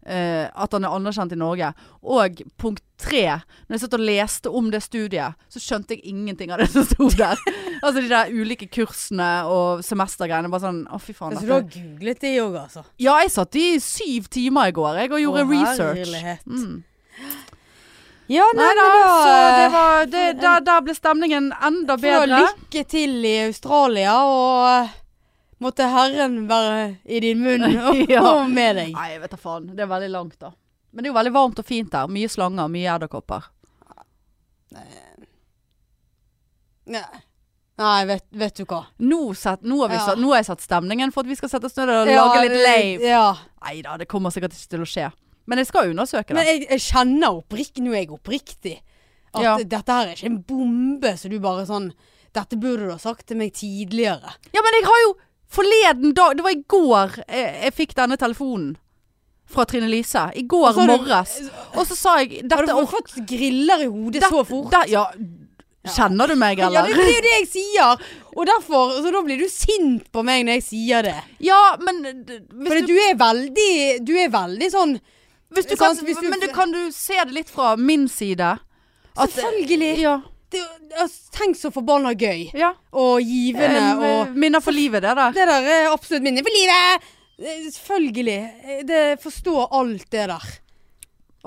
[SPEAKER 1] Eh, at den er anerkjent i Norge. Og punkt tre, når jeg satt og leste om det studiet, så skjønte jeg ingenting av det som sto der. altså de der ulike kursene og semestergreiene. Bare sånn, å fy faen.
[SPEAKER 2] Altså, du
[SPEAKER 1] dette-
[SPEAKER 2] har googlet det òg, altså.
[SPEAKER 1] Ja, jeg satt i syv timer i går jeg, og gjorde
[SPEAKER 2] Å,
[SPEAKER 1] research.
[SPEAKER 2] herlighet.
[SPEAKER 1] Mm.
[SPEAKER 2] Ja,
[SPEAKER 1] Nei da, så det
[SPEAKER 2] eh,
[SPEAKER 1] var det, der, der ble stemningen enda bedre.
[SPEAKER 2] Lykke til i Australia, og eh, måtte Herren være i din munn og,
[SPEAKER 1] Ja.
[SPEAKER 2] og med deg.
[SPEAKER 1] Nei, jeg vet da faen. Det er veldig langt, da. Men det er jo veldig varmt og fint her. Mye slanger, mye edderkopper.
[SPEAKER 2] Nei, Nei vet, vet du hva.
[SPEAKER 1] Nå, set, nå, har vi
[SPEAKER 2] Ja.
[SPEAKER 1] satt, nå har jeg satt stemningen for at vi skal sette oss ned og lage litt lave.
[SPEAKER 2] Ja.
[SPEAKER 1] Nei da, det kommer sikkert ikke til å skje. Men jeg skal undersøke
[SPEAKER 2] Men
[SPEAKER 1] det.
[SPEAKER 2] jeg, jeg kjenner oppriktig, nå er jeg oppriktig, at
[SPEAKER 1] Ja.
[SPEAKER 2] dette her er ikke en bombe, så du bare sånn Dette burde du ha sagt til meg tidligere.
[SPEAKER 1] Ja, men jeg har jo forleden dag Det var i går jeg, jeg fikk denne telefonen. Fra Trine Lise. I
[SPEAKER 2] Og
[SPEAKER 1] går
[SPEAKER 2] så har du-
[SPEAKER 1] morges. Og så sa jeg
[SPEAKER 2] Har du
[SPEAKER 1] Dette
[SPEAKER 2] fått fått griller i hodet så fort?
[SPEAKER 1] det- ja. Kjenner du meg,
[SPEAKER 2] Ja, det,
[SPEAKER 1] eller?
[SPEAKER 2] det er jo det jeg sier! Og derfor, så da blir du sint på meg når jeg sier det.
[SPEAKER 1] Ja, men d- hvis
[SPEAKER 2] For du, er veldig Du er veldig sånn
[SPEAKER 1] Hvis du kan,
[SPEAKER 2] Sant, hvis du-
[SPEAKER 1] men du, kan du se det litt fra min side? At-
[SPEAKER 2] Selvfølgelig!
[SPEAKER 1] Ja.
[SPEAKER 2] Det, altså, tenk så forbanna gøy
[SPEAKER 1] ja.
[SPEAKER 2] og givende
[SPEAKER 1] Eh,
[SPEAKER 2] og
[SPEAKER 1] Minner for livet, det der.
[SPEAKER 2] Det der er absolutt minne for livet! Eh, Selvfølgelig. Eh, Det forstår alt det der.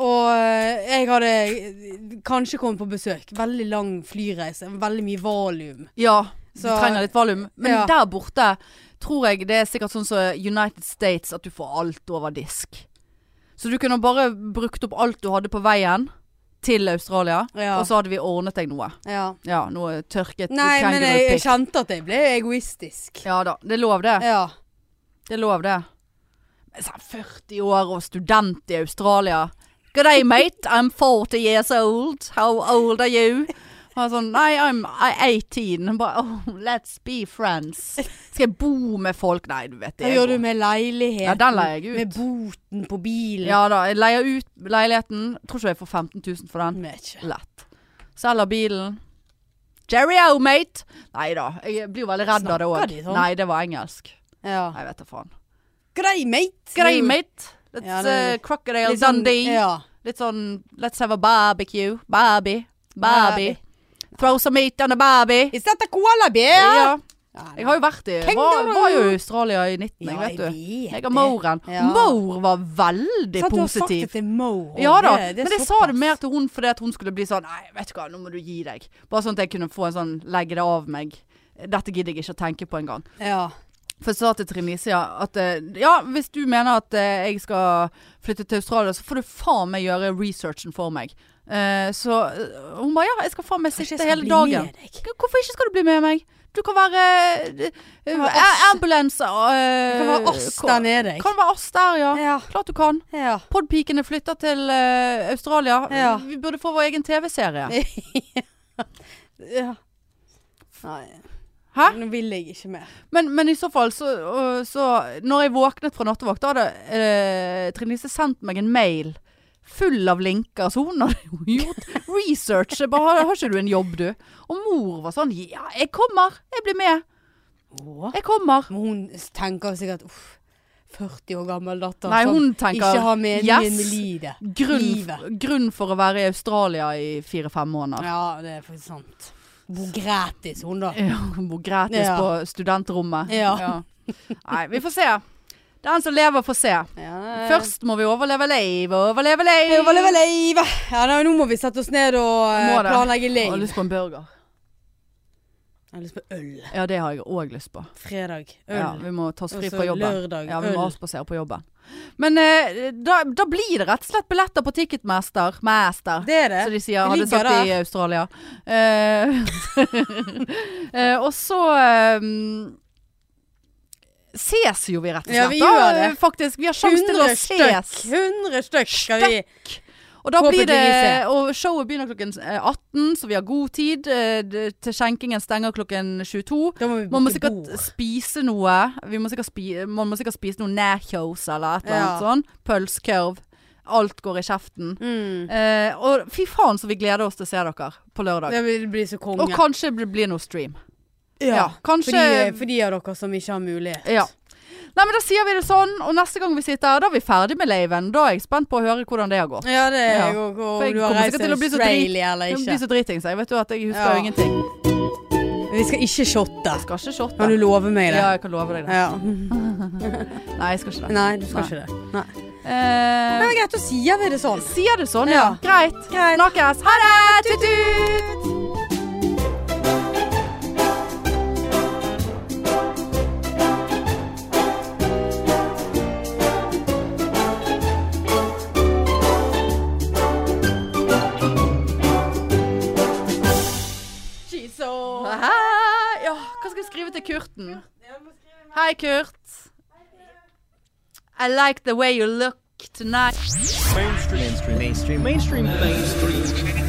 [SPEAKER 2] Og eh, jeg hadde eh, kanskje kommet på besøk. Veldig lang flyreise. Veldig mye valium.
[SPEAKER 1] Ja, du
[SPEAKER 2] Så-
[SPEAKER 1] trenger litt valium. Men
[SPEAKER 2] Ja.
[SPEAKER 1] der borte tror jeg det er sikkert sånn som United States, at du får alt over disk. Så du kunne bare brukt opp alt du hadde på veien til Australia,
[SPEAKER 2] Ja.
[SPEAKER 1] og så hadde vi ordnet deg noe.
[SPEAKER 2] Ja.
[SPEAKER 1] Ja, noe tørket
[SPEAKER 2] Nei, men jeg, jeg
[SPEAKER 1] kengurupikk.
[SPEAKER 2] kjente at jeg ble egoistisk.
[SPEAKER 1] Ja da, det er lov det.
[SPEAKER 2] Ja.
[SPEAKER 1] Det er lov det. Men sånn 40 år og student i Australia. Good day, mate. I'm 40 years old. How old are you? Og han sånn, nei, I'm 18. Han Bare, oh, let's be friends. Skal jeg bo med folk? Nei, du vet det.
[SPEAKER 2] Hva
[SPEAKER 1] jeg
[SPEAKER 2] gjør du
[SPEAKER 1] går.
[SPEAKER 2] med leiligheten?
[SPEAKER 1] Ja, den leier jeg ut.
[SPEAKER 2] Med boten på bilen?
[SPEAKER 1] Ja da, jeg leier ut leiligheten. Tror ikke jeg får 15 000 for den.
[SPEAKER 2] Vet ikke.
[SPEAKER 1] Lett. Selger bilen. Jerry-o, mate! Nei da, jeg blir jo veldig redd av det
[SPEAKER 2] Snakker
[SPEAKER 1] òg.
[SPEAKER 2] de sånn?
[SPEAKER 1] Nei, det var engelsk.
[SPEAKER 2] Ja.
[SPEAKER 1] Nei, jeg vet da faen.
[SPEAKER 2] Grei, mate.
[SPEAKER 1] Grey, mate. Let's
[SPEAKER 2] Ja,
[SPEAKER 1] uh,
[SPEAKER 2] det-
[SPEAKER 1] crocodile
[SPEAKER 2] Litt sånn-
[SPEAKER 1] Dundee.
[SPEAKER 2] Ja.
[SPEAKER 1] Litt sånn Let's have a barbecue. Barbie. Barbie. Throw some meat on a Barbie.
[SPEAKER 2] Is that a koala bear?
[SPEAKER 1] Ja. Jeg har jo vært i var,
[SPEAKER 2] Kangaroo.
[SPEAKER 1] var jo i Australia i 19, jeg,
[SPEAKER 2] Ja,
[SPEAKER 1] vet du.
[SPEAKER 2] vet
[SPEAKER 1] Jeg og Mauren.
[SPEAKER 2] Ja.
[SPEAKER 1] Maur var veldig
[SPEAKER 2] Sant, du har sagt
[SPEAKER 1] positiv.
[SPEAKER 2] at det er Moe. og
[SPEAKER 1] Ja da,
[SPEAKER 2] det- det er
[SPEAKER 1] men jeg sa
[SPEAKER 2] såpass.
[SPEAKER 1] det mer til hun fordi at hun skulle bli sånn Nei, vet du hva, nå må du gi deg. Bare sånn at jeg kunne få en sånn legge det av meg. Dette gidder jeg ikke å tenke på engang.
[SPEAKER 2] Ja.
[SPEAKER 1] For jeg sa til Trine Lise ja, at eh, ja, hvis du mener at eh, jeg skal flytte til Australia, så får du faen meg gjøre researchen for meg. Eh, så eh, hun bare ja, jeg skal faen meg
[SPEAKER 2] Kanskje jeg
[SPEAKER 1] sitte
[SPEAKER 2] skal
[SPEAKER 1] hele
[SPEAKER 2] bli
[SPEAKER 1] dagen.
[SPEAKER 2] med deg.
[SPEAKER 1] Hvorfor ikke skal du bli med meg? Du kan være eh, eh,
[SPEAKER 2] være
[SPEAKER 1] a- ambulance eh,
[SPEAKER 2] Det kan være oss der nede.
[SPEAKER 1] Kan være oss der, ja.
[SPEAKER 2] Ja.
[SPEAKER 1] Klart du kan.
[SPEAKER 2] ja.
[SPEAKER 1] Podpikene flytter til eh, Australia.
[SPEAKER 2] Ja.
[SPEAKER 1] Vi burde få vår egen TV-serie.
[SPEAKER 2] ja. Nei.
[SPEAKER 1] Hæ?
[SPEAKER 2] Nå vil jeg ikke mer.
[SPEAKER 1] Men, men i så fall, så, øh, så Når jeg våknet fra nattevakt, da hadde eh, Trine Lise sendt meg en mail full av linker. Så hun hadde jo gjort research. Jeg bare, har, har ikke du en jobb, du? Og mor var sånn Ja, jeg kommer. Jeg blir med.
[SPEAKER 2] Åh.
[SPEAKER 1] Jeg kommer.
[SPEAKER 2] Men hun tenker sikkert uff, 40 år gammel datter
[SPEAKER 1] Nei,
[SPEAKER 2] som
[SPEAKER 1] hun tenker,
[SPEAKER 2] Sånn, ikke har meningen
[SPEAKER 1] yes,
[SPEAKER 2] med livet. Livet.
[SPEAKER 1] Grunn, grunn for å være i Australia i fire-fem måneder.
[SPEAKER 2] Ja, det er faktisk sant. Hvor gratis hun da.
[SPEAKER 1] Ja, Bor gratis
[SPEAKER 2] Ja.
[SPEAKER 1] på studentrommet.
[SPEAKER 2] Ja.
[SPEAKER 1] Nei, vi får se. Den som lever, får se.
[SPEAKER 2] Ja,
[SPEAKER 1] Først må vi overleve livet, overleve livet.
[SPEAKER 2] Eh. Overleve livet! Ja, nei, nå må vi sette oss ned og eh,
[SPEAKER 1] Må det.
[SPEAKER 2] planlegge
[SPEAKER 1] Jeg har
[SPEAKER 2] liv.
[SPEAKER 1] lyst på en burger.
[SPEAKER 2] Jeg har lyst på øl.
[SPEAKER 1] Ja, det har jeg òg lyst på.
[SPEAKER 2] Fredag. Øl.
[SPEAKER 1] Ja, vi må ta oss fri
[SPEAKER 2] Og så
[SPEAKER 1] fra jobben.
[SPEAKER 2] Lørdag.
[SPEAKER 1] Ja, vi
[SPEAKER 2] øl.
[SPEAKER 1] må avspasere på jobben. Men eh, da, da blir det rett og slett billetter på Ticketmaster. Master.
[SPEAKER 2] Det er det.
[SPEAKER 1] Som de sier,
[SPEAKER 2] Det
[SPEAKER 1] hadde
[SPEAKER 2] ligger
[SPEAKER 1] sagt i Australia. Eh, eh, og så eh, ses jo vi rett og slett.
[SPEAKER 2] Ja, vi
[SPEAKER 1] da,
[SPEAKER 2] gjør det.
[SPEAKER 1] eh, Faktisk. Vi har sjanse til å
[SPEAKER 2] 100
[SPEAKER 1] ses.
[SPEAKER 2] stykk. 100 stykk skal vi
[SPEAKER 1] Og da blir det
[SPEAKER 2] Forhåpentligvis.
[SPEAKER 1] Og showet begynner klokken eh, 18, så vi har god tid. eh, det- Til skjenkingen stenger klokken 22.
[SPEAKER 2] Da må vi
[SPEAKER 1] Man må
[SPEAKER 2] booke
[SPEAKER 1] sikkert
[SPEAKER 2] bord.
[SPEAKER 1] spise noe. Vi må sikkert spi man må sikkert spise noe nachos eller et eller annet
[SPEAKER 2] Ja.
[SPEAKER 1] sånn. Pølsekurv. Alt går i kjeften.
[SPEAKER 2] Mm.
[SPEAKER 1] Eh, og fy faen så vi gleder oss til å se dere på lørdag.
[SPEAKER 2] Det vil bli så konge.
[SPEAKER 1] Og kanskje det blir noe stream.
[SPEAKER 2] ja. eh,
[SPEAKER 1] ja, kanskje-
[SPEAKER 2] for, de, for de av dere som ikke har mulighet.
[SPEAKER 1] Ja. Nei, men da sier vi det sånn, og neste gang vi sitter her, da er vi ferdig med laven. Da er jeg spent på å høre hvordan det har gått.
[SPEAKER 2] Ja, det er
[SPEAKER 1] Ja.
[SPEAKER 2] jo
[SPEAKER 1] For
[SPEAKER 2] om
[SPEAKER 1] jeg
[SPEAKER 2] du har
[SPEAKER 1] kommer
[SPEAKER 2] reist
[SPEAKER 1] sikkert til
[SPEAKER 2] til
[SPEAKER 1] å bli så
[SPEAKER 2] Australia eller
[SPEAKER 1] Jeg
[SPEAKER 2] ikke.
[SPEAKER 1] blir så dritings, jeg. Vet du at jeg husker
[SPEAKER 2] Ja.
[SPEAKER 1] jo ingenting.
[SPEAKER 2] Vi skal ikke shotte.
[SPEAKER 1] Jeg skal ikke shotte.
[SPEAKER 2] Kan du love meg det?
[SPEAKER 1] Ja, jeg kan love deg det.
[SPEAKER 2] Ja.
[SPEAKER 1] Nei, jeg skal ikke det.
[SPEAKER 2] Nei, du skal
[SPEAKER 1] Nei.
[SPEAKER 2] ikke det. Nei.
[SPEAKER 1] Eh,
[SPEAKER 2] Men det er greit, da sier vi det sånn.
[SPEAKER 1] Sier du sånn, ja.
[SPEAKER 2] Ja.
[SPEAKER 1] Greit.
[SPEAKER 2] Greit.
[SPEAKER 1] Snakkes. Ha det! Tut-tut! Hei. Ja, hva skal jeg skrive til Kurten? Hei, Kurt. I like the way you look tonight.
[SPEAKER 3] mainstream mainstream mainstream mainstream mainstream